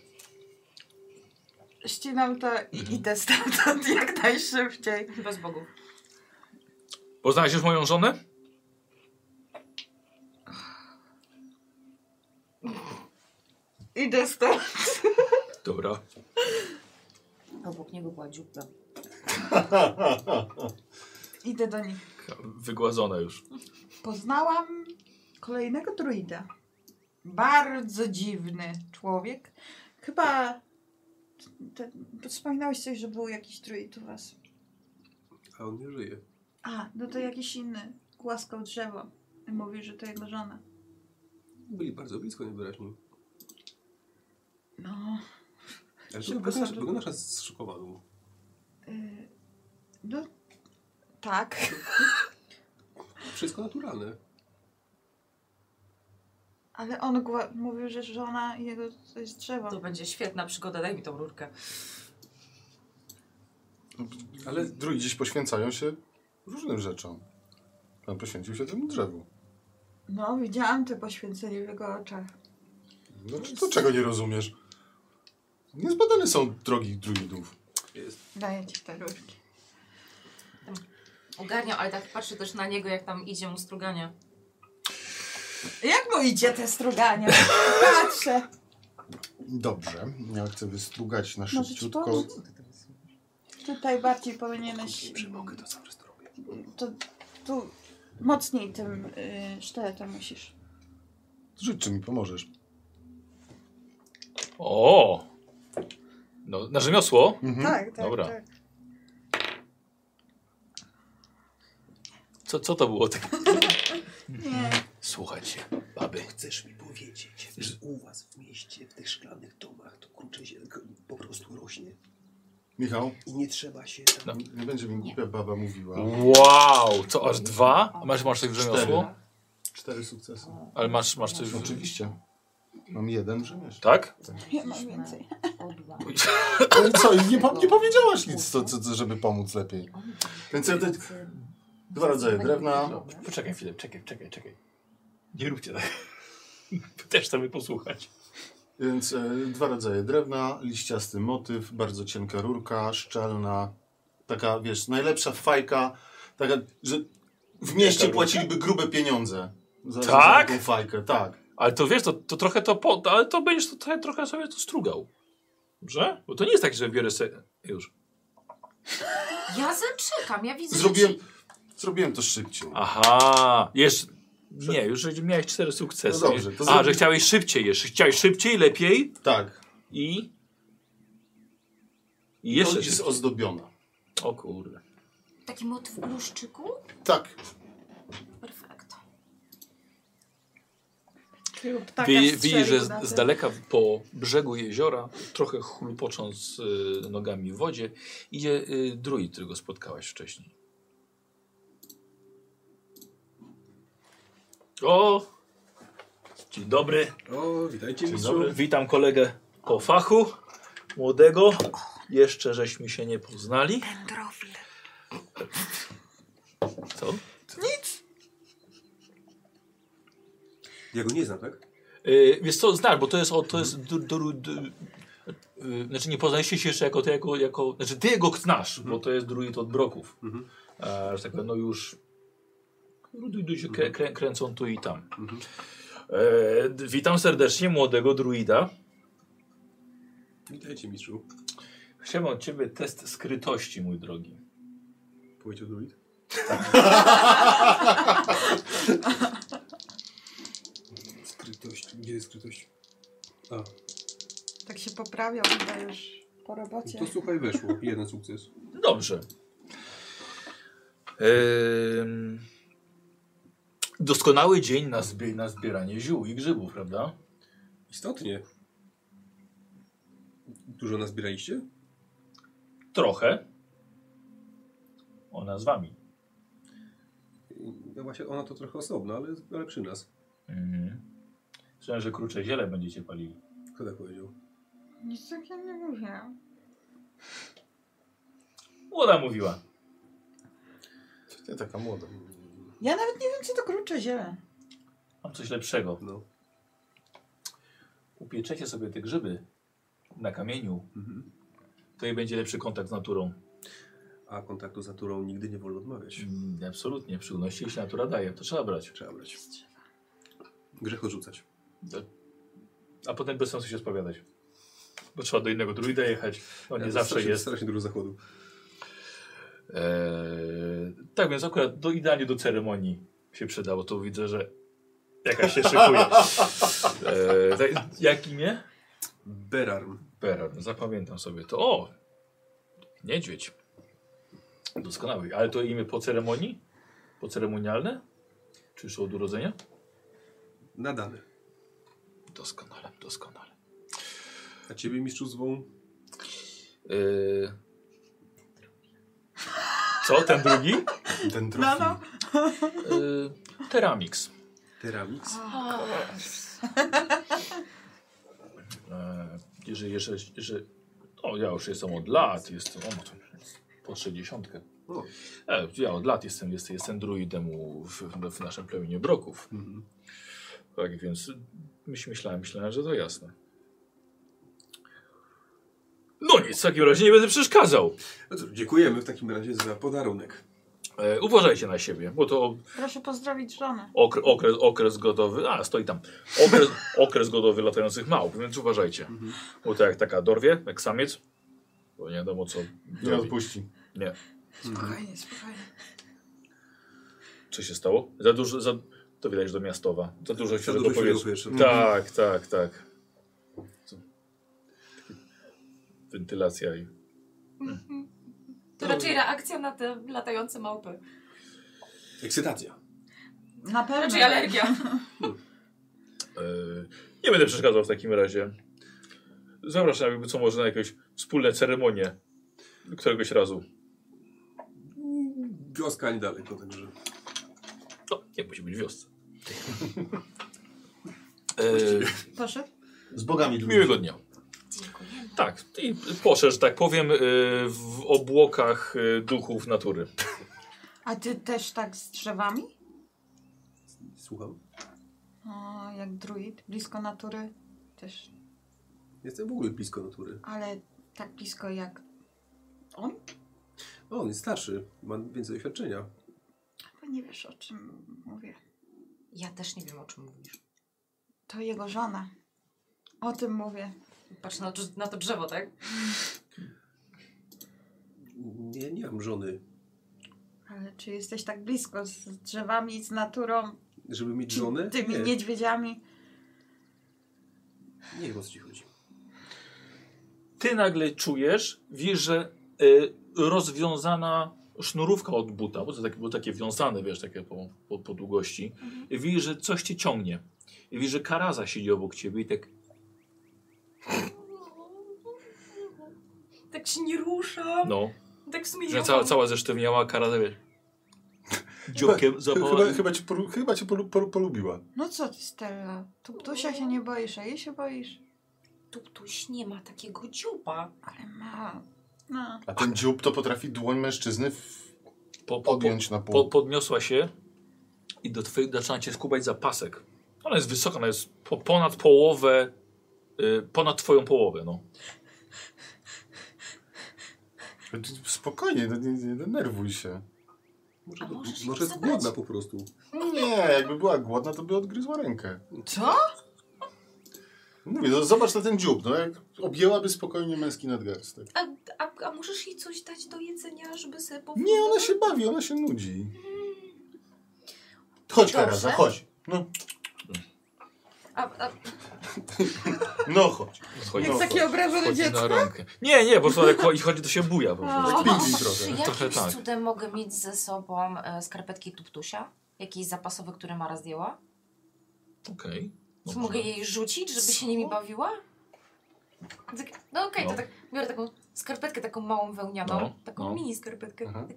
C: Ścinam to i idę stamtąd jak najszybciej.
F: Bez bogów.
A: Poznałaś już moją żonę?
C: Idę stąd.
A: Dobra.
B: Obok niego była dziupla.
C: Idę do nich.
A: Wygładzona już.
C: Poznałam kolejnego druida. Bardzo dziwny człowiek. Chyba... Te, wspominałeś coś, że był jakiś druid u was.
E: A on nie żyje.
C: A, no to jakiś inny. Głaskał drzewo. I mówi, że to jego żona.
E: Byli bardzo blisko najwyraźniej.
C: No...
E: Ale
C: Szybko
E: wyglądasz,
C: są-
E: wyglądasz na zszokowaną.
C: Y, No, tak.
E: Wszystko naturalne.
C: Ale on gła- mówił, że żona jego to jest drzewo.
B: To będzie świetna przygoda, daj mi tą rurkę.
D: Ale drugi dziś poświęcają się różnym rzeczom. Pan poświęcił się temu drzewu.
C: No, widziałam to poświęcenie w jego oczach.
D: Znaczy, to czego nie rozumiesz? Niezbadane są drogi druidów.
E: Jest.
C: Daję ci te rurki.
F: Ogarniał, ale tak patrzę też na niego, jak tam idzie mu struganie.
C: Jak mu idzie te struganie? Patrzę.
D: Dobrze, ja chcę wystrugać na
C: Może ci
D: szybciutko.
C: pomóc? Tutaj bardziej powinieneś...
E: Przemogę to zawsze to robię.
C: To, tu mocniej tym y, sztyletem musisz.
D: Rzuć, czy mi pomożesz.
C: Tak.
A: O! No, na rzemiosło?
D: Mhm.
C: Tak, tak,
A: Dobra.
C: tak.
A: Co, co to było? Tak?
C: Nie.
A: Słuchajcie, baby.
E: Chcesz mi powiedzieć, że u was w mieście, w tych szklanych domach, to kurczę się po prostu rośnie
D: Michał,
E: i nie trzeba się tam...
A: No.
D: nie będzie mi głupia baba mówiła.
A: Wow! Co, aż dwa? A masz, masz coś w
D: Cztery.
A: rzemiosło?
D: Cztery sukcesy.
A: Ale masz, masz coś w...
D: Oczywiście. Mam jeden rzemiesz.
A: Tak?
C: Ja mam więcej.
F: Odła.
D: No i co, i nie, po, nie powiedziałaś nic, co, co, co, żeby pomóc lepiej. Więc ja te dwa rodzaje drewna.
A: Poczekaj chwilę, czekaj, czekaj, czekaj. Nie róbcie tak. Też chcemy posłuchać.
D: Więc e, dwa rodzaje drewna, liściasty motyw, bardzo cienka rurka, szczelna. Taka, wiesz, najlepsza fajka, taka, że w mieście
A: rurka?
D: płaciliby grube pieniądze. Za,
A: Tak?
D: Za taką fajkę, tak.
A: Ale to wiesz, to, to trochę to po, ale to będziesz to, trochę- trochę sobie to strugał. Dobrze? Bo to nie jest tak, że biorę sobie... Już.
F: Ja zaczekam, ja widzę,
D: Zrobiłem,
F: że ci...
D: zrobiłem to szybciej.
A: Aha! Jeszcze... Nie, już że miałeś cztery sukcesy.
D: No dobrze, to
A: A,
D: zrobi-
A: że chciałeś szybciej jeszcze. Chciałeś szybciej, lepiej
D: Tak.
A: i... I
D: Jeszcze
A: jeszcze...
D: jest
A: szybciej.
D: ozdobiona.
A: O kurde.
F: Taki motyw bluszczyku?
D: Tak.
F: Perfekt.
C: Takiego ptaka
A: Wie,
C: Tak, strzelił
A: widzisz, że
C: na tym.
A: z, z daleka po brzegu jeziora, trochę chlupocząc y, nogami w wodzie, idzie y, druid, którego spotkałaś wcześniej. O! Dzień dobry.
E: O, witajcie
D: Dzień
E: mistrzu.
D: dobry.
A: Witam kolegę po fachu, młodego. Jeszcze żeśmy się nie poznali.
C: Dendrofil.
A: Co?
E: Ja go nie znam, tak?
A: Y, wiesz co, znasz, bo to jest, o, to jest du, du, du, y, znaczy nie poznaliście się jeszcze jako, ty, jako, jako znaczy ty go znasz, bo to jest druid od broków.
E: Mhm.
A: E, że tak powiem, no już du- du- się krę, krę, kręcą tu i tam.
E: Mhm.
A: E, d- witam serdecznie młodego druida.
E: Witajcie mistrzu.
A: Chciałbym od ciebie test skrytości, mój drogi.
E: Powiedział druid. skrytość. no Gdzie jest skrytość? A,
C: Tak się poprawiał, chyba już po robocie.
E: To słuchaj, weszło. Jeden sukces.
A: Dobrze. E, Ym, Doskonały dzień na, zbie na zbieranie ziół i grzybów, prawda?
E: Istotnie. Dużo nazbieraliście?
A: Trochę. Ona z wami.
E: No właśnie, ona to trochę osobno, ale, ale przy nas.
A: Mhm. Słyszałem, że krucze ziele będziecie palili.
E: Kto tak powiedział?
C: Nic takiego nie mówię.
A: Młoda mówiła.
D: Co ty taka młoda?
C: Ja nawet nie wiem, co to krucze ziele.
A: Mam coś lepszego.
E: No.
A: Upieczecie sobie te grzyby na kamieniu,
E: Mhm.
A: to i będzie lepszy kontakt z naturą.
E: A kontaktu z naturą nigdy nie wolno odmawiać.
A: Mm, absolutnie, w szczególności jeśli natura daje, to trzeba brać.
E: Trzeba brać. Grzech odrzucać.
A: A potem bez sensu się spowiadać. Bo trzeba do innego druida jechać. On nie
E: Ja
A: zawsze
E: strasznie-
A: jest.
E: Strasznie dużo zachodu.
A: Eee, tak więc akurat do idealnie do ceremonii się przydało. To widzę, że jakaś się szykuje. Eee, tak, jak imię?
E: Berarm.
A: Beran. Zapamiętam sobie to. O! Niedźwiedź. Doskonały. Ale to imię po ceremonii? Po ceremonialne? Czy już od urodzenia?
E: Nadany.
A: Doskonale, doskonale.
E: A ciebie, mistrzu, zwą
A: Eee, co, ten drugi?
D: Ten
C: No,
D: trofim.
C: no.
A: Eee, Teramix.
E: Teramix.
A: E, jeżeli jeszcze, że, o, ja już jestem od lat, jestem, o, no to po 60.
E: O.
A: E, ja od lat jestem, jestem, jestem druidem u, w, w naszym plemieniu Broków.
E: Mhm.
A: Tak więc myśl, myślałem, myślałem, że to jasne. No nic, w takim razie nie będę przeszkadzał.
E: No cóż, dziękujemy w takim razie za podarunek.
A: E, uważajcie na siebie, bo to
C: Proszę pozdrowić żonę.
A: okre, okres, okres godowy, a stoi tam, okres, okres godowy latających małp, więc uważajcie.
E: Mhm.
A: Bo to jak taka dorwie, jak samiec, to nie wiadomo co.
D: Nie odpuści.
A: nie.
D: Mhm.
C: Spokojnie, spokojnie.
A: Co się stało? Za dużo, za... to widać, że do miastowa. Za dużo
E: Co
A: się
E: do
A: do
E: wyświetlenia
A: powietrza.
E: powietrza.
A: Tak, tak, tak. Co? Wentylacja i...
F: Mhm. To raczej reakcja na te latające małpy.
E: Ekscytacja.
C: Na pewno.
B: Znaczy,
F: Raczej alergia.
A: Yy, nie będę przeszkadzał w takim razie. Zapraszam jakby co może na jakąś wspólne ceremonię któregoś razu.
E: Wioska niedaleko, także.
A: No, nie musi być w wiosce.
C: Proszę.
D: Z bogami
A: Yy,
D: długo.
A: E, miłego dnia.
F: Dziękujemy.
A: Tak, i poszę, że tak powiem, yy, w obłokach yy, duchów natury.
C: A ty też tak z drzewami?
E: Słucham.
C: O, jak druid, blisko natury też.
E: Jestem w ogóle blisko natury.
C: Ale tak blisko jak...
E: O, on jest starszy. Ma więcej doświadczenia.
C: Bo nie wiesz, o czym mówię.
F: Ja też nie wiem, o czym mówisz.
C: To jego żona. O tym mówię.
F: Patrz na to, na to drzewo, tak?
E: Nie, nie mam żony.
C: Ale czy jesteś tak blisko z drzewami, z naturą,
E: Żeby mieć żonę?
C: tymi
E: nie,
C: niedźwiedziami?
E: nie wiem o co ci chodzi.
A: ty nagle czujesz, wiesz, że y, rozwiązana sznurówka od buta, bo to takie, było takie wiązane, wiesz, takie po, po, po długości,
D: Mhm.
A: widzisz, że coś cię ciągnie. I widzisz, że karaza siedzi obok ciebie i tak
F: Tak się nie ruszam.
A: no,
F: Tak w sumie
A: że
F: nie
A: cała, cała zesztywniała karaza, wiesz, dziobkiem
D: chyba,
A: zapała.
D: chyba, chyba cię, poru, chyba cię polu, polu, polubiła.
C: No co ty, Stella? Tu ptusia się nie boisz, a jej się boisz?
F: Tutuś nie ma takiego dziuba.
C: Ale ma... No.
D: A ten dziób to potrafi dłoń mężczyzny w...
A: Po, po, po,
D: podjąć na pół.
A: po, podniosła się i do twojej, zaczyna cię skubać za pasek. Ona jest wysoka, ona jest po, ponad połowę, y, ponad twoją połowę, no.
D: Spokojnie, no nie, nie denerwuj się.
E: Może,
F: A
E: to,
F: możesz
E: może
F: ją
E: jest
F: zabrać?
E: głodna po prostu.
D: No Nie, jakby była głodna, to by odgryzła rękę.
C: Co?
D: Mówię, no zobacz na ten dziób, no jak objęłaby spokojnie męski nadgarstek.
F: A, a, a możesz jej coś dać do jedzenia, żeby sobie po
D: Nie, ona się bawi, ona się nudzi. Chodź,
F: Dobrze.
D: Karaza, chodź. No,
F: A, a
D: No chodź.
A: Schodzi,
C: Jak
D: no,
C: takie obrażone
A: schodzi
C: dziecko.
A: na rękę. Nie, nie, bo to jak cho- chodzi, to się buja po prostu.
D: Tak pingwin trochę.
B: Czy
A: Trochę
B: jakimś
A: tak.
B: cudem mogę mieć ze sobą e, skarpetki tuptusia? Jakieś zapasowe, które Mara zdjęła?
A: Okej.
B: Czy
A: dobrze.
B: mogę jej rzucić, żeby się nimi bawiła? Tak- No okej,
A: No.
B: to tak biorę taką skarpetkę, taką małą wełnianą,
A: No,
B: taką
A: no.
B: mini skarpetkę.
D: Aha.
B: Tak-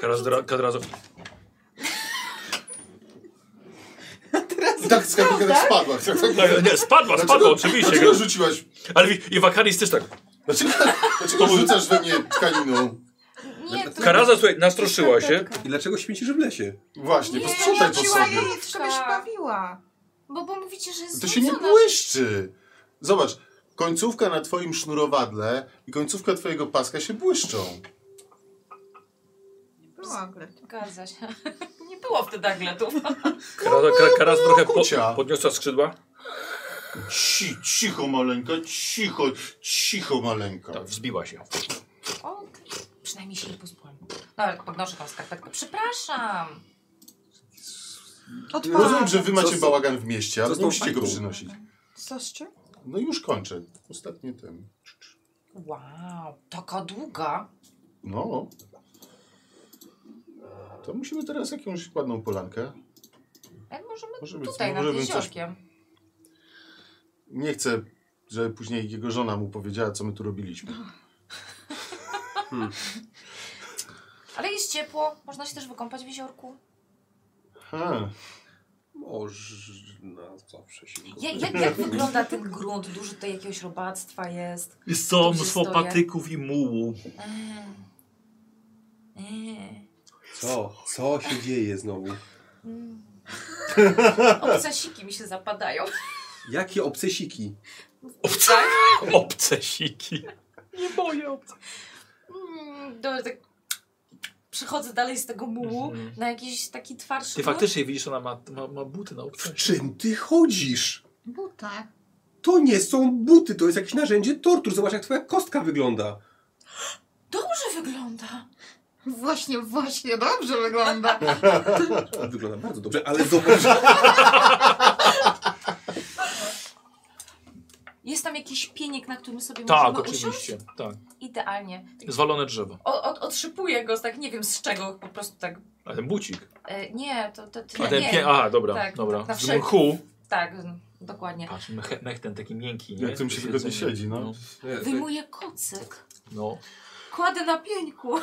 A: Teraz dra- Od razu
D: I tak skarpetka tak spadła. Tak, tak,
A: Tak, nie, spadła, spadła oczywiście.
D: Dlaczego rzuciłaś?
A: Ale wi- i Wakaris też tak.
D: Dlaczego, dlaczego rzucasz we mnie tkaniną?
B: Nie,
D: Znaczy,
B: to
A: Karaza, słuchaj, nastroszyła
B: Tak,
A: się.
E: I dlaczego śmiecisz w lesie?
D: Właśnie,
B: Nie,
D: posprzątaj po
C: Rzuciła
D: sobie.
C: jej i żeby się bawiła.
F: Bo, bo mówicie, że jest
D: To się nie
F: znudzona.
D: błyszczy. Zobacz, końcówka na twoim sznurowadle i końcówka twojego paska się błyszczą.
C: Była gle.
B: Zgadza się. Nie było wtedy agletów. tak.
A: Karaza, ka- Karaz trochę
D: kucia.
A: po- podniosła skrzydła.
D: Ci, cicho maleńka, cicho, cicho maleńka.
A: Tak, wzbiła się.
B: O, okej. Przynajmniej się nie pozbyłam. No ale podnoszę tą skarpetkę. Przepraszam!
D: Rozumiem, że wy macie
E: Co z-
D: bałagan w mieście, ale
E: co z tą
D: musicie go
E: fajką?
D: przynosić.
C: Co z czym?
D: No już kończę. Ostatnie ten.
B: Wow, taka długa.
D: No. To musimy teraz jakąś ładną polankę.
B: Jak E, możemy
D: Może być, no,
B: tutaj
D: może
B: nad
D: bym coś...
B: jeziorkiem.
D: Nie chcę, żeby później jego żona mu powiedziała, co my tu robiliśmy.
B: Ale jest ciepło, można się też wykąpać w jeziorku.
D: Ha.
E: Można zawsze się...
B: Ja, jak, jak wygląda ten grunt? Dużo tutaj jakiegoś robactwa jest.
A: Jest
B: Tu
A: to
B: się
A: mnóstwo
B: stoję.
A: patyków i mułu.
B: Mm. Mm.
E: Co? Co się dzieje znowu?
B: Mm. Obcasiki mi się zapadają.
E: Jakie obcesiki?
A: Obce,
B: Tak?
A: obce siki. Nie boję obce.
B: Mm, Dobra, tak przychodzę dalej z tego mułu
A: Mhm.
B: na jakiś taki twardszy
A: Ty
B: grunt.
A: faktycznie widzisz, ona ma, ma, ma buty na obce.
E: W czym ty chodzisz?
C: Buta.
E: To nie są buty, to jest jakieś narzędzie tortur. Zobacz, jak twoja kostka wygląda.
B: Dobrze wygląda.
C: Właśnie, właśnie, dobrze wygląda.
E: Wygląda bardzo dobrze, ale zobacz.
B: Jest tam jakiś pieniek, na którym sobie
A: Tak,
B: możemy
A: oczywiście.
B: usiąść?
A: Tak.
B: Idealnie.
A: Zwalone drzewo.
B: O, od, odszypuję go, z tak nie wiem z czego, po prostu tak.
A: A ten bucik.
B: E, nie, to, to, to
A: A ten
B: nie.
A: pie... Aha, dobra,
B: Tak,
A: dobra.
B: tak na
A: Z
B: wszelki-
A: mchu.
B: Tak, m, dokładnie.
A: Patrz, mech, mech ten taki miękki, nie?
D: Jak to mi się
A: Do
D: wygodnie
A: siedzenia.
D: siedzi, no.
A: E,
B: Wyjmuję kocyk,
A: No.
B: kładę na pieńku.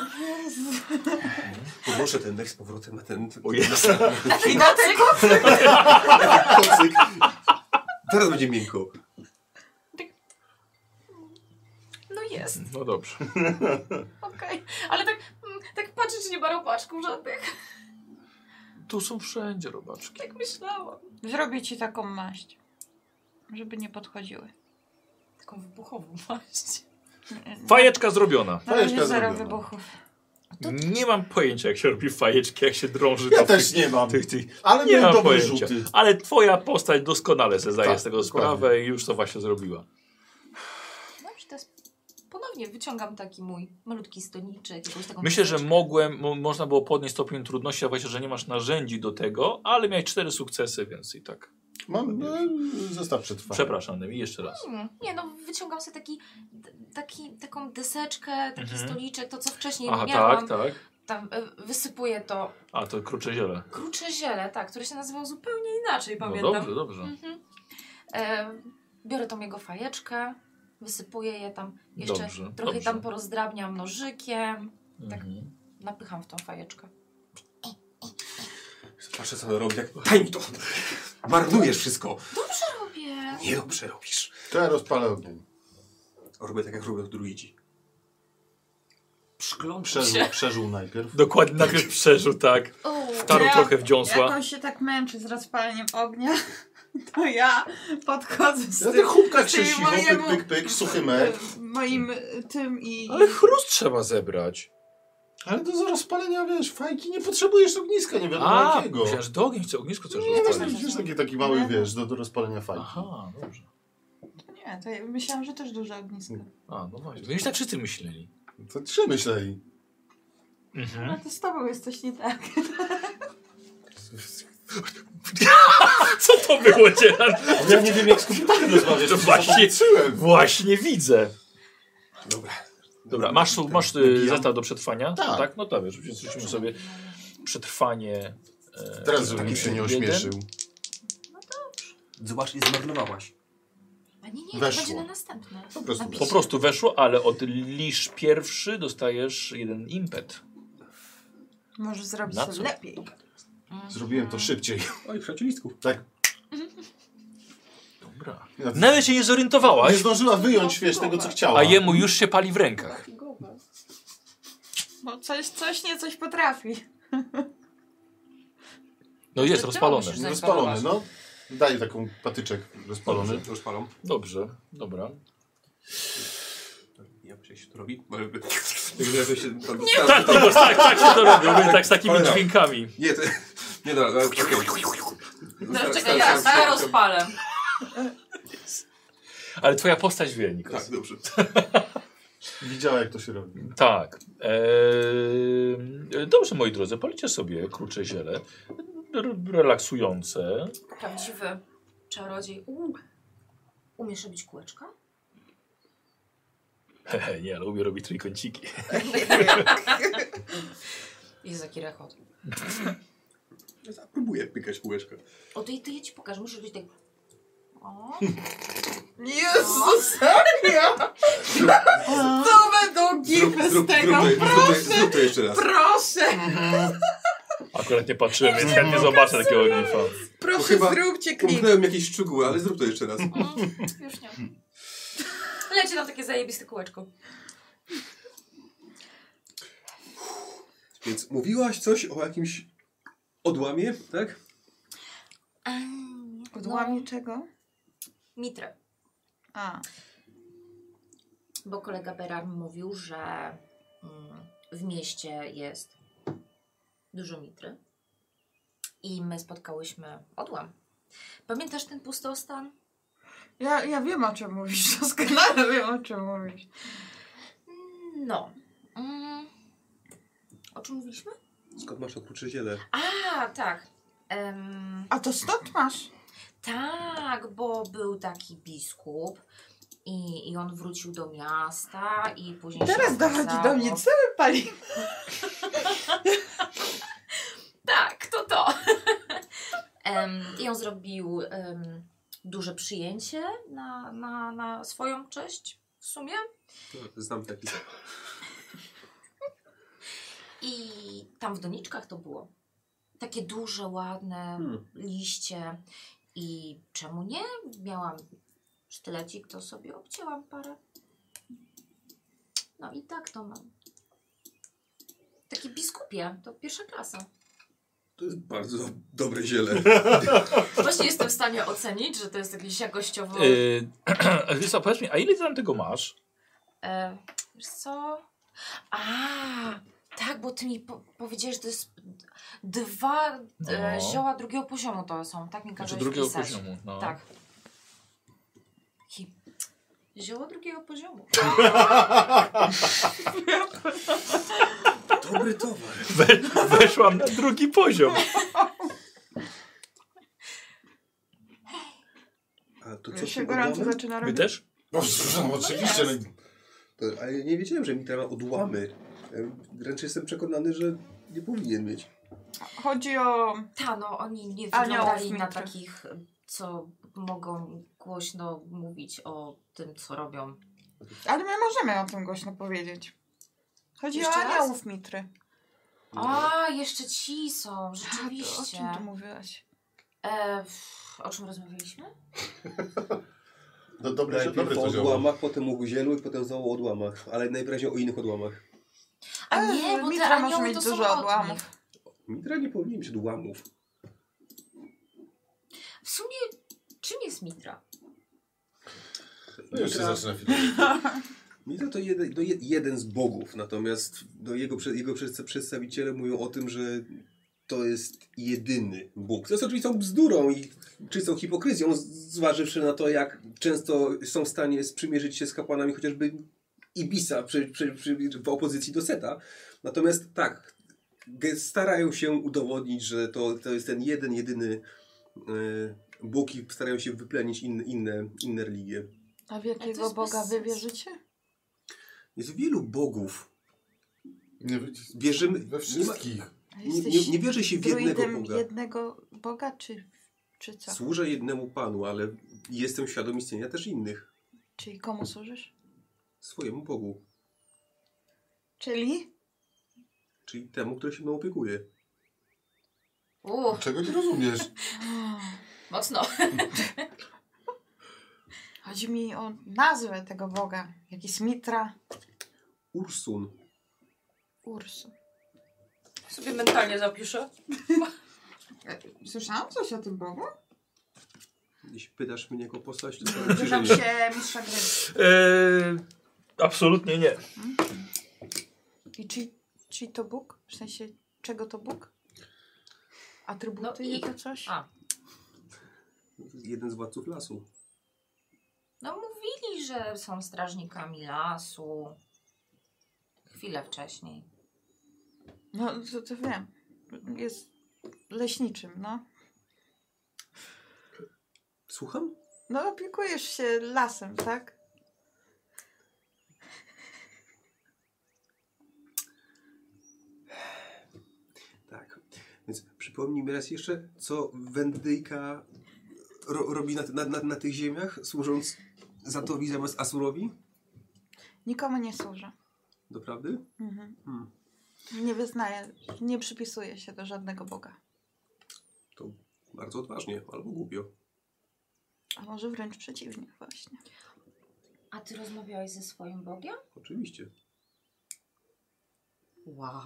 E: Poproszę ten dech z powrotem na ten...
A: O jest.
B: Taki kocyk,
E: Kocyk. Teraz będzie miękko.
B: no jest,
A: No dobrze.
B: okej. Ale tak, mm, tak patrzę, czy nie ma robaczków żadnych,
A: Tu są wszędzie robaczki.
B: tak myślałam.
C: Zrobię ci taką maść, żeby nie podchodziły.
B: Taką wybuchową maść.
A: Fajeczka zrobiona.
C: Na razie
D: Fajeczka
C: zero
D: zrobiona.
C: wybuchów.
A: Nie mam pojęcia, jak się robi fajeczki, jak się drąży.
D: Ja
A: to
D: też
A: tych-
D: nie mam.
A: Tych, tych.
D: Ale
A: Nie
D: miałem
A: mam
D: dobre
A: pojęcia.
D: rzuty.
A: Ale twoja postać doskonale sobie zdaje
D: Tak,
A: z tego
D: dokładnie.
A: sprawę i już to właśnie zrobiła.
B: No i to jest... Ponownie wyciągam taki mój malutki stoniczek, jakąś taką...
A: Myślę, że
B: kosteczkę.
A: mogłem, mo- można było podnieść stopień trudności, a właśnie, że nie masz narzędzi do tego, ale miałeś cztery sukcesy, więc i tak.
D: Mam, no, zestaw przetrwa.
A: Przepraszam, Nemi, jeszcze raz.
B: Mm, Nie no, wyciągam sobie taki, d- taki, taką deseczkę, taki
A: Mhm.
B: stoliczek, to co wcześniej
A: Aha,
B: miałam.
A: tak, tak.
B: Tam y, wysypuję to
A: A, to krucze ziele.
B: Krucze ziele, tak, które się nazywało zupełnie inaczej,
A: No
B: pamiętam.
A: dobrze, dobrze.
B: Mhm. E, biorę tą jego fajeczkę, wysypuję je tam, jeszcze
A: Dobrze,
B: trochę
A: dobrze.
B: tam porozdrabniam nożykiem, tak.
A: Mhm.
B: napycham w tą fajeczkę.
E: Patrzę, co on robi, jak... Daj mi to! Marnujesz wszystko.
F: Robię.
E: Niedobrze robisz.
D: To ja rozpalę ogień.
E: Robię tak, jak robią druidzi.
B: Przyglądam
D: Przeżył,
B: się.
D: przeżył najpierw.
A: Dokładnie, najpierw przeżył, tak. Wtarł
C: Ja-
A: trochę w
C: Jak
A: dziąsła.
C: on się tak męczy z rozpaleniem ognia, to ja podchodzę z
D: Ja
C: tym,
D: tych chłopka
C: z tym
D: krzesiwo, pyk,
C: mojemu-
D: pyk, pyk, suchy mek.
C: moim y, tym i...
A: Ale chrust trzeba zebrać.
D: Ale do rozpalenia, wiesz, fajki nie potrzebujesz ogniska, nie wiadomo
A: A,
D: jakiego.
A: myślałem, że do ogień, chcę ognisko chcesz
D: Nie, masz
A: rozpalić.
D: taki, wiesz, taki, taki mały, wiesz, do, do rozpalenia fajki.
A: Aha, dobrze.
C: Nie, to ja myślałam, że też duże ognisko.
A: A, no właśnie. No już tak wszyscy myśleli.
D: To trzy myśleli.
C: Mhm. A to z tobą jest coś nie tak.
A: Co to było, Dzielan?
D: Ja nie wiem, jak z komputerem rozmawiasz.
A: To właśnie-
D: Zobaczyłem.
A: Właśnie widzę.
E: Dobra.
A: Dobra, masz,
E: Ten-
A: masz y,
E: nabijam.
A: zestaw do przetrwania?
D: Tak.
A: tak? No tak, wiesz, rzucimy sobie przetrwanie. e,
D: Teraz żebym
A: taki
D: się nie
A: jeden.
D: ośmieszył.
E: Zobacz, ile zmarnowałaś.
B: A nie, nie,
D: Weszło.
B: to będzie na następne.
D: Po prostu
A: Po prostu weszło, ale od lisz pierwszy dostajesz jeden impet.
C: Może zrobić
A: Na
C: to
A: co?
C: lepiej.
I: Mm.
D: Zrobiłem to szybciej.
E: Oj, przeciwlistku.
D: Tak.
A: Dobra.
D: Ja-
A: Nawet się nie
D: Nie
A: zorientowałaś,
D: zdążyła wyjąć, wiesz, tego co chciała.
A: a jemu już się pali w rękach.
C: Bo coś, coś nie coś potrafi.
A: No jest
I: To ty
A: rozpalone.
I: musisz za-
D: Rozpalony, no. Daję taką patyczek rozpalony.
E: Już palą.
A: Dobrze, dobra.
E: Jak się to robi? Może by- Jakby jakoś się to
A: Tak, no, bo tak, tak się to robi, my tak z takimi
E: Cholera.
A: dźwiękami.
E: Nie, to... Nie, dobra. dobra.
I: No,
E: Stary,
I: czekaj, ja,
E: stary, stary,
I: ja
E: stary.
I: rozpalę.
A: Ale twoja postać wie, Nikos.
E: Tak, dobrze.
D: Widziała jak to się robi.
A: Tak. Eee, dobrze, moi drodzy, policie sobie krucze ziele. R- relaksujące.
B: Prawdziwy czarodziej. Uuu. Umiesz robić kółeczka?
A: Hehe, nie, ale lubię robić trójkąciki.
I: Jest taki rechot.
E: Ja Próbuję pykać kółeczka.
B: O, to, to ja ci pokażę. Musisz robić tak. O,
C: Jezus, serio? To będą gify z No tego.
E: zrób, to, zrób to jeszcze raz.
C: Proszę,
A: Akurat nie patrzyłem, więc chętnie zobaczę takiego glifa.
C: proszę
E: chyba
C: zróbcie klip.
E: Umknąłem jakiejś szczegóły, ale zrób to jeszcze raz.
I: Mm.
B: już nie. Leci tam takie zajebiste kółeczko.
E: Więc mówiłaś coś o jakimś odłamie, tak?
B: No.
C: Odłamie czego?
B: Mitrę.
C: A,
B: Bo kolega Berar mówił, że mm, w mieście jest dużo mitry. I my spotkałyśmy odłam. Pamiętasz ten pustostan?
C: ja, ja wiem o czym mówisz, doskonale wiem o czym mówisz.
B: No. Mm. O czym mówiliśmy?
E: Skąd masz to kurcze ziele?
B: A, tak. Em,
C: A to stąd masz?
B: tak, bo był taki biskup i, i on wrócił do miasta i później się
C: Teraz dochodzi do
B: okazało-
C: mnie, co my palimy?
B: Tak, to to. Em, I on zrobił em, duże przyjęcie na, na, na swoją cześć w sumie.
E: Znam taki.
B: I tam w doniczkach to było. Takie duże, ładne
E: Hmm.
B: liście. I czemu nie? Miałam sztylecik, to sobie obcięłam parę. No i tak to mam. Takie biskupie, to pierwsza klasa.
E: To jest bardzo dobre ziele.
B: Właśnie jestem w stanie ocenić, że to jest jakieś jakościowo...
A: Yy, a wiesz co, powiedz mi, a ile ty tam tego masz?
B: E, wiesz co? A, tak, bo ty mi po powiedziałeś, że to jest d- dwa e,
A: No.
B: zioła drugiego poziomu to są, tak mi
A: Znaczy
B: kazałeś
A: drugiego
B: pisać.
A: poziomu. No.
B: Tak. Hi. Zioło drugiego poziomu.
E: Dobry towar.
A: We, weszłam na drugi poziom.
E: A to co
C: Już
E: się
C: się gorąco
E: odłamy?
C: zaczyna
A: Wy
C: robić.
A: też?
D: No, no oczywiście. No,
E: To- Ale ja nie wiedziałem, że Mitra ma odłamy. Em, Wręcz jestem przekonany, że nie powinien mieć.
C: Chodzi o...
B: Ta, no oni nie
C: Aniołów
B: wyglądali na
C: mitry.
B: takich, co mogą głośno mówić o tym, co robią.
C: Ale my możemy o tym głośno powiedzieć. Chodzi
B: Jeszcze
C: o
B: raz?
C: aniołów Mitry.
B: A, jeszcze ci są,
C: A, to o
B: rzeczywiście.
C: czym tu mówiłaś?
B: E, w- o czym rozmawialiśmy?
D: no dobre,
E: Najpierw
D: dobre
E: o
D: to zioło.
E: odłamach, potem o guzielu i potem znowu o odłamach. Ale najwyraźniej o innych odłamach.
B: A
C: Ale
B: nie, bo te
C: E, mitra może
B: anioły
C: mieć
B: to są
C: dużo
B: od
C: odłamów.
B: nich.
E: Mitra nie powinien mieć odłamów.
B: W sumie, czym jest mitra?
D: No, już się
E: Mitra-
D: zaczyna filmować.
E: Mitra to jeden, to je- jeden z bogów, natomiast no, jego, prze- jego przedst- przedstawiciele mówią o tym, że to jest jedyny Bóg. To jest oczywistą bzdurą i czystą hipokryzją, z- zważywszy na to, jak często są w stanie sprzymierzyć się z kapłanami chociażby Ibisa przy, przy, przy, w opozycji do Seta. Natomiast tak, ge- starają się udowodnić, że to, to jest ten jeden, jedyny e, Bogi starają się wyplenić in, inne, inne religie.
C: A w
J: Ale to
C: jakiego
J: jest
C: Boga
J: bez
C: wy
J: sensu.
C: wierzycie?
E: Jest wielu bogów.
D: Nie,
E: Wierzymy
D: we wszystkich.
C: A
E: Nie, ma, nie,
C: jesteś
E: nie, nie wierzy się w jednego
C: druidem
E: boga.
C: jednego Boga, czy, czy co?
E: Służę jednemu panu, ale jestem świadom istnienia też innych.
C: Czyli komu służysz?
E: Swojemu bogu,
C: Czyli?
E: czyli temu, który się mną opiekuje.
B: Uuu,
D: Czego nie rozumiesz?
B: mocno.
C: Chodzi mi o nazwę tego Boga. Jakiś Mitra
E: Ursun.
C: Ursu.
J: Sobie mentalnie zapiszę.
C: Słyszałam coś o tym Bogu?
E: Jeśli pytasz mnie jako postać, to powiem ci, że
C: Pytam
E: nie.
C: się mistrza gry.
A: Eee, absolutnie nie.
C: I czy, czy to Bóg? W sensie, czego to Bóg? Atrybuty
B: No i-
C: jego coś?
J: A.
E: To jest Jeden z władców lasu.
B: No mówili, że są strażnikami lasu. Chwilę wcześniej.
C: No, to, to wiem. Jest leśniczym, no.
E: Słucham?
C: No, opiekujesz się lasem, tak?
E: Tak. Więc przypomnij mi raz jeszcze, co wędyjka ro robi na, ty- na, na, na tych ziemiach, służąc Zatowi zamiast Asurowi?
C: Nikomu nie służę.
E: Doprawdy?
C: Mhm.
E: Hmm.
C: Nie wyznaję, nie przypisuję się do żadnego Boga.
E: Bardzo odważnie, albo głupio.
C: A może wręcz przeciwnie, właśnie.
B: A ty rozmawiałeś ze swoim Bogiem?
E: Oczywiście.
B: Wow.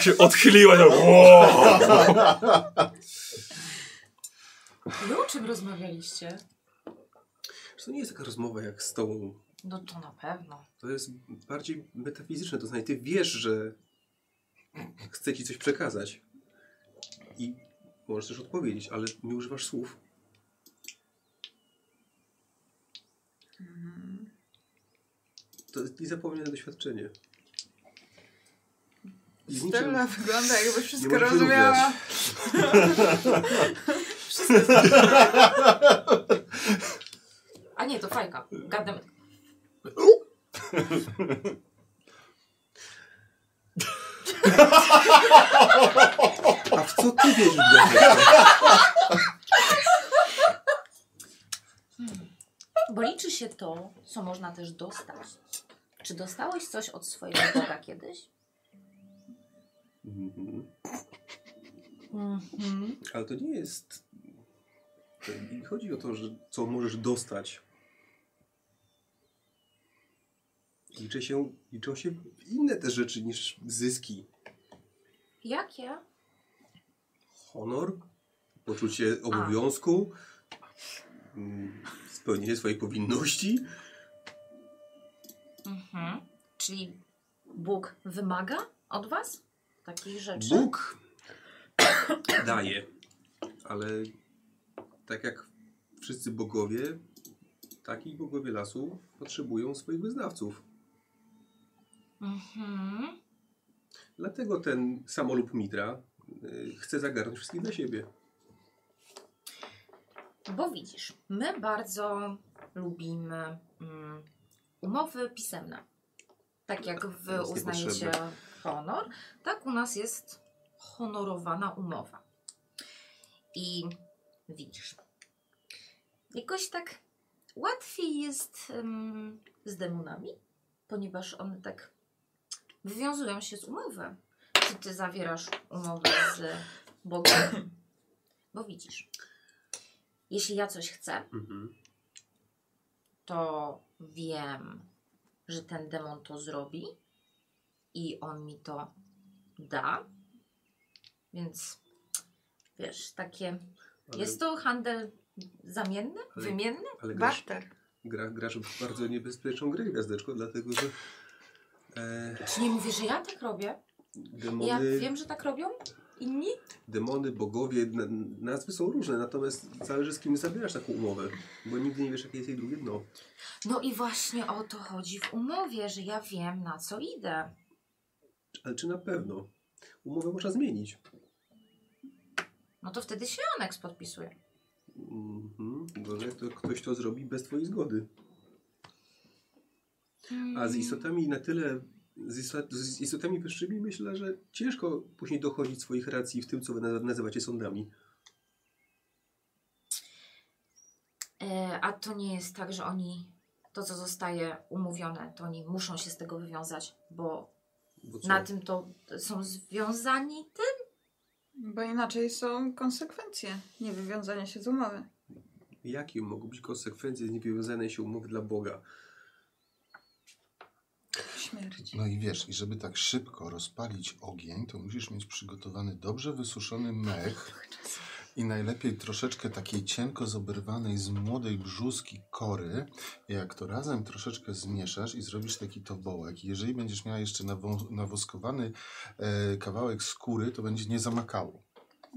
A: Się odchyliła. tak, Wow.
B: No,
J: Wy o czym rozmawialiście?
E: Czy to nie jest taka rozmowa jak z tobą?
B: No to na pewno.
E: To jest bardziej metafizyczne, to znaczy ty wiesz, że chce ci coś przekazać. I możesz też odpowiedzieć, ale nie używasz słów.
C: Mhm.
E: To jest niezapomniane doświadczenie. I z niczym-
C: Stella wygląda jakby
E: nie
C: wszystko
E: możesz
C: rozumiała.
B: A nie, to fajka. Gadamy.
E: A w co ty wierzysz, Bianka?
B: Bo liczy się to, co można też dostać. Czy dostałeś coś od swojego Boga kiedyś?
E: Mhm.
B: Mhm.
E: Ale to nie jest... To nie chodzi o to, że co możesz dostać. Liczy się, liczą się inne te rzeczy niż zyski.
B: Jakie?
E: honor, poczucie obowiązku, mm, spełnienie swoich powinności.
B: Mhm. Czyli Bóg wymaga od was takich rzeczy?
E: Bóg daje, ale tak jak wszyscy bogowie, tak i bogowie lasu potrzebują swoich wyznawców.
B: Mhm.
E: Dlatego ten samolub Mitra y, chce zagarnąć wszystkich dla siebie.
B: Bo widzisz, my bardzo lubimy mm, umowy pisemne. Tak jak wy
E: Jest
B: uznajecie
E: niepotrzebne.
B: honor, tak u nas jest honorowana umowa. I widzisz, jakoś tak łatwiej jest em, z demonami, ponieważ one tak wywiązują się z umowy. Czy ty zawierasz umowę z Bogiem? Bo widzisz, jeśli ja coś chcę, to wiem, że ten demon to zrobi i on mi to da. Więc wiesz, takie.
E: Ale,
B: Jest to handel zamienny,
E: Ale-
B: wymienny?
E: ale grasz,
C: Barter.
E: gra, grasz w bardzo niebezpieczną grę, gwiazdeczko, dlatego że e,
B: Czy nie mówię, że ja tak robię?
E: demony...
B: Ja wiem, że tak robią inni?
E: demony, bogowie, n- nazwy są różne, natomiast zależy z kim zabierasz taką umowę, bo nigdy nie wiesz jakie jest jej drugie dno.
B: No i właśnie o to chodzi w umowie, że ja wiem, na co idę.
E: Ale czy na pewno? umowę można zmienić.
F: No to wtedy się Aneks podpisuje.
E: Mhm. Gorzej, jak to ktoś to zrobi bez twojej zgody. A z istotami na tyle, z, istot, z istotami wyższymi myślę, że ciężko później dochodzić swoich racji w tym, co wy na- nazywacie sądami.
F: E, a to nie jest tak, że oni to, co zostaje umówione, to oni muszą się z tego wywiązać, bo
E: Bo co?
F: na tym to są związani tym.
C: Bo inaczej są konsekwencje niewywiązania się z umowy.
E: Jakie mogą być konsekwencje z niewywiązanej się umowy dla Boga?
C: Śmierć.
D: No i wiesz, i żeby tak szybko rozpalić ogień, to musisz mieć przygotowany dobrze wysuszony mech i najlepiej troszeczkę takiej cienko zoberwanej z młodej brzuski kory. I Jak to razem troszeczkę zmieszasz i zrobisz taki tobołek, I jeżeli będziesz miała jeszcze nawą- nawoskowany e, kawałek skóry, to będzie nie zamakało.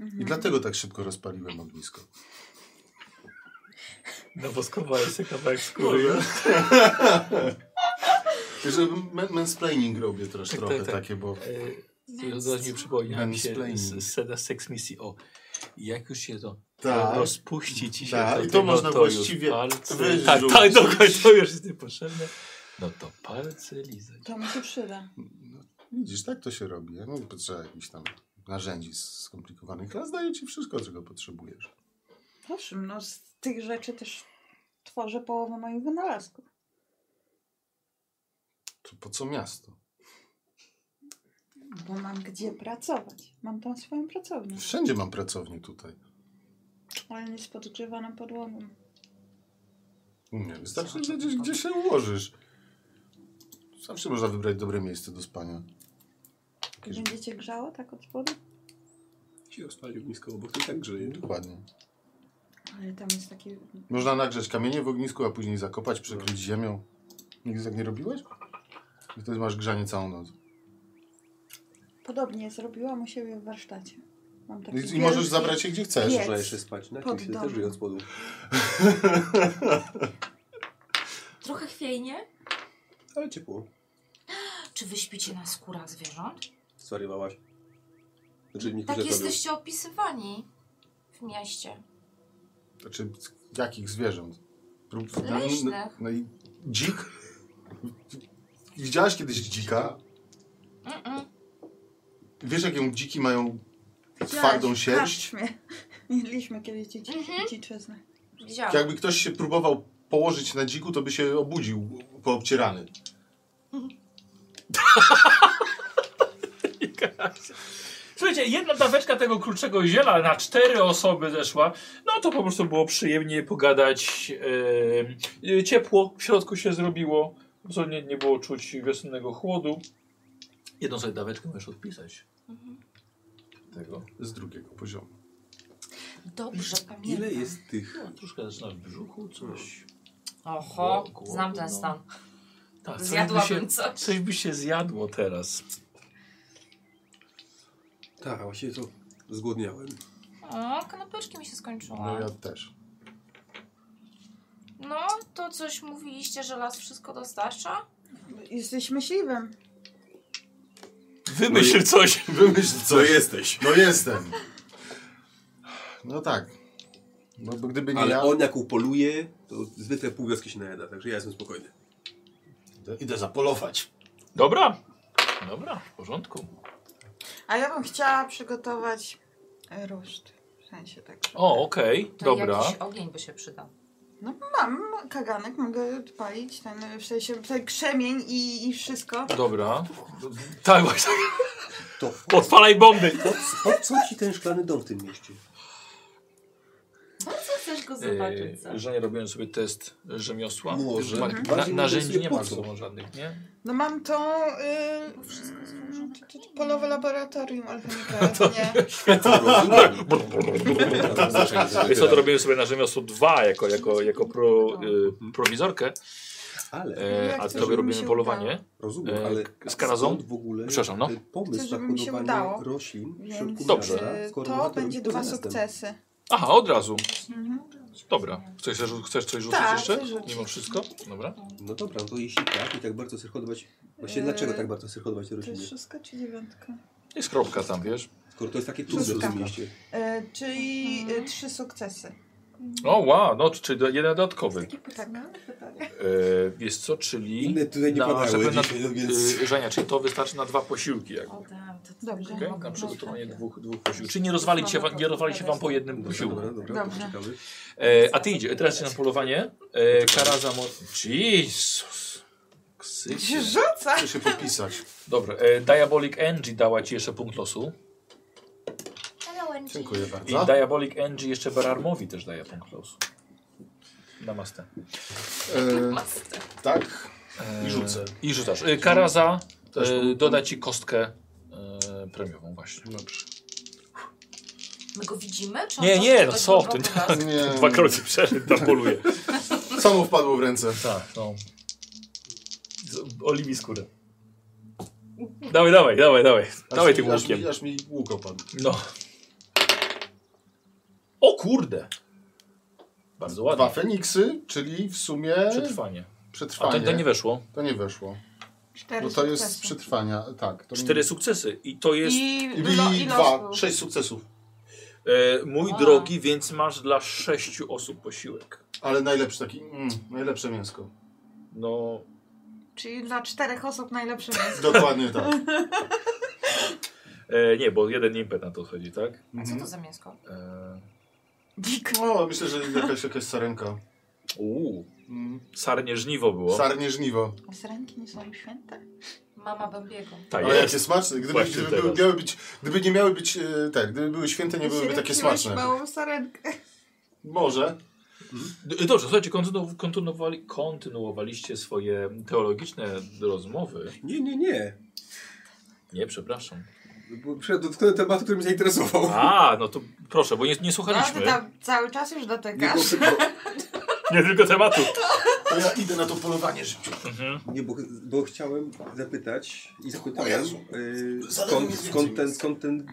A: Mhm.
D: I dlatego tak szybko rozpaliłem ognisko.
A: No Nawoskowałem sobie kawałek skóry.
D: Że men- mansplaining robię trosz,
A: Tak,
D: trochę
A: tak, tak.
D: takie, bo
A: Yy, zaraz mi przypomniałem się
D: Mansplaining.
A: z z Seda Sex Misji. O, jak już się to
D: Tak.
A: rozpuści ci się.
D: Tak,
A: do
D: i to
A: tego,
D: można
A: już
D: właściwie
A: palce-
D: wyrzucić.
A: Tak, tak, dokładnie, to już jest niepotrzebne. No to palce lizać.
C: To mi się przyda.
D: No, widzisz, tak to się robi. Ja nie potrzeba jakichś tam narzędzi skomplikowanych, ale zdaję ci wszystko, czego potrzebujesz.
C: Owszem, no z tych rzeczy też tworzę połowę moich wynalazków.
D: To po co miasto?
C: Bo mam gdzie pracować. Mam tam swoją pracownię.
D: Wszędzie mam pracownię tutaj.
C: Ale nie spoczywa na podłogą.
D: Nie, wystarczy wiedzieć, gdzie się ułożysz. Zawsze można wybrać dobre miejsce do spania.
C: I
D: Jakieś...
C: będziecie grzało tak od spodu?
E: Ci rozpali ognisko obok, to i tak grzeje.
D: Dokładnie.
C: Ale tam jest taki...
D: Można nagrzeć kamienie w ognisku, a później zakopać, przykryć ziemią. Nigdy tak nie robiłeś? I wtedy masz grzanie całą noc.
C: Podobnie zrobiłam u siebie w warsztacie. Mam taki
D: I, i
C: wielki-
D: możesz zabrać się gdzie chcesz.
C: Piec.
E: Można jeszcze spać na
C: Pod
E: kimś, ale
C: domem.
E: też żyje od spodu.
F: Trochę chwiejnie.
E: Ale ciepło.
F: Czy wy śpicie na skórach zwierząt?
E: Zwariowałaś. Znaczy, niektórzy
F: Tak
E: robią.
F: jesteście opisywani w mieście.
D: Znaczy, z jakich zwierząt? Prób-
F: Leśnych.
D: No, no i dzik? Widziałaś kiedyś dzika?
F: Mm-mm.
D: Wiesz, jaką dziki mają
C: Widziałaś Tak.
D: twardą
C: w
D: sierść?
C: karczmie. Mieliśmy kiedyś dzieci,
F: Mhm.
C: dziczyznę.
F: Widziałam.
D: Jakby ktoś się próbował położyć na dziku, to by się obudził poobcierany.
A: Słuchajcie, jedna daweczka tego kruczego ziela na cztery osoby zeszła. No to po prostu było przyjemnie pogadać. e, e, ciepło w środku się zrobiło. Co nie, nie było czuć wiosennego chłodu. Jedną sobie daweczkę możesz odpisać. Tego.
D: Z drugiego poziomu.
F: Dobrze pamiętam.
E: Ile jest tych?
A: No, troszkę zaczyna w brzuchu coś.
F: Oho,
A: Głodno.
F: znam ten stan.
A: Tak, coś by
F: Zjadłabym
A: się,
F: coś.
A: coś by się zjadło teraz.
E: Tak, właśnie to zgłodniałem.
B: O, kanapeczki mi się skończyły.
D: No ja też.
B: No, to coś mówiliście, że las wszystko dostarcza?
C: Jesteś myśliwym.
A: Wymyśl coś.
D: Wymyśl
E: Co
D: coś.
E: jesteś?
D: No jestem. No tak. No bo gdyby nie
E: Ale
D: ja...
E: on jak upoluje, to zwykle pół wioski się najada, także ja jestem spokojny.
D: Idę- Idę zapolować.
A: Dobra. Dobra, w porządku.
C: A ja bym chciała przygotować ruszt. W sensie tak.
A: O, okej,
F: To
A: dobra.
F: jakiś ogień by się przydał.
C: No, Mam kaganek, mogę palić ten, w sensie ten krzemień i, i wszystko.
A: Dobra. Tak, właśnie.
E: To
A: Odpalaj bomby.
E: po, po co ci ten szklany dom w tym mieście?
F: Po co chcesz go zobaczyć? co?
A: Yy, że nie robiłem sobie test rzemiosła.
E: Może.
A: Ma,
E: Mhm.
A: na,
E: Bardziej
A: narzędzi
E: interesuje,
A: nie ma
E: po
A: ze
E: co?
A: sobą żadnych, nie?
C: No mam tą y,
F: Bo wszystko złożone.
C: tak? polowe laboratorium alchemiczne. nie?
E: Tak.
A: Wiesz co, to robiłem sobie na rzemiosło 2 jako, jako, jako pro,
C: Mhm.
A: y, prowizorkę,
E: Ale,
A: e, a
C: chcę,
A: tobie
C: No żeby mi
A: robiłem
C: się
A: polowanie.
E: rozumiem,
A: e,
E: ale
A: z karazą?
E: skąd w ogóle
A: Przepraszam, no.
E: e, pomysł
C: Chcę, żeby
E: na
C: mi się udało.
E: hodowanie roślin w środku
C: Więc
A: Dobrze.
E: miasta,
C: y,
E: skoro
C: to
D: tak?
E: można
C: będzie
E: robić
C: dwa
E: poza miastem?
C: sukcesy.
A: Aha, od razu.
C: Mhm.
A: Dobra. Chcesz, chcesz coś rzucić
C: Tak,
A: jeszcze?
C: chcę rzucić.
A: Mimo wszystko? Dobra.
E: No dobra, no to jeśli tak i tak bardzo chcesz hodować, właśnie
C: E,
E: dlaczego tak bardzo chcesz hodować te
C: To jest
E: rośliny?
C: szóstka czy dziewiątka?
A: Jest kropka tam, wiesz?
E: Skoro to jest takie trudne w
D: Wszystko.
E: tym mieście.
C: E, czyli
K: Mhm.
C: e, trzy sukcesy. Tak.
A: O, wow, no, czyli do- jeden dodatkowy.
C: pytanie. pytanie.
A: Yy, wiesz co, czyli...
E: Inne tutaj nie
A: na-
E: padały
A: żeby na-
E: dzisiaj, no więc...
A: Yy, Żenia, czyli to wystarczy na dwa posiłki jak.
K: O, tam, to, to
C: Dobrze.
A: Okay?
K: mogę
A: Na przygotowanie
K: tak.
A: dwóch, dwóch posiłków. Czyli nie rozwali się, wam- nie rozwali się wam po jednym
E: Dobra,
A: posiłku.
E: Dobra, dobra,
C: Dobrze.
E: poczekamy.
A: E, a ty idzie, teraz się na polowanie. E, kara za moc. Jezus. Ksycie.
C: Rzuca!
D: Chcę się popisać.
A: Dobra, e, Diabolic Angie dała ci jeszcze punkt losu.
B: Hello, Angie.
D: Dziękuję
A: I
D: bardzo.
A: Diabolic Angie jeszcze Berarmowi też daje punkt losu. Namaste.
D: E,
K: Master.
D: tak.
A: E,
D: I rzucę.
A: I rzucasz. E, kara za
D: Też
A: e,
D: punkt.
A: doda ci kostkę e, premiową właśnie.
D: Dobrze.
B: My go widzimy? Czy on
A: Nie,
B: coś
A: nie,
B: tutaj
A: no co ty.
B: próbował nas?
D: Nie,
A: Dwakroć przeszedł, tam poluje.
D: samo wpadło w ręce.
A: Tak, no. Z- Oliwi skórę. Dawaj, dawaj, dawaj, dawaj.
D: Aż
A: Dawaj
D: mi-
A: tym
D: aż
A: łukiem.
D: mi- Aż mi łuk opadł.
A: No. O kurde. Bardzo
D: Dwa
A: ładnie.
D: Feniksy, czyli w sumie
A: Przetrwanie. A
D: przetrwanie.
A: to, to nie weszło.
D: to nie weszło.
C: Cztery
D: Bo No to jest z
C: sukcesy.
D: przetrwania, tak. To
A: Cztery sukcesy. I to jest
C: No, I,
D: I,
C: lo-
D: i
C: los
D: dwa,
C: był.
D: sześć sukcesów.
A: e, mój
K: A.
A: drogi, więc masz dla sześciu osób posiłek.
D: Ale najlepszy taki, mm, najlepsze mięsko.
A: No,
C: Czyli dla czterech osób najlepszy mięso.
D: Dokładnie tak.
A: e, nie, bo jeden impet na to chodzi, tak?
K: A co to
D: Mhm.
K: za mięsko?
A: E,
D: O, myślę, że jakaś, jakaś sarenka.
A: uuu,
D: Mm.
A: sarnie żniwo było.
D: Sarnie żniwo.
C: A Syrenki nie są święte?
K: Mama Bębiego.
A: Ta
D: Ale
A: Tak jest.
D: jakie smaczne. Gdyby,
A: Właśnie
D: gdyby,
A: teraz.
D: były, miały być, gdyby nie miały być, e, tak, gdyby były święte, nie byłyby takie
C: Syrenki
D: smaczne.
C: masz małą sarenkę.
D: Może.
A: D- Dobrze, słuchajcie, kontynu- kontynuowali, kontynuowaliście swoje teologiczne rozmowy.
E: Nie, nie, nie.
A: Nie, przepraszam.
E: Bo Przyszedł do tematu, który mnie zainteresował.
A: A, no to proszę, bo nie, nie
C: A No, ty
A: słuchaliśmy.
C: tam cały czas już
E: Nie,
C: dotykasz.
E: bo, bo,
A: Nie tylko tematu.
D: To ja idę na to polowanie szybciej.
E: Nie, bo, bo chciałem zapytać i
D: O
E: zapytałem,
D: Jezu.
E: y,
D: Zadaj mi
E: skąd,
D: więcej.
E: skąd, ten, skąd ten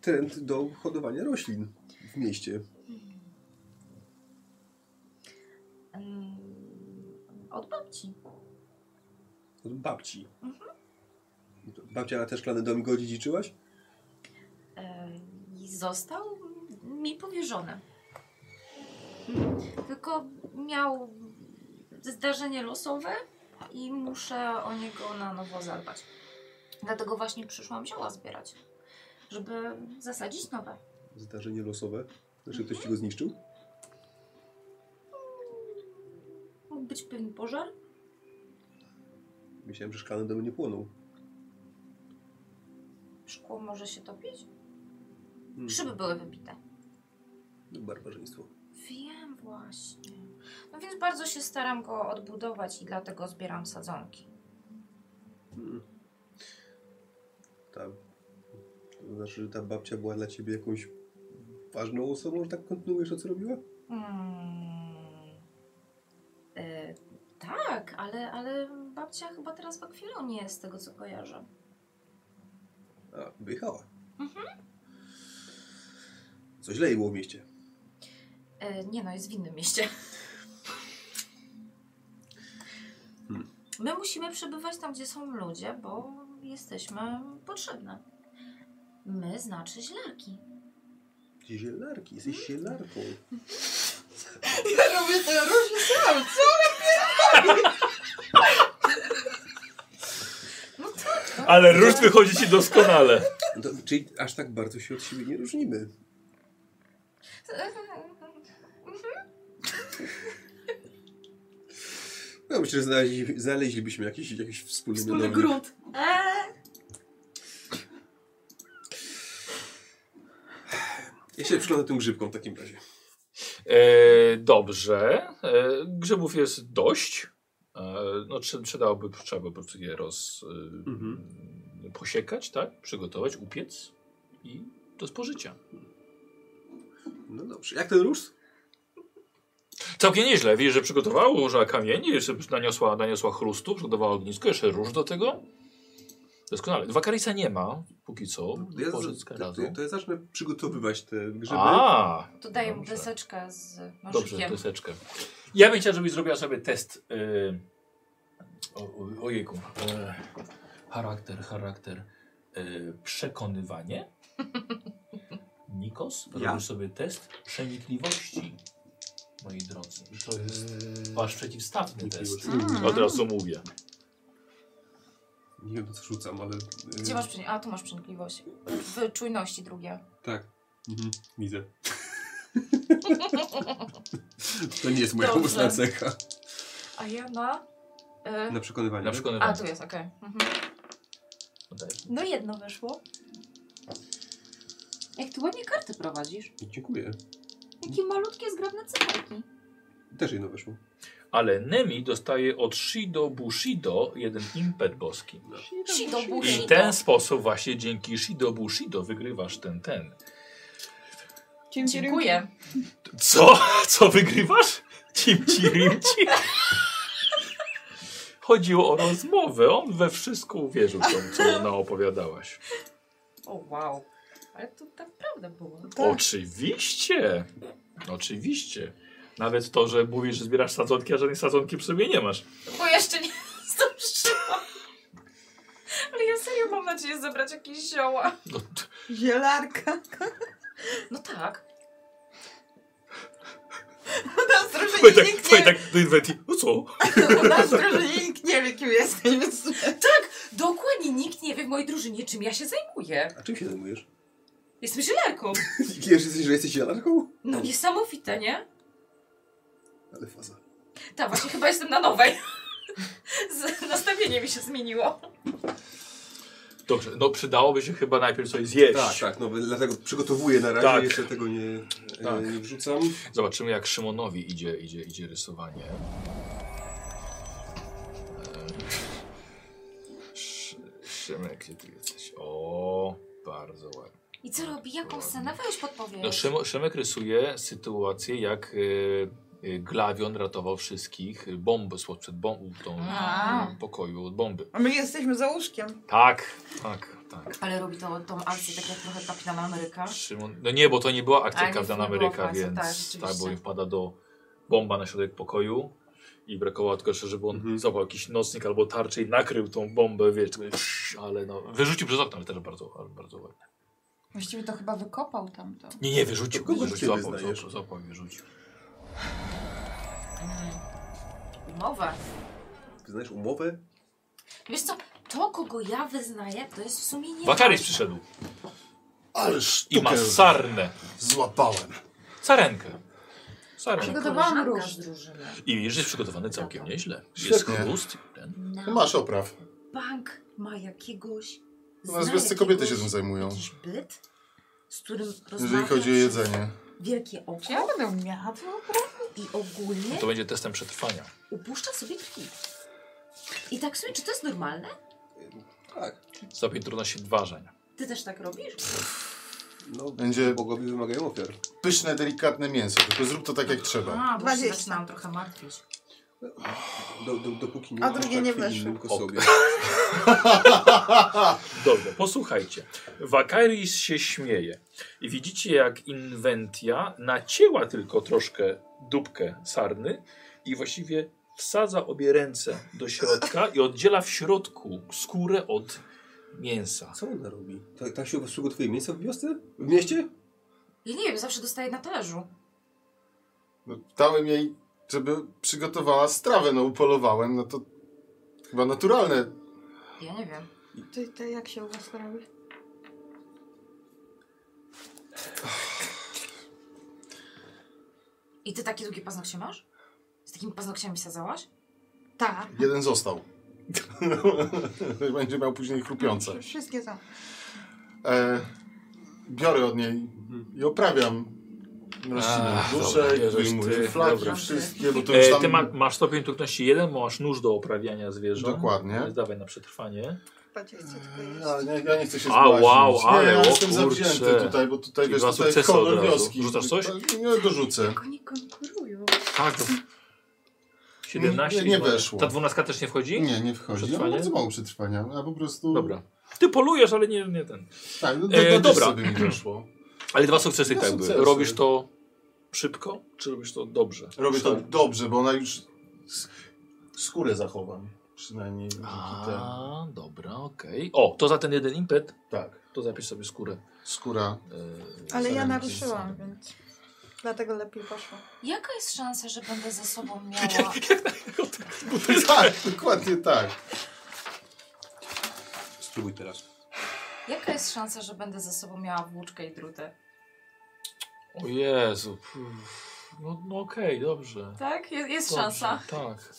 E: trend do hodowania roślin w mieście.
B: Mm, Od babci.
E: Od babci.
D: Mhm.
E: Babcia na te szklane domy dziedziczyłaś?
B: E, I został mi powierzony. Hmm. Tylko miał zdarzenie losowe i muszę o niego na nowo zadbać. Dlatego właśnie przyszłam zioła zbierać, żeby zasadzić nowe.
E: Zdarzenie losowe. Znaczy ktoś ci go zniszczył?
B: Mógł być pewien pożar.
E: Myślałem, że szklany dom nie płonął.
B: Szkło może się topić.
E: Hmm.
B: Szyby były wybite.
E: No, Barbarzyństwo.
B: Wiem właśnie. No więc bardzo się staram go odbudować i dlatego zbieram sadzonki.
E: Hmm. Ta, to znaczy, że ta babcia była dla ciebie jakąś ważną osobą, że tak kontynuujesz to, co robiła?
B: Mm. E, tak, ale, ale babcia chyba teraz w akwilionie jest, z tego co kojarzę.
E: A, wyjechała.
B: Mhm.
E: Co źle jej było w mieście.
B: E, nie no, jest w innym mieście.
E: Hmm.
B: My musimy przebywać tam, gdzie są ludzie, bo jesteśmy potrzebne. My znaczy źlarki.
E: Zielarki, jesteś
B: Mhm.
E: zielarką.
C: Ja robię to różne sam.
B: No tak. no.
A: Ale róż wychodzi ci doskonale.
E: No to, czyli aż tak bardzo się od siebie nie różnimy. No myślę, że znaleźli, znaleźlibyśmy jakiś, jakiś wspólny,
C: Wspólny
E: mianownik.
C: grunt.
B: Eee,
E: Ja się przyglądam tym grzybkom w takim razie.
A: E, dobrze. E, grzybów jest dość. E, no, trze- przydałoby, trzeba by po prostu je roz, e,
E: Mhm.
A: posiekać, tak? Przygotować, upiec i do spożycia.
E: No dobrze. Jak ten róż?
A: Całkiem nieźle. Widzisz, że przygotowała, ułożyła kamienie, jeszcze naniosła, naniosła chrustu, przygotowała ognisko, jeszcze róż do tego. Doskonale. Wakarica nie ma, póki co.
E: To ja,
A: Pożyczka
E: to,
A: razu.
E: to, to ja zacznę przygotowywać te grzyby.
A: A,
K: To daję mu
A: Dobrze.
K: deseczkę z
A: Dobrze,
K: nożykiem.
A: deseczkę. Ja bym chciał, żebyś zrobiła sobie test. y, Yy... O, o, ojejku. E, charakter, charakter. y, przekonywanie. Nikos,
E: Ja?
A: robisz sobie test przenikliwości, moi drodzy.
D: To jest...
E: Eee.
A: Wasz przeciwstawny test.
C: Mm.
A: Od razu mówię.
E: Nie wiem, co rzucam, ale... y,
B: Gdzie masz przenikliwość? A, tu masz przenikliwość. W czujności drugie.
E: Tak. Mhm. Widzę. to nie jest moja
B: Dobrze.
E: mocna cecha.
B: A ja na... Y...
E: Na przekonywanie.
A: Na
B: A,
A: przekonywanie.
B: tu jest, okej. Mhm.
A: Daj.
B: No jedno weszło. Jak ty ładnie karty prowadzisz.
E: Dziękuję.
F: Jakie malutkie, zgrabne cyferki.
E: Też jedno weszło.
A: Ale Nemi dostaje od Shido Bushido jeden impet boski.
B: Shido
A: I w
B: Bushido.
A: ten sposób właśnie dzięki Shido Bushido wygrywasz ten ten.
B: Dziękuję.
A: Co? Co wygrywasz? Cimci rimci? Chodziło o rozmowę. On we wszystko uwierzył, co, co ona opowiadałaś.
B: O wow. Ale to naprawdę było. No
C: Tak.
A: Oczywiście. Oczywiście. Nawet to, że mówisz, że zbierasz sadzonki, a żadnej sadzonki przy sobie nie masz.
B: Bo jeszcze nie zdążyłam. Ale ja serio mam nadzieję zebrać jakieś zioła.
A: No, t-
C: Zielarka.
B: No tak.
C: U nas w
A: Słuchaj,
C: drużynie
A: tak,
C: nikt nie
A: słuchaj, tak, do Inwenti. No co?
C: wie, u nas w drużynie nikt nie wie, kim jesteś, więc...
B: Dokładnie nikt nie wie w mojej drużynie, czym ja się zajmuję.
E: A czym się zajmujesz?
B: Jestem zielarką.
E: Wiesz, jesteś, że jesteś jalarką?
B: No niesamowite, nie?
E: Ale faza.
B: Ta, właśnie chyba jestem na nowej. Z, nastawienie mi się zmieniło.
A: Dobrze, no przydałoby się chyba najpierw coś zjeść.
E: Tak, tak, no dlatego przygotowuję na razie,
A: Tak.
E: jeszcze tego nie,
A: Tak.
E: e, nie wrzucam.
A: Zobaczymy jak Szymonowi idzie, idzie, idzie rysowanie. Szy- E, Szymek, gdzie ty jesteś? O, bardzo ładnie.
F: I co robi? Jaką scenę? Weź podpowiedz.
A: No, Szym, Szymek rysuje sytuację, jak y, y, Glawion ratował wszystkich bomby, słod przed bombą, w tą
B: A.
A: y, pokoju od bomby.
C: A my jesteśmy za łóżkiem.
A: Tak, tak, tak.
B: Ale robi to, tą akcję tak jak trochę Kapitan Ameryka.
A: Szymon, no nie, bo to nie była
B: A,
A: akcja
B: nie,
A: Kapitan
B: nie było
A: Ameryka,
B: akcji,
A: więc
B: tak,
A: tak,
B: rzeczywiście.
A: bo im wpada do bomba na środek pokoju i brakowało tylko jeszcze, żeby on
E: Mhm.
A: złapał jakiś nocnik albo tarczę i nakrył tą bombę, wiesz, tylko psz, ale no, wyrzucił przez okno, ale też bardzo, ale bardzo ładnie.
C: Właściwie to chyba wykopał tamto.
A: Nie, nie, wyrzucił,
E: To kogo
A: wyrzucił,
E: kiedy
A: złapał,
E: znajdziesz?
A: złapał, złapał i wyrzucił.
B: Umowę.
E: Znasz umowę?
F: Wiesz co? To, kogo ja wyznaję, to jest w sumie nie.
A: Wakaris przyszedł
D: Ależ
A: i ma sarnę,
D: Złapałem.
A: sarenkę.
F: Ale
A: Sarenkę.
C: Przygotowałam
F: koleżanka
C: róż.
F: z drużyny.
A: I wiesz, że jest przygotowany całkiem
F: Dobra.
A: nieźle. Jest
D: Świetnie.
A: chrust. i ten.
F: Na
D: No Masz opraw.
F: No, bank ma jakiegoś.
D: U
F: zna
D: nas wiesz, kobiety się
F: jakiegoś-
D: tym zajmują.
F: Jakiś byt, z którym rozmawia
D: Jeżeli chodzi o jedzenie.
F: Wielkie
C: Czy ja
F: oko
C: będę miała
F: i ogólnie
A: To będzie testem przetrwania.
F: upuszcza sobie krwi. I tak sobie, czy to jest normalne?
E: Tak.
A: Stopień trudności dważeń.
F: Ty też tak robisz?
E: No,
D: Będzie-
E: bogowie wymagają ofiar.
D: Pyszne, delikatne mięso, tylko zrób to tak jak trzeba.
F: A, bo się
C: 20.
F: zaczynam trochę martwić.
E: Do, do, dopóki nie
C: A drugie nie
E: krwi
C: weszło.
E: innym, tylko
A: Ok.
E: sobie.
A: Dobrze, posłuchajcie. Wakaris się śmieje. I widzicie, jak Inventia nacięła tylko troszkę dupkę sarny i właściwie wsadza obie ręce do środka i oddziela w środku skórę od mięsa.
E: Co ona robi? Ta, ta się przygotowuje miejsce w wiosce? W mieście?
B: Ja nie wiem, zawsze dostaję na talerzu.
D: No, dałem jej, żeby przygotowała strawę, no upolowałem, no to chyba naturalne.
B: Ja nie wiem.
C: Ty, ty jak się u was robi?
B: I ty takie długie paznokcie masz? Z takimi paznokciami sadzałaś?
C: Tak.
D: Jeden został. Będzie miał później chrupiące.
C: Wszystkie są.
D: E, biorę od niej i oprawiam roślinę
A: Ach, dobra,
D: duszę,
A: bierzesz ty,
D: wyjmuję flagi
A: dobra.
D: wszystkie, bo to już
A: E,
D: tam...
A: ty ma, masz stopień trudności 1, bo masz nóż do oprawiania zwierząt.
D: Dokładnie.
A: Więc Dawaj na przetrwanie.
C: 20 tylko
D: Ja
C: jest.
D: E, nie, ja nie chcę się
A: A,
D: zbłaźnić.
A: wow,
D: nie,
A: ale,
D: ja
A: o
D: jestem
A: kurczę.
D: zawzięty tutaj, bo tutaj
A: Czyli
D: wiesz,
A: dwa
D: tutaj
A: sukcesy
D: kolor
A: od razu.
D: wioski.
A: Rzucasz coś?
D: Nie, dorzucę.
F: Oni konkurują.
A: Tak. 17
D: Nie- nie
A: i dwa-
D: weszło.
A: Ta 12 też nie wchodzi?
D: Nie, nie wchodzi. Ja mam
A: Przetrwanie?
D: bardzo mało przetrwania. Ja po prostu...
A: Dobra. Ty polujesz, ale nie, nie ten.
D: Tak, no, do,
A: E,
D: do,
A: dobra.
D: dobra. sobie mi weszło.
A: Ale dwa sukcesy i
D: Dwa
A: tak były.
D: sukcesy.
A: Robisz to szybko, czy robisz to dobrze?
D: Robię to dobrze, bo ona już... s- Skórę zachowam. Przynajmniej dzięki temu.
A: A, dobra, okej. O, to za ten jeden impet.
D: Tak.
A: To zapisz sobie skórę.
D: Skóra.
A: e,
C: Ale ja
A: zaręczy
C: naruszyłam,
A: z-
C: więc dlatego lepiej poszło.
B: Jaka jest szansa, że będę ze sobą miała...
D: Tak, dokładnie tak.
E: Spróbuj teraz.
B: Jaka jest szansa, że będę ze sobą miała włóczkę i drutę?
A: O Jezu. pff. No, no okej, dobrze.
B: Tak? Jest, jest
A: Dobrze,
B: szansa.
A: Tak.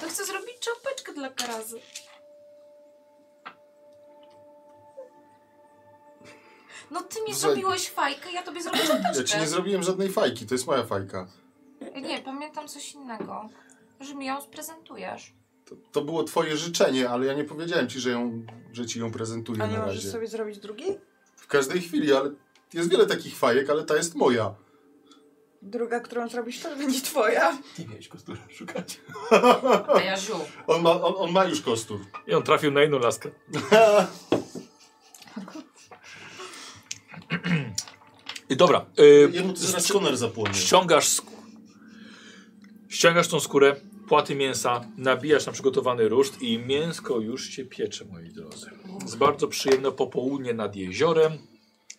B: To chcę zrobić czapeczkę dla karazy. No ty mi
D: Słuchaj.
B: zrobiłeś fajkę, ja tobie zrobię
D: Ja ci
B: czapeczkę.
D: nie zrobiłem żadnej fajki, to jest moja fajka.
B: Nie, pamiętam coś innego. Że mi ją sprezentujesz.
D: To, to było twoje życzenie, ale ja nie powiedziałem ci, że, ją, że ci ją prezentuję
C: A nie
D: na
C: możesz
D: razie.
C: sobie zrobić drugiej?
D: W każdej chwili, ale jest wiele takich fajek, ale ta jest moja.
C: Druga, którą zrobisz, też będzie twoja.
E: Nie miałeś kostura szukać.
B: A Jaziu,
D: On ma, on, on ma już kostur.
A: I on trafił na inną laskę. I dobra. y,
D: Jemu to zaraz koner zapłonie.
A: Ściągasz skórę. Ściągasz tą skórę, płaty mięsa, nabijasz na przygotowany ruszt i mięsko już się piecze, moi drodzy. Jest bardzo przyjemne popołudnie nad jeziorem.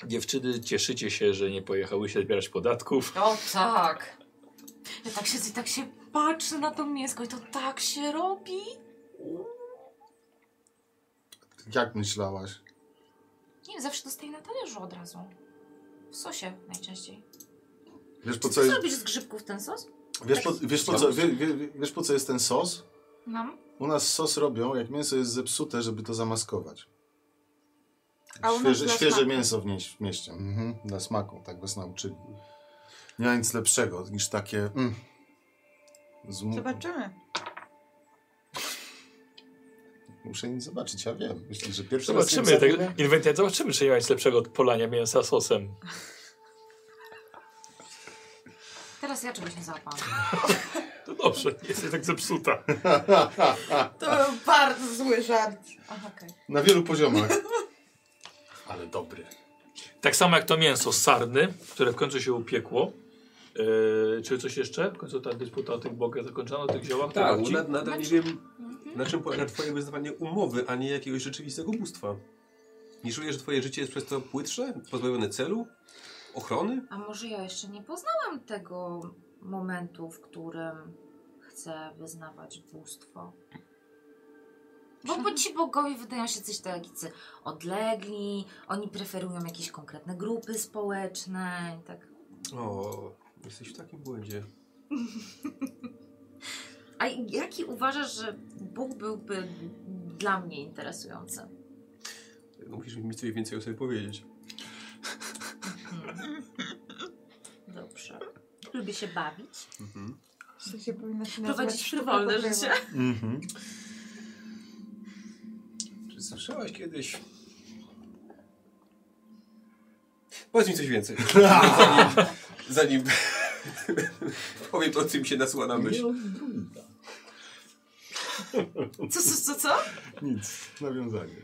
A: Dziewczyny, cieszycie się, że nie pojechałyście zbierać podatków.
B: o tak. Ja tak siedzę i tak się patrzę na to mięsko i to tak się robi.
D: Jak myślałaś?
B: Nie wiem, zawsze dostaję na talerzu od razu. W sosie najczęściej.
D: Wiesz po
F: Czy
D: co
F: ty
D: jest,
F: zrobisz z grzybków ten sos?
D: wiesz po, wiesz po, co, wie, wie, wiesz po co jest ten sos?
B: Mam?
D: U nas sos robią, jak mięso jest zepsute, żeby to zamaskować.
C: A u nas
D: Świeże,
C: dla
D: świeże
C: smaku.
D: mięso w nie, w mieście. Mhm. Dla smaku, tak was nauczyli. Nie ma nic lepszego niż takie... Mm, z mu-
C: Zobaczymy.
D: Muszę nic zobaczyć, ja wiem. Myślę, że pierwszy
A: Zobaczymy,
D: raz... nim
A: tak,
D: zajmę?
A: inwentarz, zobaczymy, czy nie ma nic lepszego od polania mięsa sosem.
F: Teraz ja czegoś nie załapałam.
A: To dobrze, jesteś tak zepsuta.
C: To był bardzo zły żart.
B: Aha, okej.
D: Na wielu poziomach. Ale dobry.
A: Tak samo jak to mięso z sarny, które w końcu się upiekło. Yy, czy coś jeszcze? W końcu ta dysputa o tych bogach zakończona, o tych ziołach?
E: Tak,
A: Ci-
E: nad, nadal nie wiem, na czym polega twoje wyznawanie umowy, a nie jakiegoś rzeczywistego bóstwa. Nie czuję, że twoje życie jest przez to płytsze, pozbawione celu, ochrony?
F: A może ja jeszcze nie poznałam tego momentu, w którym chcę wyznawać bóstwo? Bo, bo ci bogowie wydają się coś tacy odlegli, oni preferują jakieś konkretne grupy społeczne i tak.
E: O, jesteś w takim błędzie.
F: A jaki uważasz, że Bóg byłby dla mnie interesujący?
E: Musisz mi coś więcej o sobie powiedzieć.
F: Hmm. Dobrze. Lubię się bawić.
E: Mhm.
C: W sensie powinna tak się
F: Prowadzić
C: nazywać sztuka
F: frywolne
C: podrywu.
F: życie.
D: Mhm.
E: Czy słyszałaś kiedyś? Powiedz mi coś więcej. zanim zanim powiem to, czym się nasuła na myśl.
B: Co, co, co, co?
D: Nic, nawiązanie.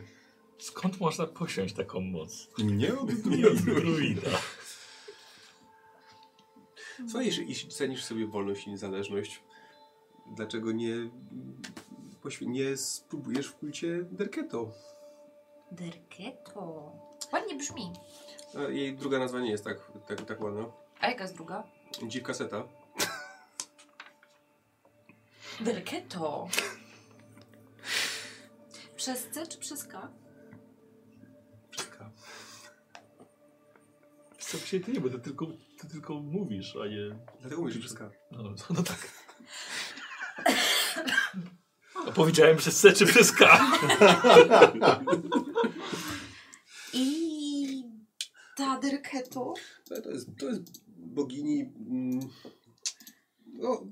A: Skąd można posiąść taką moc?
D: Nie od
A: Nie od druida.
E: Co jeśli, jeśli cenisz sobie wolność i niezależność? Dlaczego nie, poświ- nie spróbujesz w kulcie Derketo?
F: Derketo.
B: Ładnie brzmi.
E: A jej druga nazwa nie jest tak, tak, tak ładna.
B: A jaka jest druga?
E: Dziwka seta.
B: Delketo.
F: Przez C czy przez K?
E: Wszystka.
A: Co się ty nie, bo ty tylko, ty tylko mówisz, a nie...
E: Dlatego mówisz wszystka.
A: No, no, no tak. No, powiedziałem przez C czy przez K.
F: I ta Derketo.
E: To, to, jest, to jest bogini. mm, No,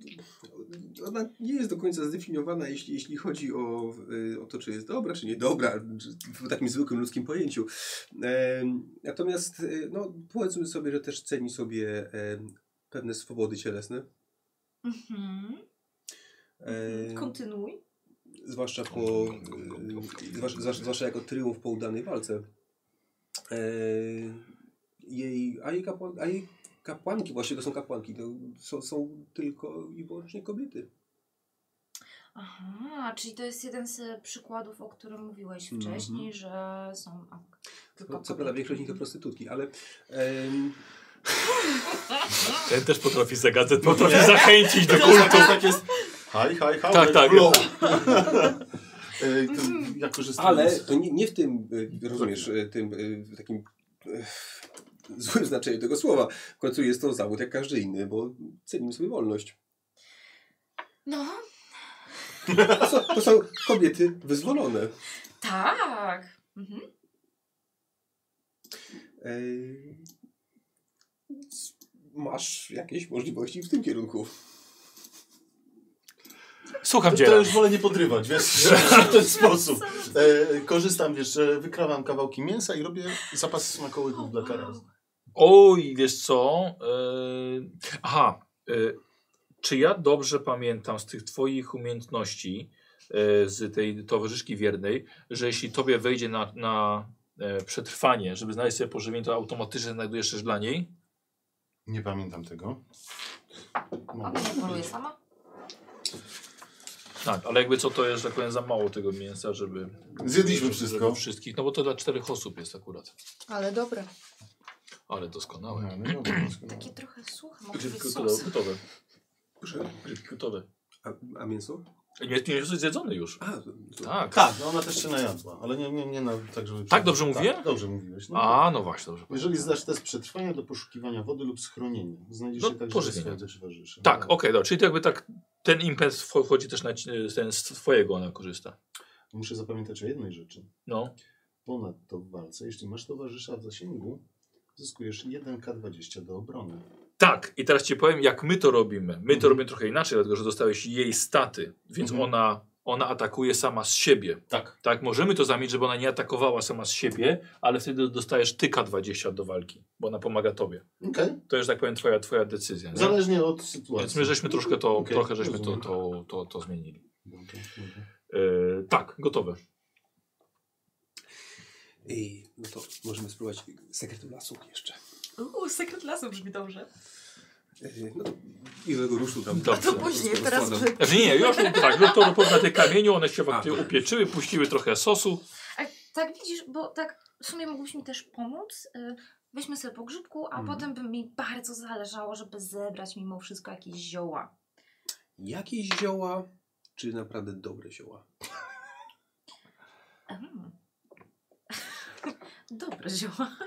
E: ona nie jest do końca zdefiniowana, jeśli, jeśli chodzi o, y, o to, czy jest dobra, czy niedobra, czy w takim zwykłym ludzkim pojęciu. Em, Natomiast, y, no, powiedzmy sobie, że też ceni sobie em, pewne swobody cielesne.
F: Mhm.
B: Mhm.
E: em,
F: Kontynuuj.
E: Zwłaszcza po. y, Zwłaszcza, zwłaszcza- zwłaszcza jako triumf po udanej walce. E, jej, a, jej kapłan, a jej kapłanki, właśnie to są kapłanki, to są, są tylko i wyłącznie kobiety.
F: Aha, czyli to jest jeden z e, przykładów, o którym mówiłeś
D: Mhm.
F: wcześniej, że są a, tylko
E: Co, co prawda większość z nich to prostytutki, ale em,
A: Ten też potrafi zagadać, potrafi zachęcić do kultu.
D: tak jest. Haj, haj, haj.
A: Tak, tak.
D: blow. Ej, to
C: Mhm.
D: Ja korzystam
E: Ale
D: z...
E: to nie, nie w tym, y, rozumiesz, y, tym y, takim y, złym znaczeniu tego słowa. W końcu jest to zawód jak każdy inny, bo cenimy sobie wolność.
F: No,
E: To są, to są kobiety wyzwolone.
F: tak. Mhm.
E: Ej, Masz jakieś możliwości w tym kierunku.
A: Słucham
D: To,
A: cię.
D: to już wolę nie podrywać, wiesz, w ten sposób. E, korzystam, wiesz, e, wykrawam kawałki mięsa i robię zapas smakołyków dla karazy.
A: Oj, wiesz co? Eee, aha. Eee, czy ja dobrze pamiętam z tych twoich umiejętności, e, z tej towarzyszki wiernej, że jeśli tobie wejdzie na, na e, przetrwanie, żeby znaleźć sobie pożywienie, to automatycznie znajdujesz też dla niej?
D: Nie pamiętam tego. No.
F: Ona nie poluje sama?
A: Tak, ale jakby co to jest, że tak powiem, za mało tego mięsa, żeby...
D: Zjedliśmy
A: żeby
D: wszystko.
A: Wszystkich, no bo to dla czterech osób jest akurat.
C: Ale dobre.
A: Ale doskonałe.
D: No, no dobra, doskonale.
F: Takie trochę suche, może być
A: Gotowe.
F: sos.
A: Gotowe.
E: Proszę.
A: gotowe.
E: A, a mięso?
A: Nie, nie jest zjedzony już.
E: A, to-
A: Tak.
D: Tak, no ona też się najadła, ale nie, nie, nie na, tak, żeby...
A: Tak dobrze mówię?
D: dobrze mówiłeś. No.
A: A, no właśnie, dobrze.
D: Jeżeli zdasz test przetrwania do poszukiwania wody lub schronienia, znajdziesz
A: No,
D: je także
A: pożywienia.
D: swoje rzeczy towarzyszy.
A: Tak, okej, dobra. Czyli to jakby tak ten impet wcho- wchodzi też na ci- ten z twojego ona korzysta.
D: Muszę zapamiętać o jednej rzeczy.
A: No.
D: Ponadto w walce, jeśli masz towarzysza w zasięgu, zyskujesz 1K20 do obrony.
A: Tak, i teraz ci powiem, jak my to robimy. My to
D: Mhm.
A: robimy trochę inaczej, dlatego że dostałeś jej staty, więc
D: Mhm.
A: ona, ona atakuje sama z siebie.
D: Tak.
A: Tak, możemy to zamieć, żeby ona nie atakowała sama z siebie, ale wtedy dostajesz tyka 20 do walki, bo ona pomaga tobie.
D: Okej.
A: To jest, tak powiem, twoja, twoja decyzja. Nie?
D: Zależnie od
A: Tak. Więc
D: sytuacji.
A: my żeśmy troszkę to,
D: Okej,
A: trochę żeśmy to,
D: rozumiem.
A: to, to, to zmienili.
D: Dobra, dobra.
A: Yy, tak, gotowe.
E: Ej, no to możemy spróbować sekretu lasu jeszcze.
B: Uuu, sekret lasu brzmi dobrze.
E: Ej, No, i tego ruszu tam.
A: Dobrze.
E: tam
A: To
E: rozkładam.
A: Znaczy nie, już tak, już to na tym kamieniu, one się
E: A,
A: faktycznie
E: tak.
A: upieczyły, puściły trochę sosu.
F: A tak widzisz, bo tak w sumie mógłbyś mi też pomóc. y, Weźmy sobie pogrzebku, a
A: Mhm.
F: potem by mi bardzo zależało, żeby zebrać mimo wszystko jakieś zioła.
E: Jakieś zioła, czy naprawdę dobre zioła?
F: Mm. Dobre zioła.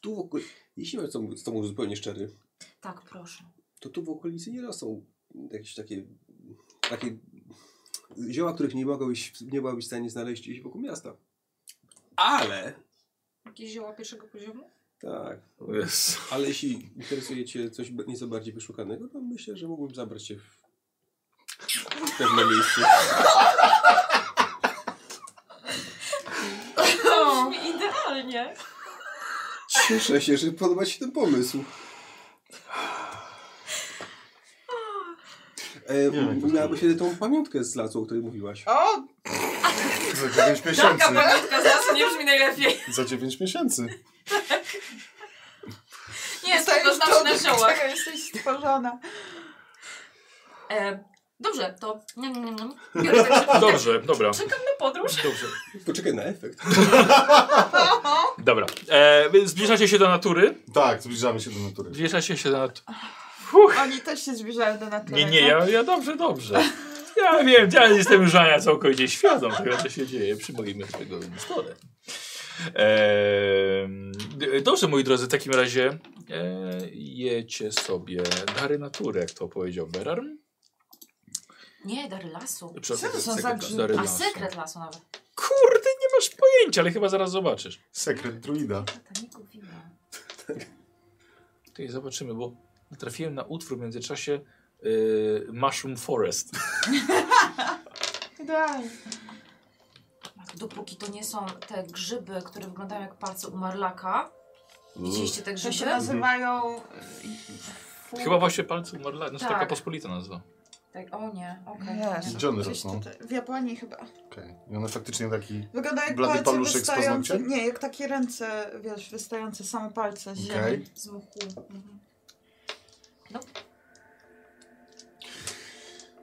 E: Tu w okolicy, jeśli mam z tobą- z tobą zupełnie szczery,
F: Tak, proszę.
E: to tu w okolicy nie rosną jakieś takie, takie zioła, których nie mogłabyś, nie byłabyś w stanie znaleźć gdzieś wokół miasta. Ale,
F: Jakieś zioła pierwszego poziomu?
E: tak, ale jeśli interesuje cię coś b- nieco bardziej wyszukanego, to myślę, że mógłbym zabrać cię w pewne miejsce.
B: To brzmi idealnie.
E: Cieszę się, że podoba ci się ten pomysł. E,
D: Nie wiem, jak to
E: miałabyś wtedy tą pamiątkę z lasu, o której mówiłaś.
C: O,
D: Za 9 miesięcy.
B: Taka pamiątka z lasu nie brzmi najlepiej.
D: Za 9 miesięcy.
B: Nie, to
C: to
B: już
C: już
B: nam się na ziołach.
C: czego jesteś stworzona.
F: E, dobrze, to... Nie, nie, nie, nie.
B: Biorę tak szybko.
A: Dobrze, dobra.
B: Czekam na podróż.
A: Dobrze.
E: Poczekaj na efekt.
A: Dobra. E, więc zbliżacie się do natury.
D: Tak, zbliżamy się do natury.
A: Zbliżacie się do natury.
C: Oni też się zbliżają do natury.
A: Nie, nie,
C: tak?
A: ja, ja dobrze, dobrze. Ja wiem, ja jestem już Ania całkowicie świadom tego, co się dzieje przy moim tego stole. E, dobrze, moi drodzy, w takim razie e, jecie sobie dary natury, jak to powiedział Berarm.
F: Nie, dary lasu.
A: Przepraszam,
C: Co to są za
A: sekretarz
C: brzmi-
A: dary
F: A
A: lasu.
F: sekret lasu nawet.
A: Kurde, nie masz pojęcia, ale chyba zaraz zobaczysz.
D: Sekret druida.
F: Tata, nie gubiła.
A: Tutaj zobaczymy, bo trafiłem na utwór w międzyczasie yy, Mushroom Forest.
C: Idealnie.
F: Matko, Dopóki to nie są te grzyby, które wyglądają jak palce umarlaka. Widzieliście tak, te
C: Że
F: grzyby?
C: się nazywają... y,
A: Chyba właśnie palce umarla, no to
F: Tak.
A: taka pospolita nazwa.
F: Tak, o nie, okej.
C: Jezu.
D: Gdzie one
C: Gdzieś
D: rosną?
C: tutaj, w Japonii chyba.
D: Okej. I one faktycznie taki...
C: Wygląda jak
D: Blady
C: palce
D: paluszek z
C: wystające.
D: paznokcia?
C: Nie, jak takie ręce, wiesz, wystające same palce z ziemi.
D: Okej.
F: Z mchu. Mhm.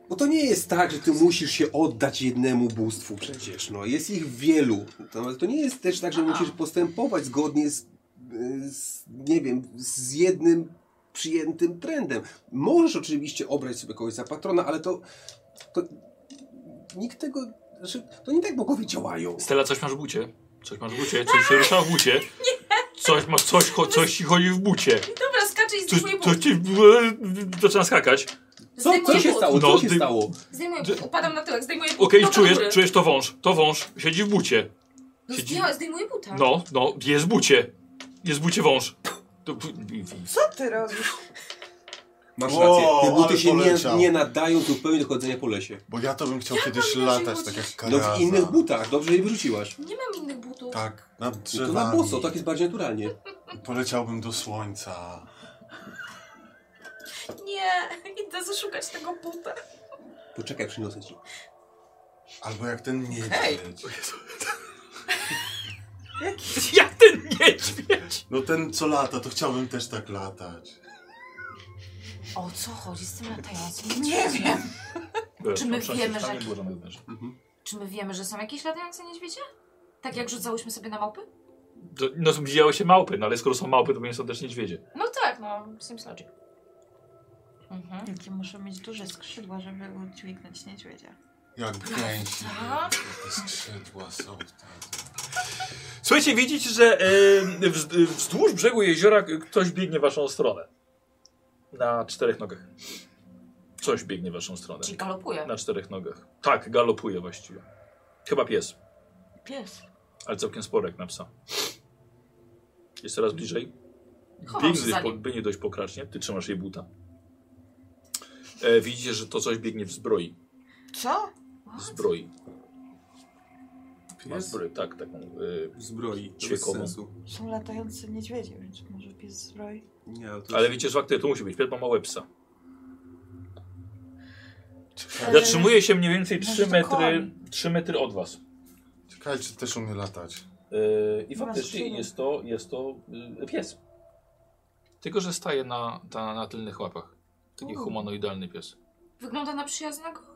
E: Bo to nie jest tak, że ty musisz się oddać jednemu bóstwu przecież, no jest ich wielu. To, to nie jest też tak, że
B: A.
E: musisz postępować zgodnie z, e, z, nie wiem, z jednym przyjętym trendem. Możesz oczywiście obrać sobie kogoś za patrona, ale to, to nikt tego, znaczy, to nie tak bogowie działają.
A: Stella, coś masz w bucie? Coś masz w bucie? Coś się rusza w bucie? Coś masz, coś, cho- coś ci chodzi w bucie.
F: Dobra, skaczę i
A: Coś,
F: zdejmuję but.
A: coś ci yy, zaczyna skakać.
E: Co, co
F: Zdejmuję
E: się
F: but.
E: stało? Co
A: No,
E: się
A: ty-
E: stało?
F: Zdejmuję
A: Że-
F: but. Upadam na tyłek, zdejmuję but.
B: No
A: Okej,
F: Noga do
A: czujesz,
F: góry.
A: czujesz to wąż. To wąż. Siedzi w bucie.
F: No,
A: siedzi-
F: zdjęła- Zdejmuję
B: Tak.
F: buta.
A: No, no, jest w bucie. Jest w bucie wąż. To,
C: Co ty robisz?
E: Masz
D: O,
E: rację, te buty
D: ale
E: się nie,
D: poleciał.
E: nie nadają zupełnie do chodzenia po lesie.
D: Bo ja to bym chciał kiedyś
F: bym
D: latać,
F: chodził.
D: tak jak
E: No
D: karaza.
E: w innych butach, dobrze je wyrzuciłaś.
F: Nie mam innych butów.
D: Tak, nad
E: No to
D: drzewami.
E: na boso, tak jest bardziej naturalnie.
D: Poleciałbym do słońca.
F: Nie, idę zaszukać tego buta.
E: Poczekaj, przyniosę ci.
D: Albo jak ten
B: Hej!
D: niedźwiedź.
A: Jak ten niedźwiedź!
D: No ten co lata, to chciałbym też tak latać.
B: O co chodzi z tym latającym?
C: Nie wiem.
B: Czy my wiemy, że-
E: Mhm.
F: Czy my wiemy, że są jakieś latające niedźwiedzie? Tak jak rzucałyśmy sobie na małpy?
A: To, no, widziały się małpy, no ale skoro są małpy, to pewnie są też niedźwiedzie.
B: No tak, no, Sims Logic. Mhm.
C: Jakie muszę mieć duże skrzydła, żeby udźwignąć niedźwiedzia.
D: Jak gęsi.
B: Tak.
D: Te skrzydła są wtedy.
A: Słuchajcie, widzicie, że e, wz- e, wzdłuż brzegu jeziora ktoś biegnie w waszą stronę. Na czterech nogach. Coś biegnie w waszą stronę.
F: Czyli galopuje.
A: Na czterech nogach. Tak, galopuje właściwie. Chyba pies,
C: Pies.
A: ale całkiem spory jak na psa. Jest coraz bliżej.
F: Chowam się
A: Biegnie
F: za
A: dość, po,
F: nim.
A: biegnie dość pokracznie. Ty trzymasz jej buta. E, widzicie, że to coś biegnie w zbroi.
C: Co?
A: W zbroi. Ma
E: Pies
A: zbroi, tak, taką. Y,
E: zbroi, to bez
A: Ćwiekową.
E: sensu.
C: Są latające niedźwiedzie, więc może pies zbroi.
E: Nie, ale to
A: ale
E: jest...
A: wiecie, że faktycznie to musi być. Pies ma małe psa.
D: Czekaj,
C: Ale-
A: Zatrzymuje się mniej więcej 3
C: Eee, Może to
A: metry,
C: koń.
A: 3 metry od was.
D: czekaj, czy też umie latać.
A: Y, I
C: Dwa
A: faktycznie
C: skrzynie.
A: jest to, jest to y, pies. Tylko, że staje na, ta, na tylnych łapach. Taki
F: U.
A: humanoidalny pies.
F: Wygląda na przyjaznego?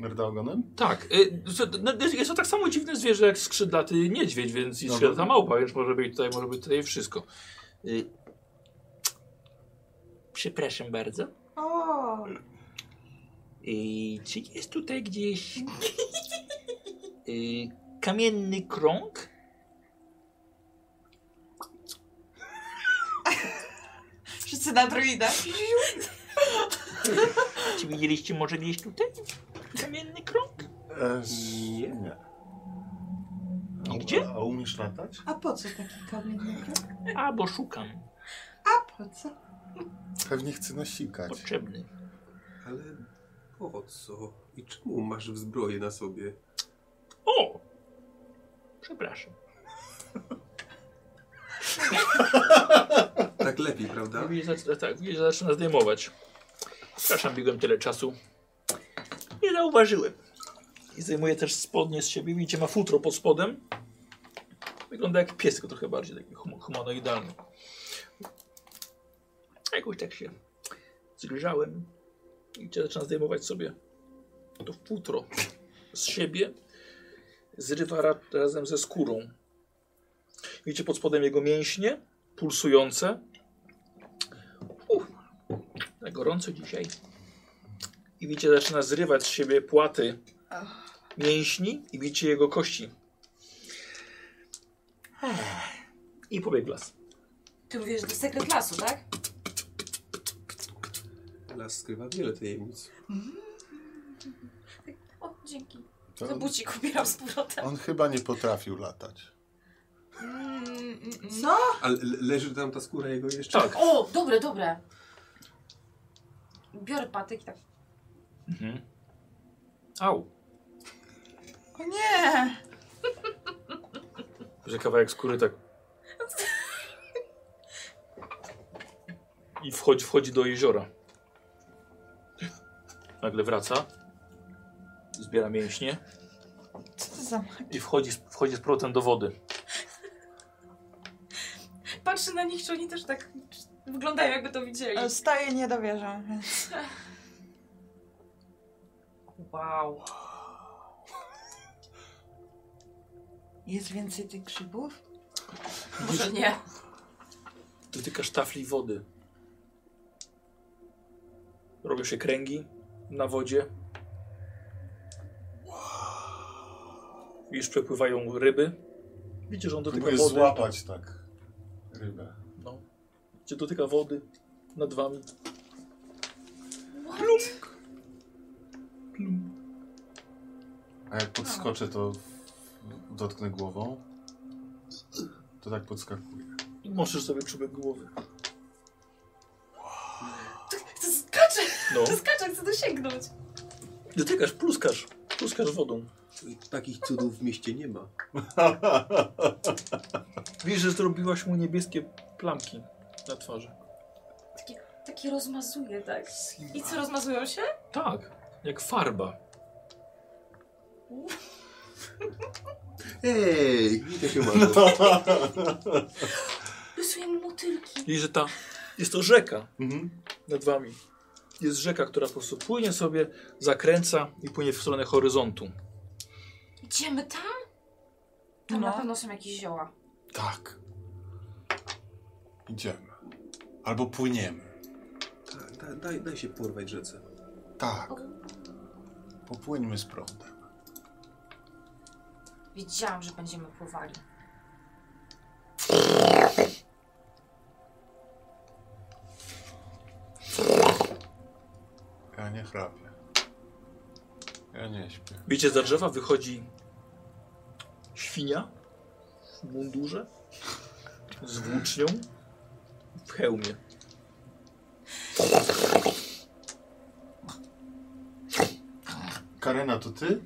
D: Merda ogonem?
A: Tak, y, z- no, jest- jest to tak samo dziwne zwierzę jak skrzydlaty niedźwiedź, więc i
D: No.
A: skrzydlata małpa, więc może być tutaj, może być tutaj wszystko. Y, Przepraszam bardzo.
C: O,
A: Y, czy jest tutaj gdzieś y, kamienny krąg?
C: wszyscy na druida.
A: Czy widzieliście może gdzieś tutaj kamienny krąg?
D: E,
E: Nie.
D: A-
A: Gdzie?
D: A umiesz latać?
C: A po co taki kamienny krok?
A: A, bo szukam.
C: A po co?
D: Pewnie chce nasikać.
A: Potrzebny.
E: Ale po co? I czemu masz w zbroję na sobie?
A: O! Przepraszam.
E: Tak lepiej, prawda?
A: Widzisz, zac- tak, widzisz, zaczyna zdejmować. Przepraszam, biegłem tyle czasu. Nie zauważyłem. I zdejmuje też spodnie z siebie. Widzicie, ma futro pod spodem. Wygląda jak pies, tylko trochę bardziej taki hum humanoidalny. Jakoś tak się zgryzałem i cię zaczyna zdejmować sobie to futro z siebie. Zrywa ra razem ze skórą. Widzicie pod spodem jego mięśnie, pulsujące. Uff, tak gorąco dzisiaj. I widzicie, zaczyna zrywać z siebie płaty mięśni i widzicie jego kości. I pobiegł las.
F: Ty mówisz, że to sekret lasu, tak?
E: Las skrywa wiele tajemnic.
F: O, dzięki.
D: To-
F: To bucik ubieram z powrotem.
D: On chyba nie potrafił latać.
F: Mm, mm, mm.
C: Co?
E: Ale le- leży tam ta skóra jego jeszcze?
A: Tak.
F: O, dobre, dobre. Biorę patyk i tak.
A: Mhm. Au.
C: O nie!
A: Że kawałek skóry tak. I wchodzi, wchodzi do jeziora. Nagle wraca. Zbiera mięśnie
C: Co to za magia?
A: i wchodzi, z- wchodzi z powrotem do wody.
F: Patrzę na nich, czy oni też tak wyglądają, jakby to widzieli.
C: E, Staję nie dowierzam. więc-
B: Wow.
C: Jest więcej tych grzybów?
B: Może nie.
A: Dotykasz tafli wody. Robią się kręgi na wodzie. Widzisz, przepływają ryby. Widzisz, że on dotyka
D: Próbuję
A: wody.
D: złapać tak rybę.
A: No. Cię dotyka wody nad wami.
D: A jak podskoczę, to dotknę głową. To tak podskakuję.
A: I możesz sobie czubek głowy.
B: Chcę skacze,
A: No.
B: skacze, chcę dosięgnąć.
A: Dotykasz, pluskasz. Pluskasz wodą.
E: Takich cudów w mieście nie ma.
A: Widzisz, że zrobiłaś mu niebieskie plamki na twarzy.
B: Takie, takie rozmazuje, tak? I co, rozmazują się?
A: Tak, jak farba.
E: Ej, widzę się mam.
F: Rysuję mu motylki.
A: Widzisz, że ta... Jest to rzeka
D: Mhm.
A: nad wami. Jest rzeka, która po prostu płynie sobie, zakręca i płynie w stronę horyzontu.
F: Idziemy tam?
B: Tam
C: No.
B: na pewno są jakieś zioła.
D: Tak. Idziemy. Albo płyniemy.
E: Tak, da, daj, daj się porwać rzece.
D: Tak. Popłyńmy z prądem.
B: Wiedziałam, że będziemy pływali.
D: Ja nie chrapię. Ja nie śpię.
A: Widzicie, za drzewa wychodzi świnia w mundurze z włócznią w hełmie.
D: Karena, to ty?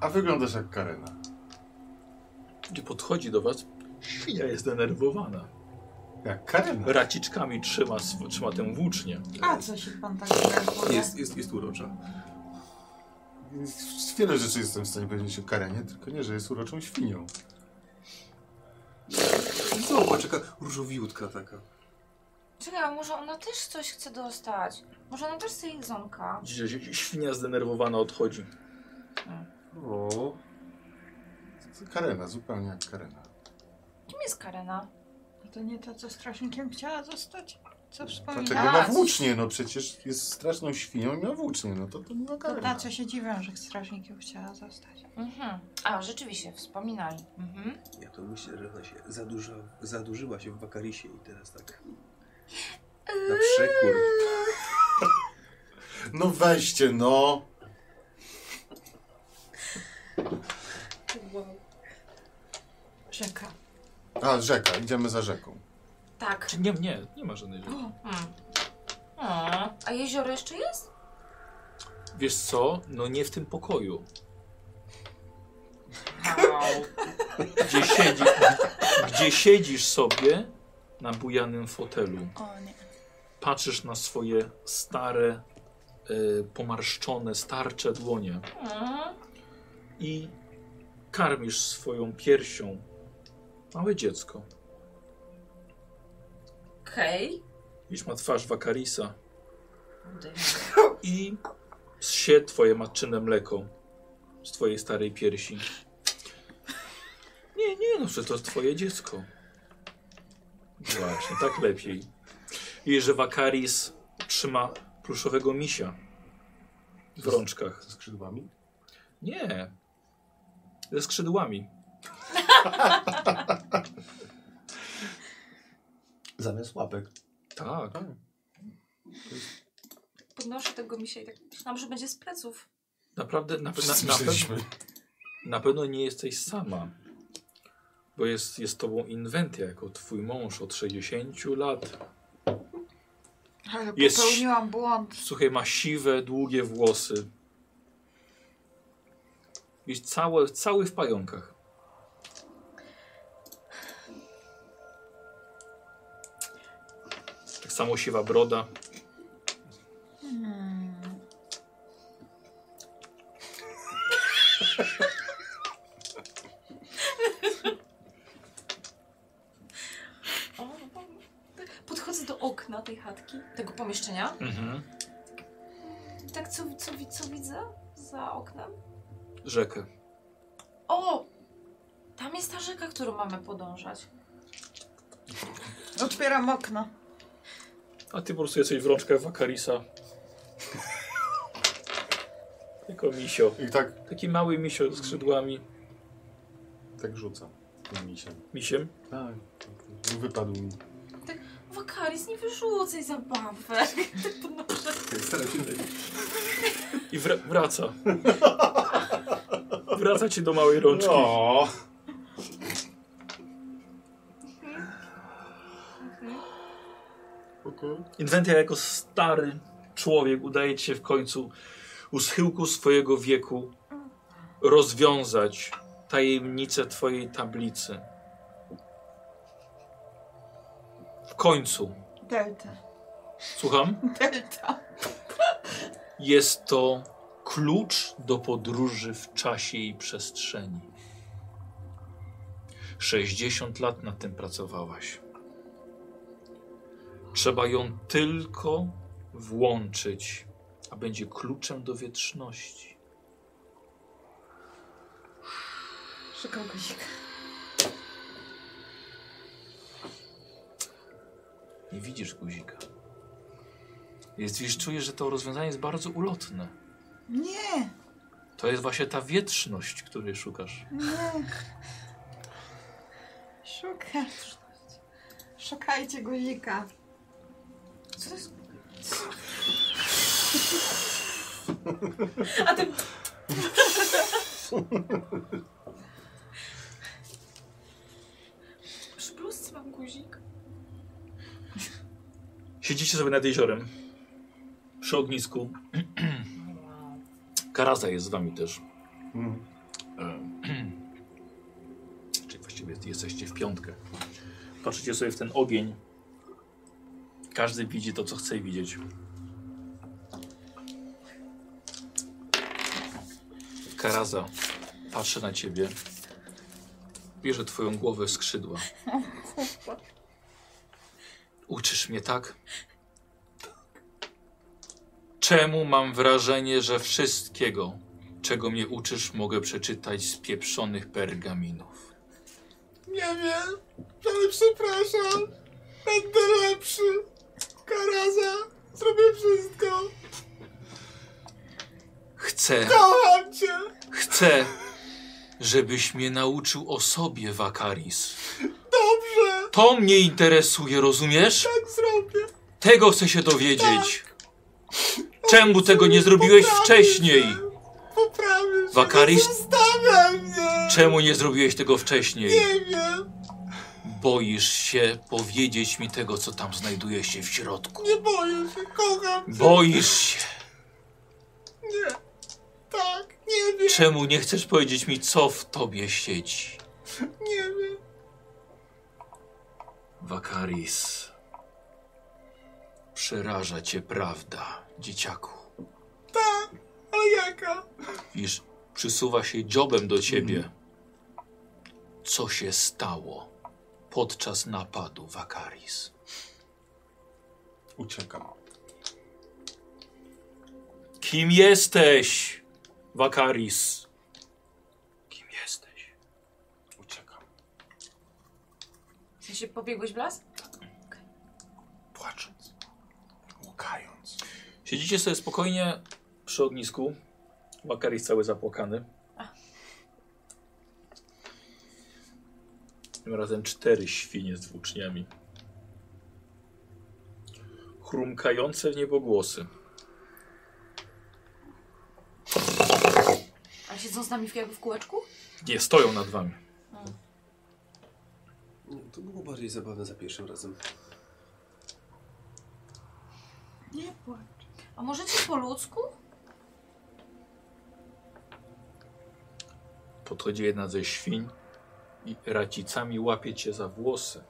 D: A wyglądasz jak Karena.
A: Gdy podchodzi do was, świnia jest zdenerwowana.
D: Jak Karena?
A: Raciczkami trzyma, sw- trzyma tę włócznię.
C: A co się pan tak denerwuje?
E: Jest, jest, jest urocza.
D: Wiele rzeczy jestem w stanie powiedzieć o Karenie, tylko nie, że jest uroczą świnią.
E: Zobacz, jaka różowiutka taka.
B: Czekaj, a może ona też coś chce dostać? Może ona też chce jedzonka?
A: Widzicie, że Świnia zdenerwowana odchodzi.
E: O,
D: Karena, zupełnie jak Karena.
B: Kim jest Karena?
C: No To nie to, co strażnikiem chciała zostać? Co
D: Dlatego
C: wspominała?
D: ma włócznie, no przecież jest straszną świnią i ma włócznie, no to to nie ma
C: To ta,
D: Karena.
C: co się dziwią, że strażnikiem chciała zostać.
B: Mhm. A, rzeczywiście, wspominali. Mhm.
E: ja to myślę, że ona się zadurza, zadurzyła się w wakarisie i teraz tak... Na przekór.
D: No weźcie, no!
C: Rzeka.
D: A, rzeka, idziemy za rzeką.
B: Tak.
A: Czy nie, nie, nie ma żadnej rzeczy.
B: Hmm. O, A jezioro jeszcze jest?
A: Wiesz co? No nie w tym pokoju.
B: Wow.
A: Gdzie, siedzi, gdzie siedzisz sobie na bujanym fotelu.
C: O nie.
A: Patrzysz na swoje stare, y, pomarszczone, starcze dłonie
B: Mm.
A: i karmisz swoją piersią małe dziecko.
B: Okej.
A: Widzisz, ma twarz wakarisa
B: Okay.
A: i zsie twoje matczyne mleko z twojej starej piersi. Nie, nie, no przecież to jest twoje dziecko. Właśnie, tak lepiej. I że Wakaris trzyma pluszowego misia w rączkach.
D: Ze skrzydłami?
A: Nie. Ze skrzydłami.
D: Zamiast łapek.
A: Tak.
B: Podnoszę tego misia i tak myślałam, że będzie z pleców.
A: Naprawdę, na,
D: Wszyscy
A: na, na, pewno,
D: myśleliśmy.
A: na pewno nie jesteś sama. Bo jest, jest tobą inwentia jako twój mąż od 60 lat.
C: Ale
A: Jest-
C: popełniłam błąd.
A: Słuchaj, ma siwe, długie włosy. Jest cały, cały w pająkach. Tak samo siwa broda.
C: Hmm.
B: O.
A: Mhm.
B: Podchodzę do okna tej chatki, tego pomieszczenia.
F: tak, co, co, wi- co widzę za oknem?
A: Rzekę.
F: O! Tam jest ta rzeka, którą mamy podążać.
C: Otwieram okno.
A: A ty po prostu jesteś w rączkach Wakarisa. Jako misio.
D: I tak,
A: Taki mały misio z skrzydłami.
D: tak rzucam tym misiem.
A: Misiem.
D: Tak, wypadł mi.
F: Wakaris, nie wyrzucaj zabawek. Ty podnoszę.
E: Staram się
A: I wra wraca. Wraca ci do małej rączki.
D: No. Okej.
A: Inwentia jako stary człowiek udaje ci się w końcu u schyłku swojego wieku rozwiązać tajemnicę twojej tablicy. W końcu.
C: Delta.
A: Słucham?
C: Delta.
A: Jest to klucz do podróży w czasie i przestrzeni. 60 lat nad tym pracowałaś. Trzeba ją tylko włączyć, a będzie kluczem do wieczności.
C: Szukam guzika.
A: Nie widzisz guzika. Jest, wiesz, czujesz, że to rozwiązanie jest bardzo ulotne.
C: Nie,
A: To jest właśnie ta wieczność, której szukasz.
C: nie. Szukam. Szukajcie guzika.
B: Co to jest?
F: Przy bluzce mam guzik.
A: Siedzicie sobie nad jeziorem. Przy ognisku. Karaza jest z wami też.
D: Mm.
A: Em, Czyli właściwie jesteście w piątkę. Patrzycie sobie w ten ogień. Każdy widzi to, co chce widzieć. Karaza patrzy na ciebie. Bierze twoją głowę w skrzydła. Uczysz mnie tak? Czemu mam wrażenie, że wszystkiego, czego mnie uczysz, mogę przeczytać z pieprzonych pergaminów?
D: Nie wiem, ale przepraszam. Będę lepszy. Karaza, zrobię wszystko.
A: Chcę,
D: Kocham cię.
A: chcę, żebyś mnie nauczył o sobie, Wakaris.
D: Dobrze,
A: To mnie interesuje, rozumiesz?
D: tak zrobię. Tak.
A: Tego chcę się dowiedzieć. Czemu tego nie zrobiłeś
D: Poprawię
A: wcześniej?
D: się. Poprawię się.
A: Wakaris-
D: Nie zostawiaj mnie.
A: Czemu nie zrobiłeś tego wcześniej?
D: Nie wiem.
A: Boisz się powiedzieć mi tego, co tam znajduje się w środku.
D: Nie boję się, kocham cię.
A: Boisz się.
D: Nie. Tak, nie wiem,
A: Czemu nie chcesz powiedzieć mi, co w tobie siedzi?
D: nie wiem.
A: Wakaris. Przeraża cię prawda, dzieciaku. Tak,
D: Ale jaka?
A: Widzisz, przysuwa się dziobem do ciebie. Co się stało podczas napadu, Wakaris?
D: Uciekam.
A: Kim jesteś, Wakaris? Kim jesteś?
D: Uciekam.
B: W sensie pobiegłeś w las?
D: Płacząc. Łukając.
A: Siedzicie sobie spokojnie przy ognisku. Wakaris cały zapłakany. Tym razem cztery świnie z włóczniami. Chrumkające w niebo głosy.
B: A siedzą z nami w, jakby w kółeczku?
A: Nie, stoją nad wami.
E: No, to było bardziej zabawne za pierwszym razem.
C: Nie płacz.
F: A możecie po ludzku?
A: Podchodzi jedna ze świń i racicami łapie cię za włosy.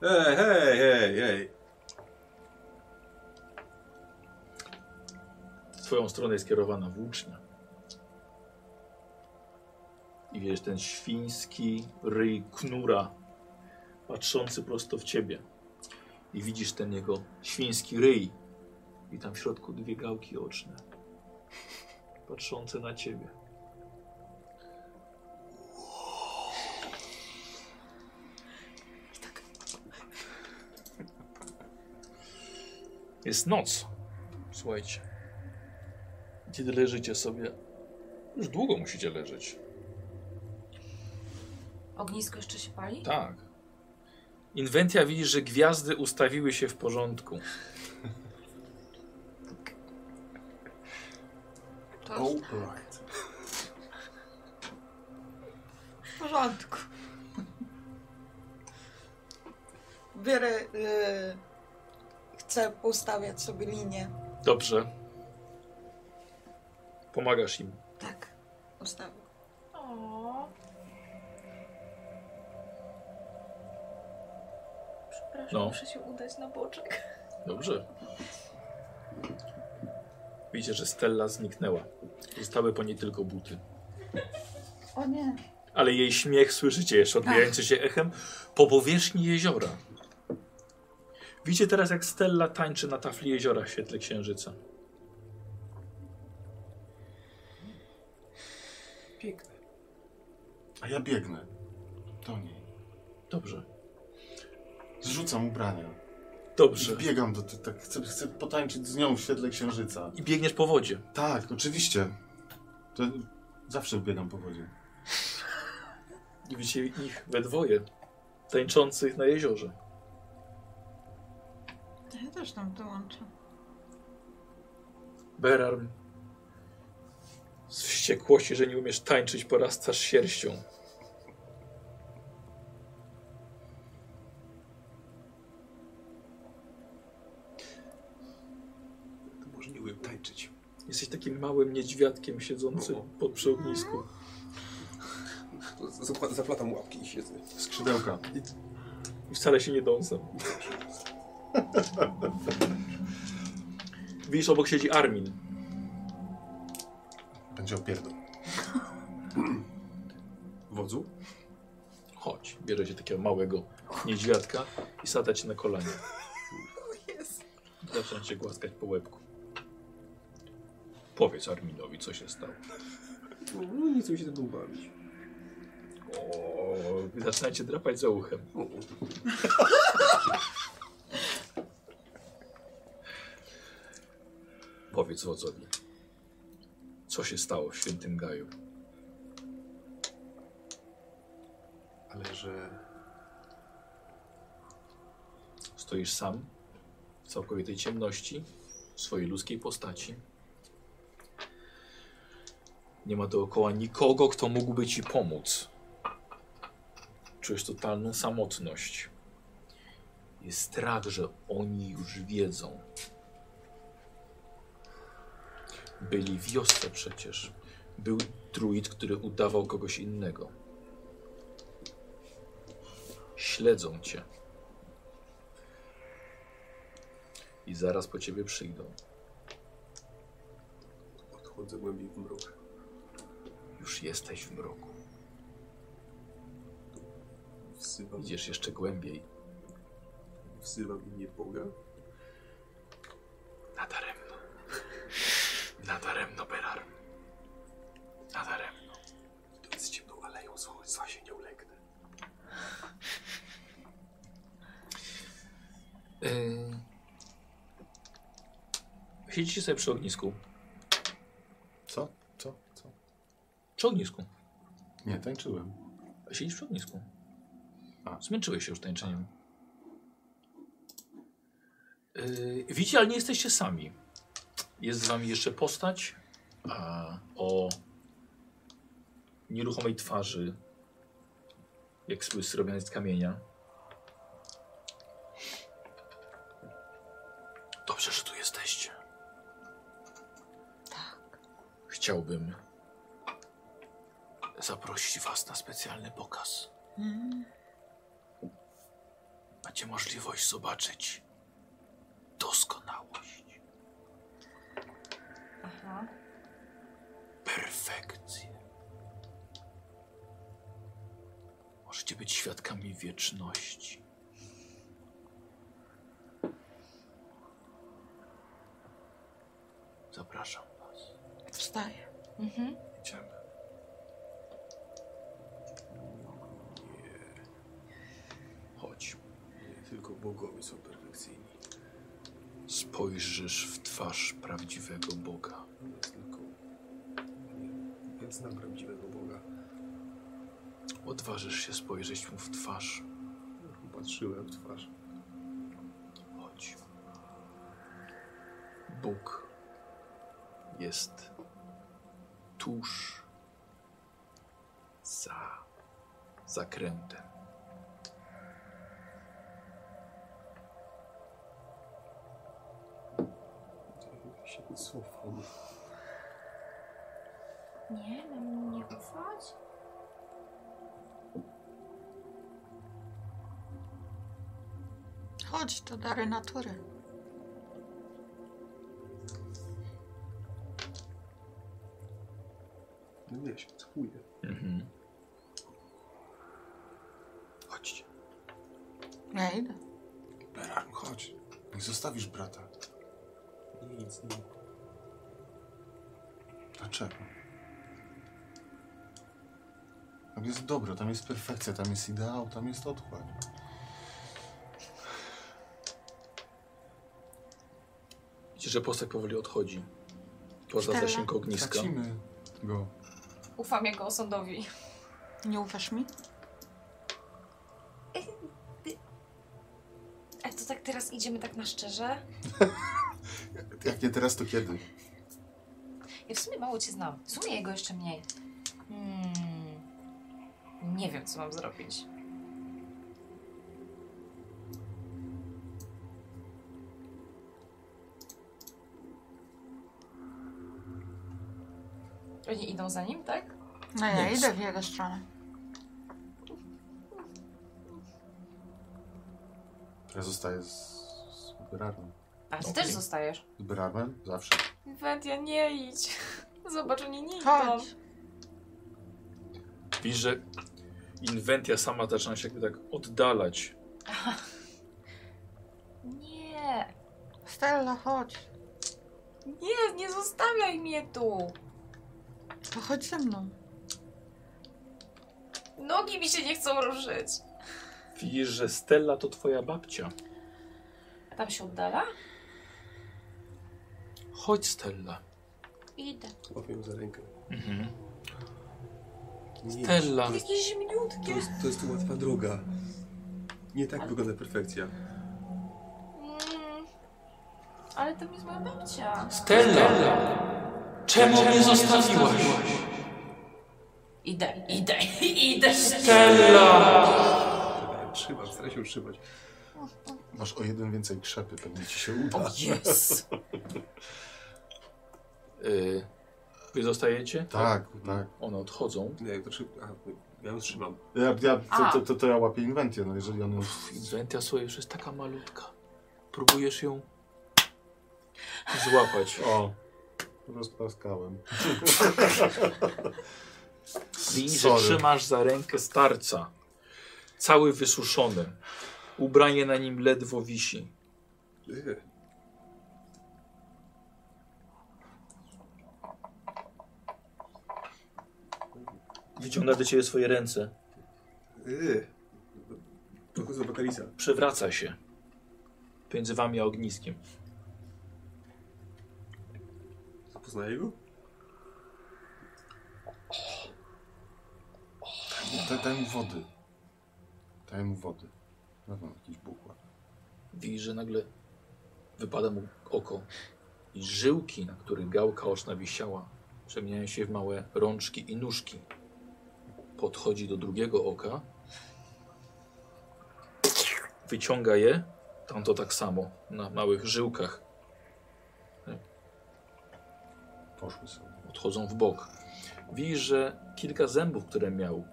E: Hej, hej, hej, hej.
A: W twoją stronę jest kierowana włócznia. I wiesz, ten świński ryj knura patrzący prosto w ciebie. I widzisz ten jego świński ryj I tam w środku dwie gałki oczne. Patrzące na ciebie. Jest noc. Słuchajcie. Kiedy leżycie sobie. Już długo musicie leżeć.
F: Ognisko jeszcze się pali?
A: Tak. Inwentia widzi, że gwiazdy ustawiły się w porządku.
B: To już...
D: Alright.
C: W porządku. Biorę. y, chcę ustawiać sobie linię.
A: Dobrze. Pomagasz im.
C: Tak, ustawię.
B: O,
F: Przepraszam,
A: No.
F: muszę się udać na boczek.
A: Dobrze. Widzicie, że Stella zniknęła. Zostały po niej tylko buty.
C: O nie.
A: Ale jej śmiech słyszycie jeszcze, odbijający się echem po powierzchni jeziora. Widzicie teraz, jak Stella tańczy na tafli jeziora w świetle księżyca.
E: Piękne.
D: A ja biegnę. Do niej.
A: Dobrze.
D: Zrzucam ubrania.
A: Dobrze.
D: Biegam do ty, tak, chcę, chcę potańczyć z nią w świetle księżyca.
A: I biegniesz po wodzie.
D: Tak, oczywiście. To zawsze biegam po wodzie.
A: I widzicie ich we dwoje, tańczących na jeziorze.
C: Ja też tam dołączę.
A: Berarm. Z wściekłości, że nie umiesz tańczyć, porastasz sierścią.
E: To może nie tak, umiem tańczyć.
A: Jesteś takim małym niedźwiadkiem siedzącym pod przy ognisku.
E: To z- z- Zaplatam łapki i siedzę.
D: Skrzydełka.
A: I wcale się nie dąsam. Widzisz, obok siedzi Armin.
D: Będzie opierdol.
E: Wodzu?
A: Chodź, bierze się takiego małego niedźwiadka i sada cię na kolanie. Zaczyna cię głaskać po łebku. Powiedz Arminowi, co się stało.
E: No, no nie chcę mi się tym bawić.
A: O, zaczyna cię drapać za uchem.
E: O,
A: Powiedz wodzowi, co się stało w Świętym Gaju.
E: Ale że...
A: Stoisz sam, w całkowitej ciemności, w swojej ludzkiej postaci. Nie ma dookoła nikogo, kto mógłby ci pomóc. Czujesz totalną samotność. Jest strach, że oni już wiedzą. Byli w wiosce przecież. Był druid, który udawał kogoś innego. Śledzą cię. i zaraz po ciebie przyjdą.
E: Odchodzę głębiej w mrok.
A: Już jesteś w mroku.
E: Wzywam,
A: Idziesz jeszcze głębiej.
E: wzywam imię Boga.
A: Nadaremno. Nadaremno, Berar. Nadaremno.
E: Idąc ciemną aleją, zła, zła się nie ulegnę.
A: Yy. Siedzicie sobie przy ognisku.
D: Co? Co? Co?
A: Przy ognisku.
D: Nie, tańczyłem.
A: Siedzisz przy ognisku.
D: A.
A: Zmęczyłeś się już tańczeniem. Yy, widzicie, ale nie jesteście sami. Jest z wami jeszcze postać a, o nieruchomej twarzy, jak sły zrobionej z kamienia. Dobrze, że tu jesteście. Tak. Chciałbym zaprosić was na specjalny pokaz macie możliwość zobaczyć doskonałość,
B: aha.
A: perfekcję. Możecie być świadkami wieczności.
E: Przepraszam was.
C: Wstaję.
B: Mhm.
E: Idziemy. Nie. Chodź. Nie tylko bogowie są perfekcyjni.
A: Spojrzysz w twarz prawdziwego Boga.
E: On jest tylko... Nie. Ja znam prawdziwego Boga.
A: Odważysz się spojrzeć mu w twarz.
E: Patrzyłem w twarz.
A: Chodź. Bóg jest tuż za zakrętem.
E: Ja się cofam.
F: Nie, mam mu nie ufać.
C: Chodź, to dary natury.
E: No nie, ja się cofuję.
A: Mhm.
E: Chodźcie.
C: Ja idę.
D: Beran, chodź. Niech zostawisz brata.
E: Nie, nic nie.
D: Dlaczego? Tam jest dobro, tam jest perfekcja, tam jest ideał, tam jest otchłań.
A: Widzicie, że postać powoli odchodzi. Poza
C: Stella.
A: zasięg ogniska.
D: Tracimy go.
B: Ufam jego osądowi.
C: Nie ufasz mi?
B: A to tak teraz idziemy tak na szczerze?
D: Jak nie teraz, to kiedy?
B: Ja w sumie mało cię znam. W sumie jego jeszcze mniej. Hmm. Nie wiem, co mam zrobić. Oni idą za nim, tak?
C: No ja
D: Nie,
C: idę w jego stronę.
D: Ja zostaję z, z Berarnem.
B: A ty
D: Okej.
B: też zostajesz.
D: Z Berarnem? Zawsze.
B: Wendia, nie idź. Zobacz, oni nie idą.
C: Chodź.
A: Widzisz, że inwentia sama zaczyna się jakby tak oddalać.
B: Nie,
C: Stella, chodź.
B: nie, nie zostawiaj mnie tu.
C: To chodź ze mną.
B: Nogi mi się nie chcą ruszyć.
A: Widzisz, że Stella to twoja babcia.
B: A tam się oddala?
A: Chodź, Stella.
B: Idę.
E: Łapię ją za rękę.
A: Mhm.
E: Nie.
A: Stella.
B: Jakie
E: To
B: zimniutkie.
E: jest, to jest łatwa droga. Nie tak wygląda perfekcja.
B: Mm,
F: Ale to jest moja babcia.
A: Stella! Czemu mnie zostawiłaś?
B: Idę, idę, idę.
A: Stella!
E: Trzymam, staram się utrzymać.
D: Masz o jeden więcej krzepy, pewnie ci się uda.
A: tak.
B: O, yes.
A: Y, wy zostajecie?
D: Tak, tak.
A: One odchodzą.
E: Nie, jak to szybko. Aha, ja ją trzymam.
D: Ja, ja,
B: A.
D: to, to, to, to ja łapię inwentję, no jeżeli on...
A: Inwentia, słuchaj, już jest taka malutka. Próbujesz ją złapać.
D: O, rozpaskałem.
A: Widzisz, że
D: Sorry.
A: trzymasz za rękę starca. Cały wysuszony. Ubranie na nim ledwo wisi.
E: Yy,
A: Wyciąga do ciebie swoje ręce.
E: yy. Tylko z Bakalisa.
A: Przewraca się. Między wami a ogniskiem.
E: Poznaję go?
D: Daj, daj mu wody. Daj mu wody. No, no, jakiś bukłak.
A: Widzisz, że nagle wypada mu oko i żyłki, na których gałka oczna wisiała, przemieniają się w małe rączki i nóżki. Podchodzi do drugiego oka, wyciąga je, tamto tak samo, na małych żyłkach,
D: Poszły sobie.
A: odchodzą w bok. Widzisz, że kilka zębów, które miał,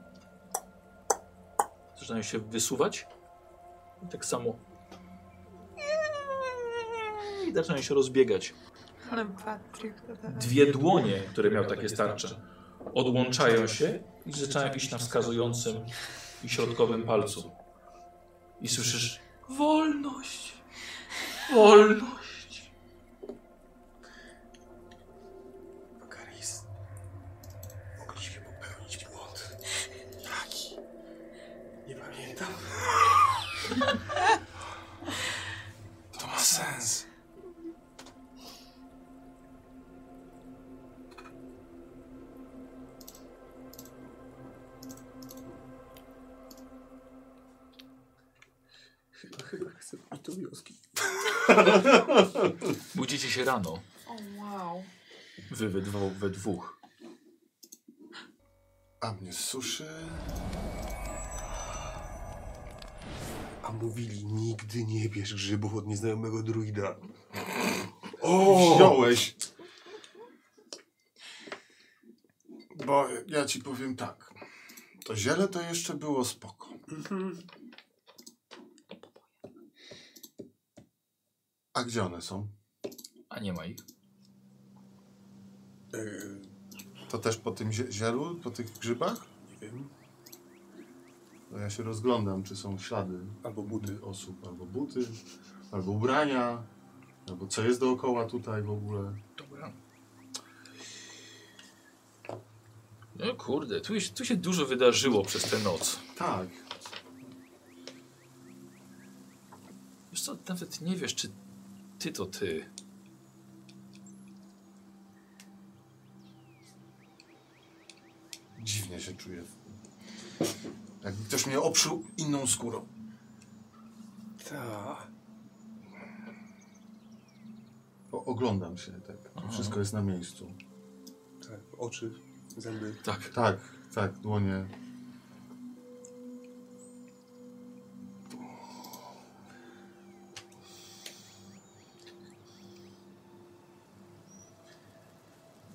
A: zaczynają się wysuwać i tak samo i zaczynają się rozbiegać.
C: Ale Patryk...
A: Dwie dłonie, które miał takie starcze, odłączają się i zaczynają iść na wskazującym i środkowym palcu. I słyszysz wolność, wolność. Budzicie się rano,
B: O wow.
A: wy we, dwo, we dwóch.
D: A mnie suszy.
E: A mówili, nigdy nie bierz grzybów od nieznajomego druida. O!
D: Wziąłeś. Bo ja ci powiem tak. To ziele to jeszcze było spoko. A gdzie one są?
A: A nie ma ich.
E: Yy,
D: To też po tym zie- zielu, po tych grzybach?
E: nie wiem.
D: To ja się rozglądam, czy są ślady
E: Albo buty.
D: osób, albo buty, albo ubrania, albo co jest dookoła tutaj w ogóle.
A: Dobra. No kurde, tu, się- tu się dużo wydarzyło przez tę noc.
D: Tak,
A: Wiesz co, nawet nie wiesz, czy ty to ty.
D: dziwnie się czuję. Jakby ktoś mnie obszył inną skórą.
E: Ta.
D: O, oglądam się tak.
A: Aha.
D: Wszystko jest na miejscu.
E: Tak, oczy, zęby.
A: Tak.
D: Tak, tak, dłonie.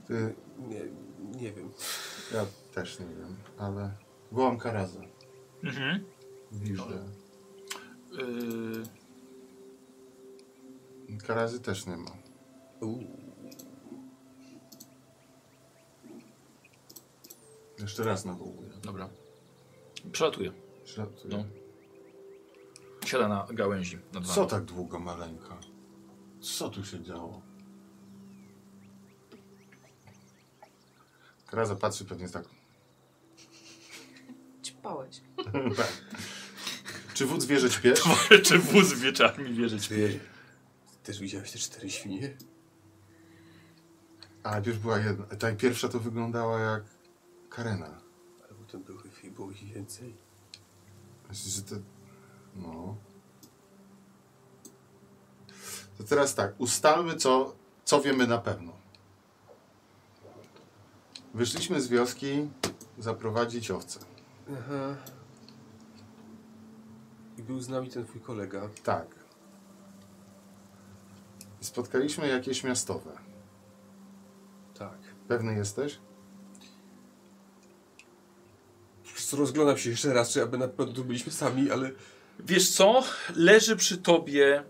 D: Ty,
E: Nie, nie wiem.
D: ja też nie wiem, ale wołam Karaza.
A: Mhm.
D: Wiżdę.
A: Yy,
D: Karazy też nie ma.
E: Uuu.
D: Jeszcze raz nawołuję.
A: dobra. Przelatuje.
D: Żartuję.
A: No. Siada na gałęzi. Nad wami.
D: Co tak długo, maleńka? Co tu się działo? Karaza patrzy pewnie tak.
B: Ćpałeś.
D: Czy wódz wie, że śpiesz?
A: Czy wóz wieczorami wierzyć?
E: Ty też widziałeś te cztery świnie?
D: A najpierw była jedna. Ta pierwsza to wyglądała jak Karena.
E: Ale potem były, było ich więcej.
D: Znaczy, że to... No. To teraz tak, ustalmy, co, co wiemy na pewno. Wyszliśmy z wioski zaprowadzić owce.
E: Aha. I był z nami ten twój kolega.
D: Tak. I Spotkaliśmy jakieś miastowe.
E: Tak.
D: Pewny jesteś?
E: Po prostu Rozglądam się jeszcze raz, czy aby na pewno tu byliśmy sami, ale
A: Wiesz co? Leży przy tobie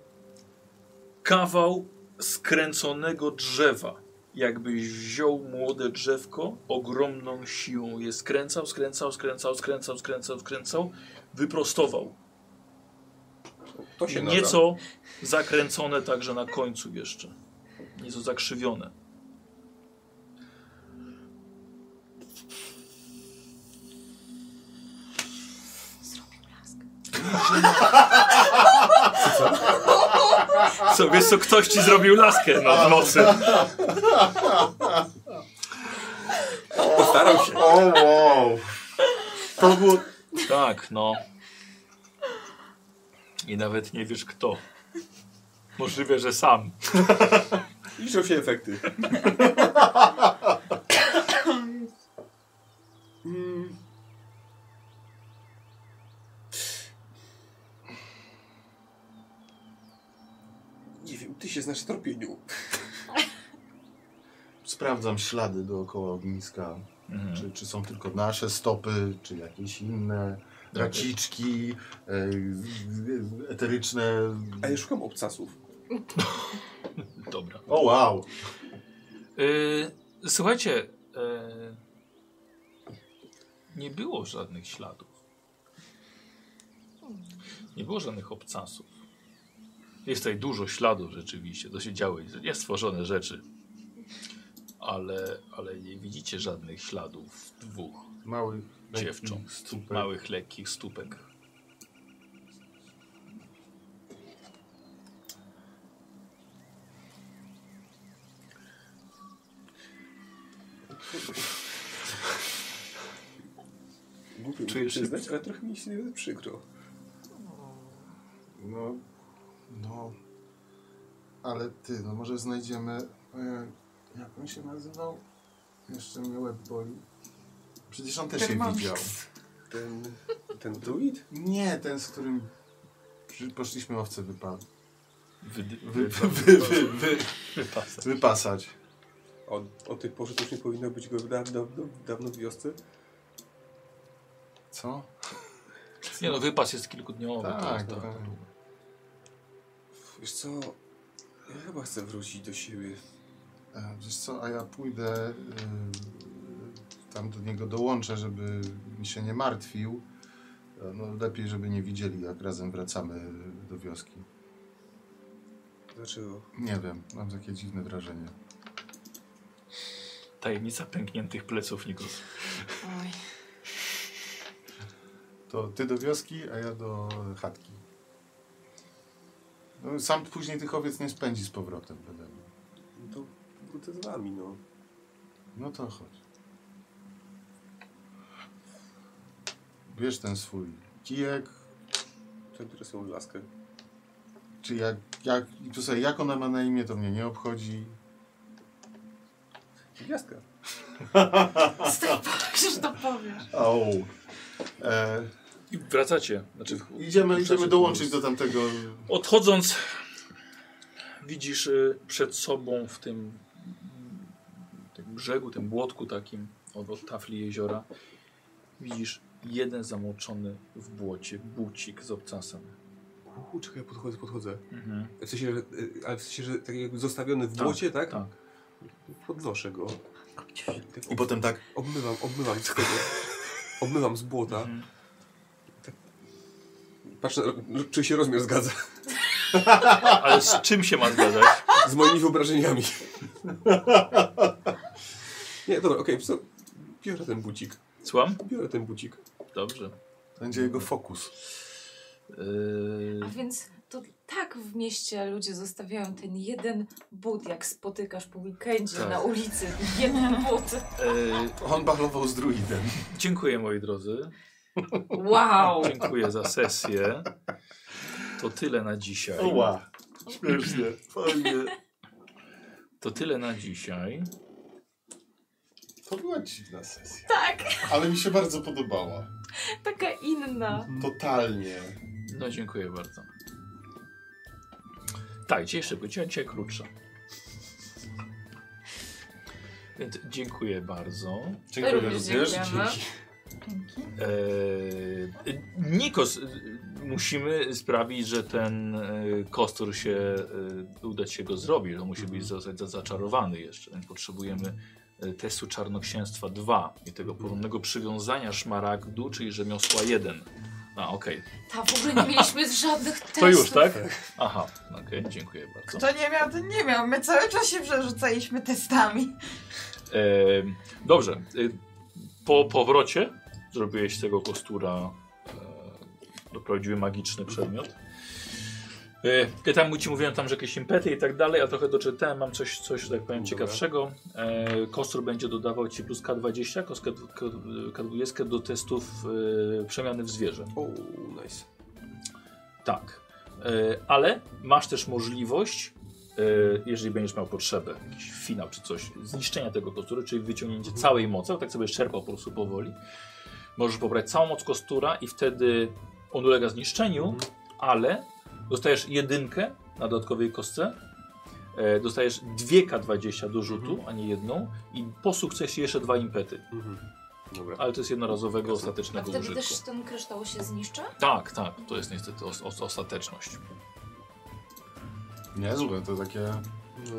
A: kawał skręconego drzewa. Jakbyś wziął młode drzewko, ogromną siłą je skręcał, skręcał, skręcał, skręcał, skręcał, skręcał, wyprostował.
E: to się nada.
A: Nieco zakręcone także na końcu jeszcze. Nieco zakrzywione.
F: Zrobił blask.
A: Co, wiesz co, ktoś ci zrobił laskę nad nosem.
E: Postarał się.
D: O, wow! To było...
A: Tak, no. I nawet nie wiesz kto. Możliwe, że sam.
E: Liczą się efekty. Mm. Nie wiem, ty się znasz w tropieniu.
D: Sprawdzam ślady dookoła ogniska. Czy, czy są tylko nasze stopy, czy jakieś inne raciczki, e, eteryczne.
E: A ja szukam obcasów.
A: Dobra.
D: O wow!
A: Y, słuchajcie, y, nie było żadnych śladów. Nie było żadnych obcasów. Jest tutaj dużo śladów rzeczywiście, to się działo, jest stworzone rzeczy. Ale, ale nie widzicie żadnych śladów dwóch
D: Małych
A: Dziewcząt.
D: Super.
A: małych, lekkich stópek.
E: Głupio mi
A: Czujesz się-
E: przyznać, ale trochę mi się nawet przykro.
D: No, no. Ale ty, no może znajdziemy. E, jak on się nazywał? Jeszcze mnie łeb boli. Przecież on też się
C: Termomix.
D: widział.
E: Ten, ten druid?
D: Nie, ten, z którym przy- poszliśmy owce wypa-
A: Wy,
D: wy, wy, wy, wy, wy,
A: wypasa.
D: wypasać.
E: Od, od tych porze to już nie powinno być go dawno, dawno w wiosce.
D: Co?
A: Nie no, wypas jest kilkudniowy.
D: Tak,
A: to jest,
D: tak.
E: Wiesz co, ja chyba chcę wrócić do siebie.
D: E, Wiesz co, a ja pójdę y, tam do niego dołączę, żeby się nie martwił. E, No lepiej, żeby nie widzieli, jak razem wracamy do wioski.
E: Dlaczego?
D: Nie wiem, mam takie dziwne wrażenie.
A: Tajemnica pękniętych pleców, Nikos.
C: Oj.
D: To ty do wioski, a ja do chatki. No, sam później tych owiec nie spędzi z powrotem. byle.
E: No to wrócę z wami, no.
D: No to chodź. Bierz ten swój kijek,
E: Ten, które są laskę.
D: czy jak, jak, tu sobie, jak ona ma na imię, to mnie nie obchodzi.
E: Gwiazdka.
B: Tak
C: Przecież to powiesz.
D: Au. E,
A: I wracacie. Znaczy,
D: idziemy, idziemy
A: Przecież-
D: dołączyć do tamtego.
A: Odchodząc, widzisz y, przed sobą w tym, tym brzegu, tym błotku takim od, od tafli jeziora, widzisz jeden zamoczony w błocie bucik z obcasem.
E: Uuu, czekaj, podchodzę, podchodzę. W sensie, że, y, ale w sensie, że tak jakby zostawiony w
A: Tak,
E: błocie, tak?
A: tak.
E: Podnoszę go. Tak
D: I potem tak.
E: Obmywam, obmywam z tego. Obmywam z błota.
A: Mhm.
E: Patrzę, no, czy się rozmiar zgadza
A: Ale z czym się ma zgadzać?
E: z moimi wyobrażeniami. Nie, dobra, okej, okay, biorę ten bucik.
A: Słucham?
E: Biorę ten bucik.
A: Dobrze.
D: Będzie jego fokus.
A: Yy,
B: A więc to tak w mieście ludzie zostawiają ten jeden but, jak spotykasz po weekendzie
A: Tak.
B: na ulicy. Jeden but.
A: yy,
D: On balował z druidem.
A: dziękuję moi drodzy.
B: Wow!
A: Dziękuję za sesję. To tyle na dzisiaj.
D: Oła. Śmiesznie. Fajnie.
A: To tyle na dzisiaj.
D: To była dziwna sesja.
B: Tak,
D: Ale mi się bardzo podobała.
B: taka inna.
D: Totalnie.
A: No dziękuję bardzo. Tak, dzisiaj szybko, dzisiaj, dzisiaj krótsza. Więc dziękuję bardzo.
B: Również dziękujemy.
A: Eee, Nikos, y, musimy sprawić, że ten y, kostur się, y, uda ci się go zrobić. On musi być za, za, zaczarowany jeszcze. Więc potrzebujemy y, testu czarnoksięstwa 2 i tego porządnego przywiązania szmaragdu, czyli rzemiosła 1. A, okej.
B: Ta w ogóle nie mieliśmy żadnych testów.
A: To już, tak? Aha, okej, dziękuję bardzo.
C: Kto nie miał, ten nie miał. My cały czas się przerzucaliśmy testami.
A: Em, dobrze. Y, Po powrocie zrobiłeś z tego kostura. E, doprowadziły magiczny przedmiot. E, ja tam ci mówiłem tam, że jakieś impety i tak dalej, a trochę doczytałem, mam coś, coś że tak powiem,
E: Dobra.
A: ciekawszego. E, kostur będzie dodawał ci plus K20, kos- K- K- K20 do testów e, przemiany w zwierzę.
E: O, nice.
A: Tak. E, ale masz też możliwość, e, jeżeli będziesz miał potrzebę, jakiś finał czy coś, zniszczenia tego kostura, czyli wyciągnięcie
E: Mhm.
A: całej mocy, bo tak sobie czerpał po prostu powoli. Możesz pobrać całą moc kostura i wtedy on ulega zniszczeniu,
E: Mhm.
A: ale dostajesz jedynkę na dodatkowej kostce, e, dostajesz 2K20 do rzutu, a nie jedną i po sukcesie jeszcze dwa impety,
E: Mhm. Dobra.
A: ale to jest jednorazowego,
E: Jasne.
B: A
A: ostatecznego
B: wtedy
A: użytku.
B: też ten kryształ się zniszczy?
A: Tak, tak, to jest niestety os os ostateczność.
D: Niezłe, to takie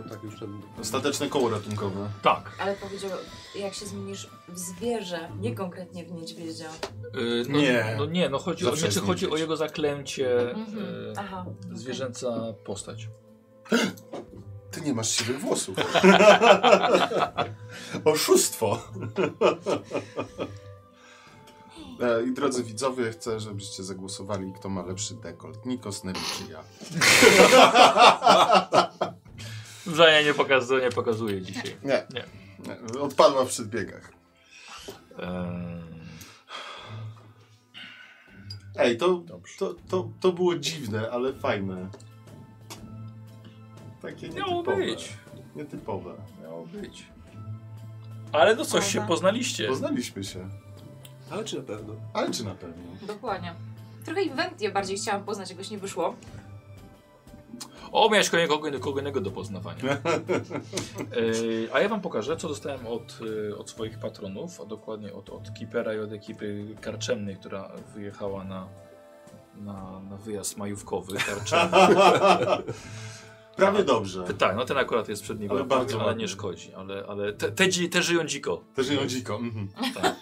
E: No tak już tam...
D: ostateczne koło ratunkowe.
A: Tak.
B: Ale powiedział, jak się zmienisz w zwierzę, nie konkretnie w niedźwiedzia.
A: Y, No,
D: Nie.
A: No nie, no chodzi o,
D: Zawsze
A: znaczy,
D: jest
A: chodzi o
D: niedźwiedź.
A: jego zaklęcie
B: Mhm.
A: e,
B: Aha.
A: zwierzęca postać.
D: Ty nie masz siwych włosów. Oszustwo. E, I drodzy widzowie, chcę, żebyście zagłosowali, kto ma lepszy dekolt. Nikos, Nemi czy ja.
A: Żania nie pokazuje, nie pokazuje dzisiaj.
D: Nie.
A: Nie.
D: Nie, Odpadła w przedbiegach.
A: Ehm,
D: Ej, to,
A: Dobrze.
D: to, to, to było dziwne, ale fajne. Takie
A: Miało
D: nietypowe.
A: być.
D: Nietypowe.
A: Miało być. Ale no coś się
C: Prawda?
A: poznaliście.
D: Poznaliśmy się.
E: Ale czy na pewno?
D: Ale czy na pewno?
B: Dokładnie. Trochę inwentnie bardziej chciałam poznać, jakoś nie wyszło.
A: O, miałeś kogo, kogo, kogo innego do poznawania. Yy, a ja wam pokażę, co dostałem od, yy, od swoich patronów, a dokładnie od, od Kipera i od ekipy karczemnej, która wyjechała na, na, na wyjazd majówkowy karczemny.
D: Prawie dobrze.
A: tak, no ten akurat jest przed nim,
D: Ale
A: ale,
D: bardzo
A: ale
D: ładny.
A: nie szkodzi, ale, ale te, te, dzi- te żyją dziko.
D: Też nie dziko. Mhm.
A: Tak.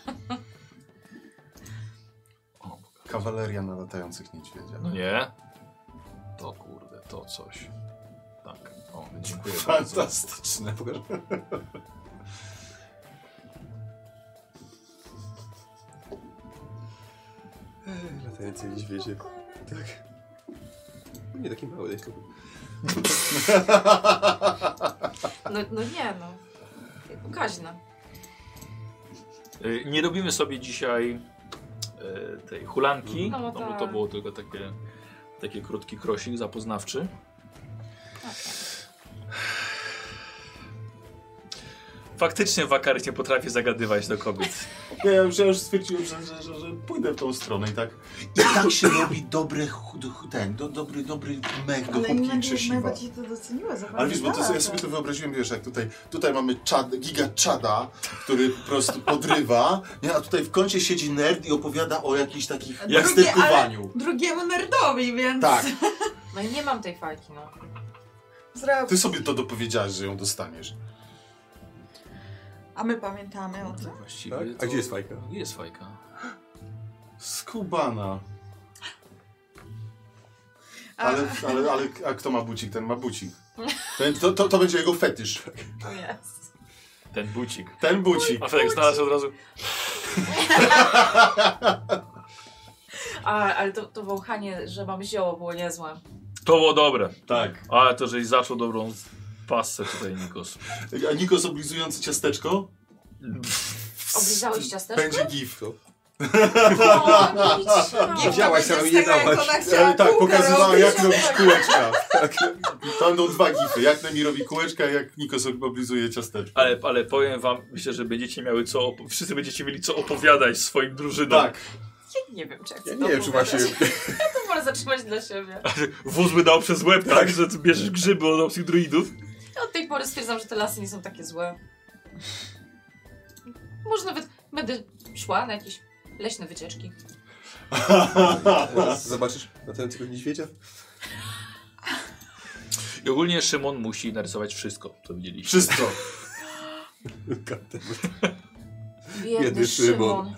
A: O,
D: Kawaleria na latających niedźwiedziach.
A: no nie. To kurde, to coś. Tak, o, dziękuję bardzo.
D: Fantastyczne.
E: Pokaż. Ej, Latający niedźwiedzie. Tak. No Nie taki mały.
B: No, no nie no. Pokaźne.
A: Y, Nie robimy sobie dzisiaj y, tej hulanki,
B: No,
A: no,
B: no
A: bo to
B: tak.
A: było tylko takie, takie krótki krosik zapoznawczy. Faktycznie wakary nie potrafi zagadywać do kobiet.
D: Nie, ja już, ja już stwierdziłem, że, że, że, że pójdę w tą stronę i tak. I tak się robi dobry, chud- chud- ten, do, dobry, dobry mech do
C: Ale nie
D: chłopki
C: będzie
D: krzesiwa.
C: ci to doceniła.
D: Ale wiesz, bo to, sobie- ja sobie to wyobraziłem, wiesz, jak tutaj, tutaj mamy czad, giga czada, który po prostu podrywa, nie? a tutaj w kącie siedzi nerd i opowiada o jakichś takich
A: Jak-
D: następowaniu.
C: Drugiemu nerdowi, więc...
D: Tak,
B: No i nie mam tej fajki, no.
C: Zrobię.
D: ty sobie to dopowiedziałeś, że ją dostaniesz.
C: A my pamiętamy o tym.
A: Właściwie
E: Tak?
A: to-
E: A gdzie jest fajka?
A: Gdzie jest fajka?
D: Skubana.
C: A-
D: Ale, ale, ale a kto ma bucik, ten ma bucik. Ten, to, to, to będzie jego fetysz.
B: O jest.
A: Ten bucik.
D: Ten bucik.
A: A Felix znalazł od razu.
B: A, ale to, to wąchanie, że mam zioło było niezłe.
A: To było dobre.
D: Tak.
A: Ale to, żeś zaczął dobrą pasę tutaj, Nikos.
D: A Nikos oblizujący ciasteczko?
B: Oblizałeś ciasteczko?
D: Będzie gif.
B: O, No, widzicie.
C: Gift
E: Działaś,
C: to będzie
E: ale
C: z
E: nie
C: tego, jak
E: dałaś.
C: ona chciała
D: E, tak,
C: kółka
D: pokazywała
C: robić.
D: jak robić kółeczka. Tak. To będą dwa gify. Jak Nemi robi kółeczka, jak Nikos oblizuje ciasteczko.
A: Ale, ale powiem wam, myślę, że będziecie miały co. op- Wszyscy będziecie mieli co opowiadać swoim drużynom.
D: Tak.
B: Ja nie wiem, czy ja chcę
E: Ja
B: to
E: nie wiem, czy
B: opowiadać.
E: właśnie...
B: To wolę zatrzymać dla siebie.
A: Wóz by dał przez łeb, tak, że ty bierzesz grzyby od obcych druidów.
B: Ja od tej pory stwierdzam, że te lasy nie są takie złe. Może nawet będę szła na jakieś leśne wycieczki.
E: Teraz Zobaczysz latającego niedźwiedzia?
A: I ogólnie Szymon musi narysować wszystko, co widzieliście.
D: Wszystko.
B: Biedny,
E: Biedny Szymon.
B: Szymon.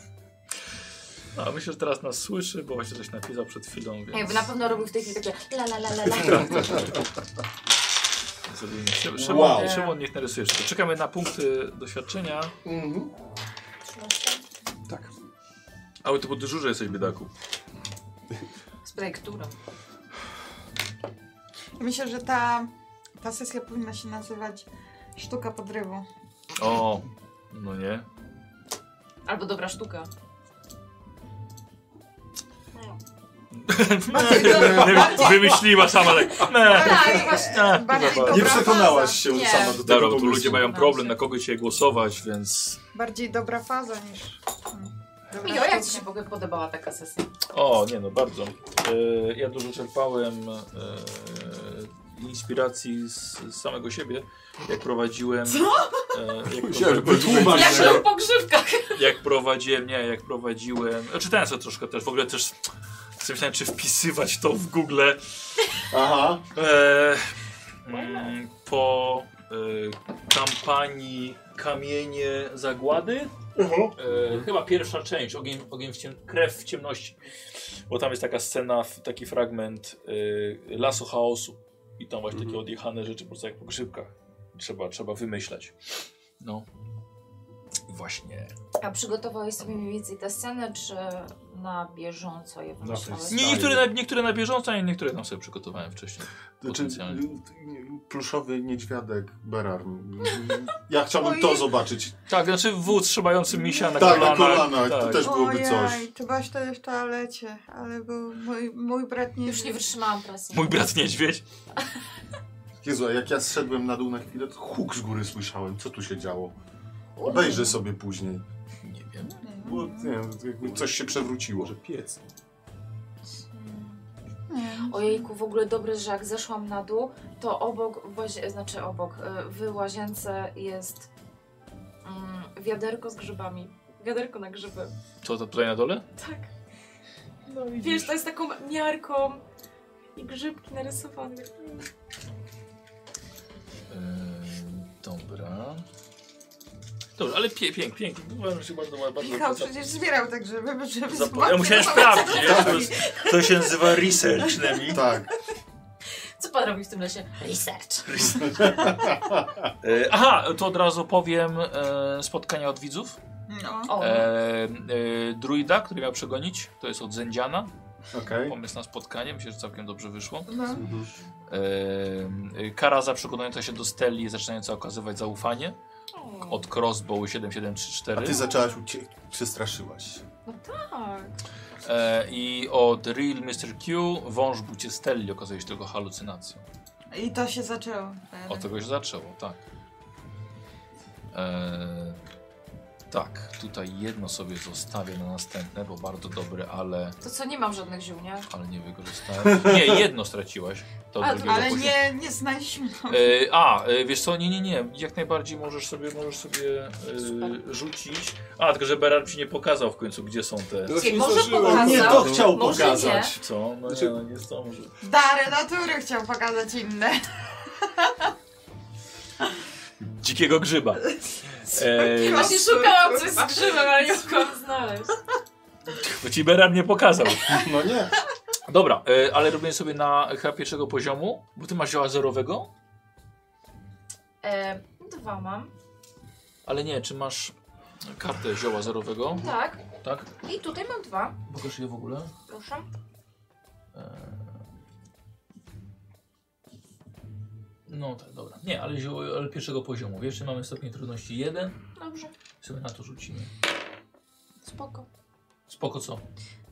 A: A myślę, że teraz nas słyszy, bo właśnie coś napisał przed chwilą, więc
F: Jakby na pewno robił w tej chwili takie la la la la la.
A: zrobimy się. Szymon,
D: Wow.
A: Szymon niech narysuje wszystko. Czekamy na punkty doświadczenia.
D: Mhm.
E: Tak.
A: Ale ty po dyżurze jesteś, biedaku.
B: Z projekturą.
C: Myślę, że ta, ta sesja powinna się nazywać Sztuka podrywu.
A: O, no nie.
B: Albo dobra sztuka.
A: Wymyśliła sama tak. Ne.
B: Tak, właśnie.
C: Bardziej
A: dobra.
C: dobra
D: Nie przekonałaś
C: faza.
D: się
B: Nie.
D: sama No, do tego
A: Dobra, bo tu
D: pomysłu.
A: ludzie mają problem, na kogo dzisiaj głosować, więc...
C: Bardziej dobra faza niż... hmm, dobra
B: Mio, jak
C: sztuka.
B: ci się w ogóle podobała taka sesja?
A: O, nie no, bardzo. E, ja dużo czerpałem e, inspiracji z, z samego siebie, jak prowadziłem. E, jak,
E: Myślałem, że
A: prowadziłem
D: Wytłumacz
B: Jak
D: się.
B: to po grzywkach.
A: jak prowadziłem, nie, jak prowadziłem. e, Czytałem sobie troszkę też, w ogóle też. sobie Myślałem, czy wpisywać to w Google.
D: Aha.
A: E, mm, po e, kampanii Kamienie Zagłady.
D: Mhm.
A: E, chyba pierwsza część, ogień, ogień w ciem, krew w ciemności. Bo tam jest taka scena, f- taki fragment e, lasu chaosu. I tam właśnie takie
E: Mhm.
A: odjechane rzeczy, po prostu jak po grzybkach. Trzeba, trzeba wymyślać. No. Właśnie.
B: A przygotowałeś sobie mniej więcej te sceny, czy na bieżąco je wymyślałeś?
D: freestyle.
A: Nie, niektóre, na, niektóre na bieżąco, a niektóre tam sobie przygotowałem wcześniej.
D: Znaczy,
A: Potencjalnie.
D: y, pluszowy niedźwiadek Berarm. Ja chciałbym
C: Oj.
D: to zobaczyć.
A: Tak, znaczy wóz trzymający misia na
D: Tak, na
A: kolanach.
D: kolanach. To
A: Tak.
D: też byłoby coś.
C: Ojej, czy byłaś wtedy w toalecie, ale był mój, mój brat nie...
B: Już nie wytrzymałam presji.
A: Mój brat niedźwiedź.
D: Jezu, a jak ja zszedłem na dół na chwilę, to huk z góry słyszałem. Co tu się działo? Obejrzę sobie później.
A: Nie wiem.
D: Bo, nie wiem, jakby coś się przewróciło.
E: Może piec.
B: Ojejku, w ogóle dobre, że jak zeszłam na dół, to obok, w łazie, znaczy obok, y, w łazience jest mm, wiaderko z grzybami. Wiaderko na grzyby.
A: Co to tutaj na dole?
B: Tak. Wiesz, to jest taką miarką i grzybki narysowane.
A: Eee, dobra. Dobrze, ale pie, pięk, pięknie. Uważam się bardzo, bardzo.
C: Michał
A: bardzo
C: przecież zbierał tak, żeby, żeby
A: zapo- ja musiałem sprawdzić. Ja, to, jest, to się nazywa research, Nemi.
D: Tak.
B: Co pan robi w tym lesie? Research.
A: Eee, aha, to od razu powiem e, spotkania od widzów.
C: No.
B: O,
A: E, e, druida, który miał przegonić, to jest od Zędziana.
D: Okej.
A: Pomysł na spotkanie, myślę, że całkiem dobrze wyszło.
C: No.
A: E, kara za przekonująca się do steli, zaczynająca okazywać zaufanie. Od crossbow
D: A
A: 7734.
D: ty zaczęłaś uciekać. Przestraszyłaś. się.
B: tak.
A: E, I od Real Mr. Q wąż Buciestelli okazuje się tylko halucynacją.
C: I to się zaczęło.
A: Od tego się zaczęło, tak. E, tak, tutaj jedno sobie zostawię na następne, bo bardzo dobre, ale,
B: To co, nie mam żadnych ziół, nie?
A: ale nie wykorzystałem. Nie, jedno straciłaś. To
B: A,
A: drugiego
C: Ale
A: później.
C: nie, nie znaliśmy. No.
A: E, a, e, wiesz co, nie, nie, nie, jak najbardziej możesz sobie, możesz sobie e,
B: Super.
A: rzucić. A, tylko że Berard ci nie pokazał w końcu, gdzie są te...
E: To już
B: Czyli
E: nie
B: może
E: zdążyłem.
B: pokazał?
D: Nie, to chciał
B: Może
D: pokazać.
A: Co? No
E: Znaczy-
A: nie, no nie są. Może...
C: Dary natury chciał pokazać inne.
A: Dzikiego grzyba. E,
B: Właśnie szukałam coś z grzybem, ale nie mogłam znaleźć.
A: bo ci Berard nie pokazał.
D: No nie.
A: Dobra, e, ale robię sobie na chyba pierwszego poziomu, bo ty masz zioła zerowego,
B: E, dwa mam.
A: ale nie, czy masz kartę zioła zerowego,
B: Tak.
A: tak?
B: I tutaj mam dwa.
A: Pokaż je w ogóle.
B: Proszę.
A: No tak, dobra. Nie, ale, zioło, ale pierwszego poziomu. Jeszcze mamy stopień trudności 1,
B: Dobrze.
A: sobie na to rzucimy.
B: Spoko.
A: Spoko co?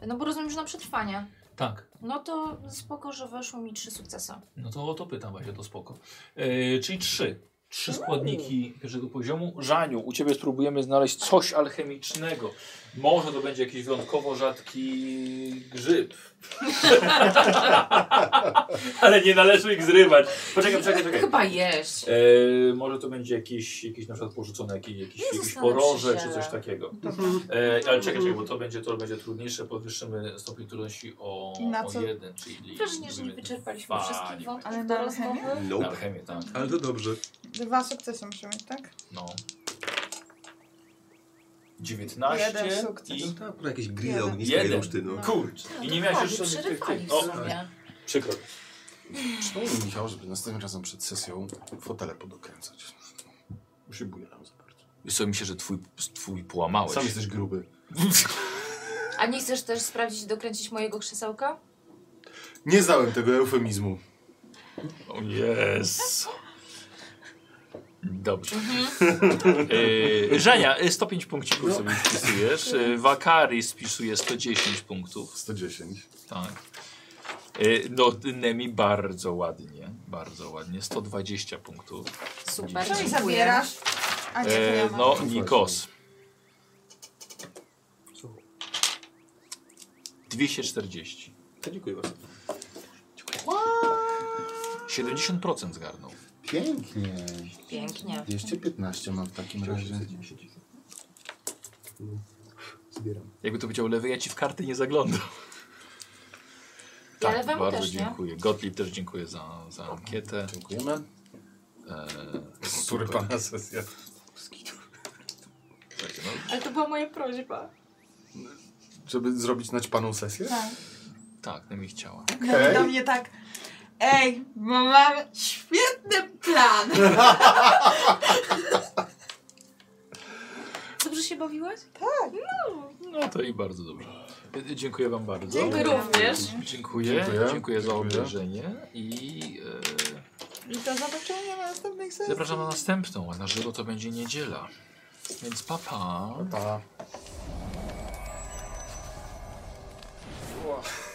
B: No bo rozumiem, że na przetrwanie.
A: Tak.
B: No to spoko, że weszło mi trzy sukcesy.
A: No to o to pytam właśnie, to spoko. E, czyli trzy. Trzy składniki pierwszego poziomu. Żaniu, u Ciebie spróbujemy znaleźć coś alchemicznego. Może to będzie jakiś wyjątkowo rzadki grzyb. Ale nie należy ich zrywać. Poczekaj, poczekaj, poczekaj.
B: Chyba jeść.
A: E, może to będzie jakiś, jakiś na przykład porzucony jakiś, jakiś,
B: Jezus,
A: jakiś
B: ale
A: poroże czy
B: przysiele.
A: coś takiego. E, ale czekaj, czekaj, bo to będzie, to będzie trudniejsze. Podwyższymy stopień trudności o,
C: I na
A: o
C: co?
A: jeden. Czyli
B: Mam wrażenie, że nie wyczerpaliśmy
A: Fajnie.
B: wszystkich
C: Ale
B: wątków
C: na
B: do rozmowy.
A: Na
E: Nope.
A: alchemię, tak.
E: Ale to dobrze.
C: Dwa sukcesy muszę mieć, tak?
A: No. 19
C: Jeden sukces.
A: i...
E: No tak, no jakieś grille
C: Jeden.
E: ogniska i
A: Jeden.
E: ruszty, no.
A: Kurcz. I nie miałeś
B: Ładnie
A: jeszcze żadnych tych-
B: przerywali
A: tych...
B: w
A: O,
B: sumie.
A: przykro.
D: Przypomnij Michał, żeby następnym razem przed sesją fotele podokręcać. Bo się bujaram za bardzo.
A: Wiesz co, myślę, że twój, twój połamałeś.
D: Sam jesteś gruby.
B: A nie chcesz też sprawdzić, dokręcić mojego krzesełka?
D: Nie znałem tego eufemizmu.
A: O jest. Dobrze. Yy, Żenia, y, 105 punkcików sobie wpisujesz. Yy, Wakary spisuje 110 punktów.
D: 110.
A: Tak. Yy, no, Nemi bardzo ładnie. Bardzo ładnie. 120 punktów.
B: Super,
C: Co mi
B: dziękuję.
C: zabierasz? A nie, to ja
A: E,
C: mam.
A: no, Nikos. 240.
E: To dziękuję bardzo.
A: 70% zgarnął.
D: Pięknie.
B: Pięknie.
D: 215 mam w takim razie.
E: Zbieram.
A: Jakby to powiedział lewy, ja ci w karty nie zaglądam. Tak,
B: Ja lewemu
A: bardzo
B: też, nie?
A: dziękuję. Gottlieb też dziękuję za, za ankietę.
D: Dziękujemy.
A: E,
D: Eee, Który
A: super.
D: pana sesja.
A: Słuchajcie, no,
B: Ale to była moja prośba.
D: Żeby zrobić naćpaną sesję?
C: Tak.
A: tak, Nemi chciała.
C: Okay. Do mnie tak. Ej, bo mam świetny plan.
B: Dobrze się bawiłeś?
A: No to i bardzo dobrze. E, Dziękuję wam bardzo.
B: Dziękuję również.
A: Dziękuję,
D: Dziękuję.
A: dziękuję, za
D: Dziękuję.
A: obejrzenie i
C: I do zobaczenia na następnych
A: e,
C: sesjach.
A: zapraszam na następną, a na żywo to będzie niedziela. Więc papa. Pa.
D: Pa.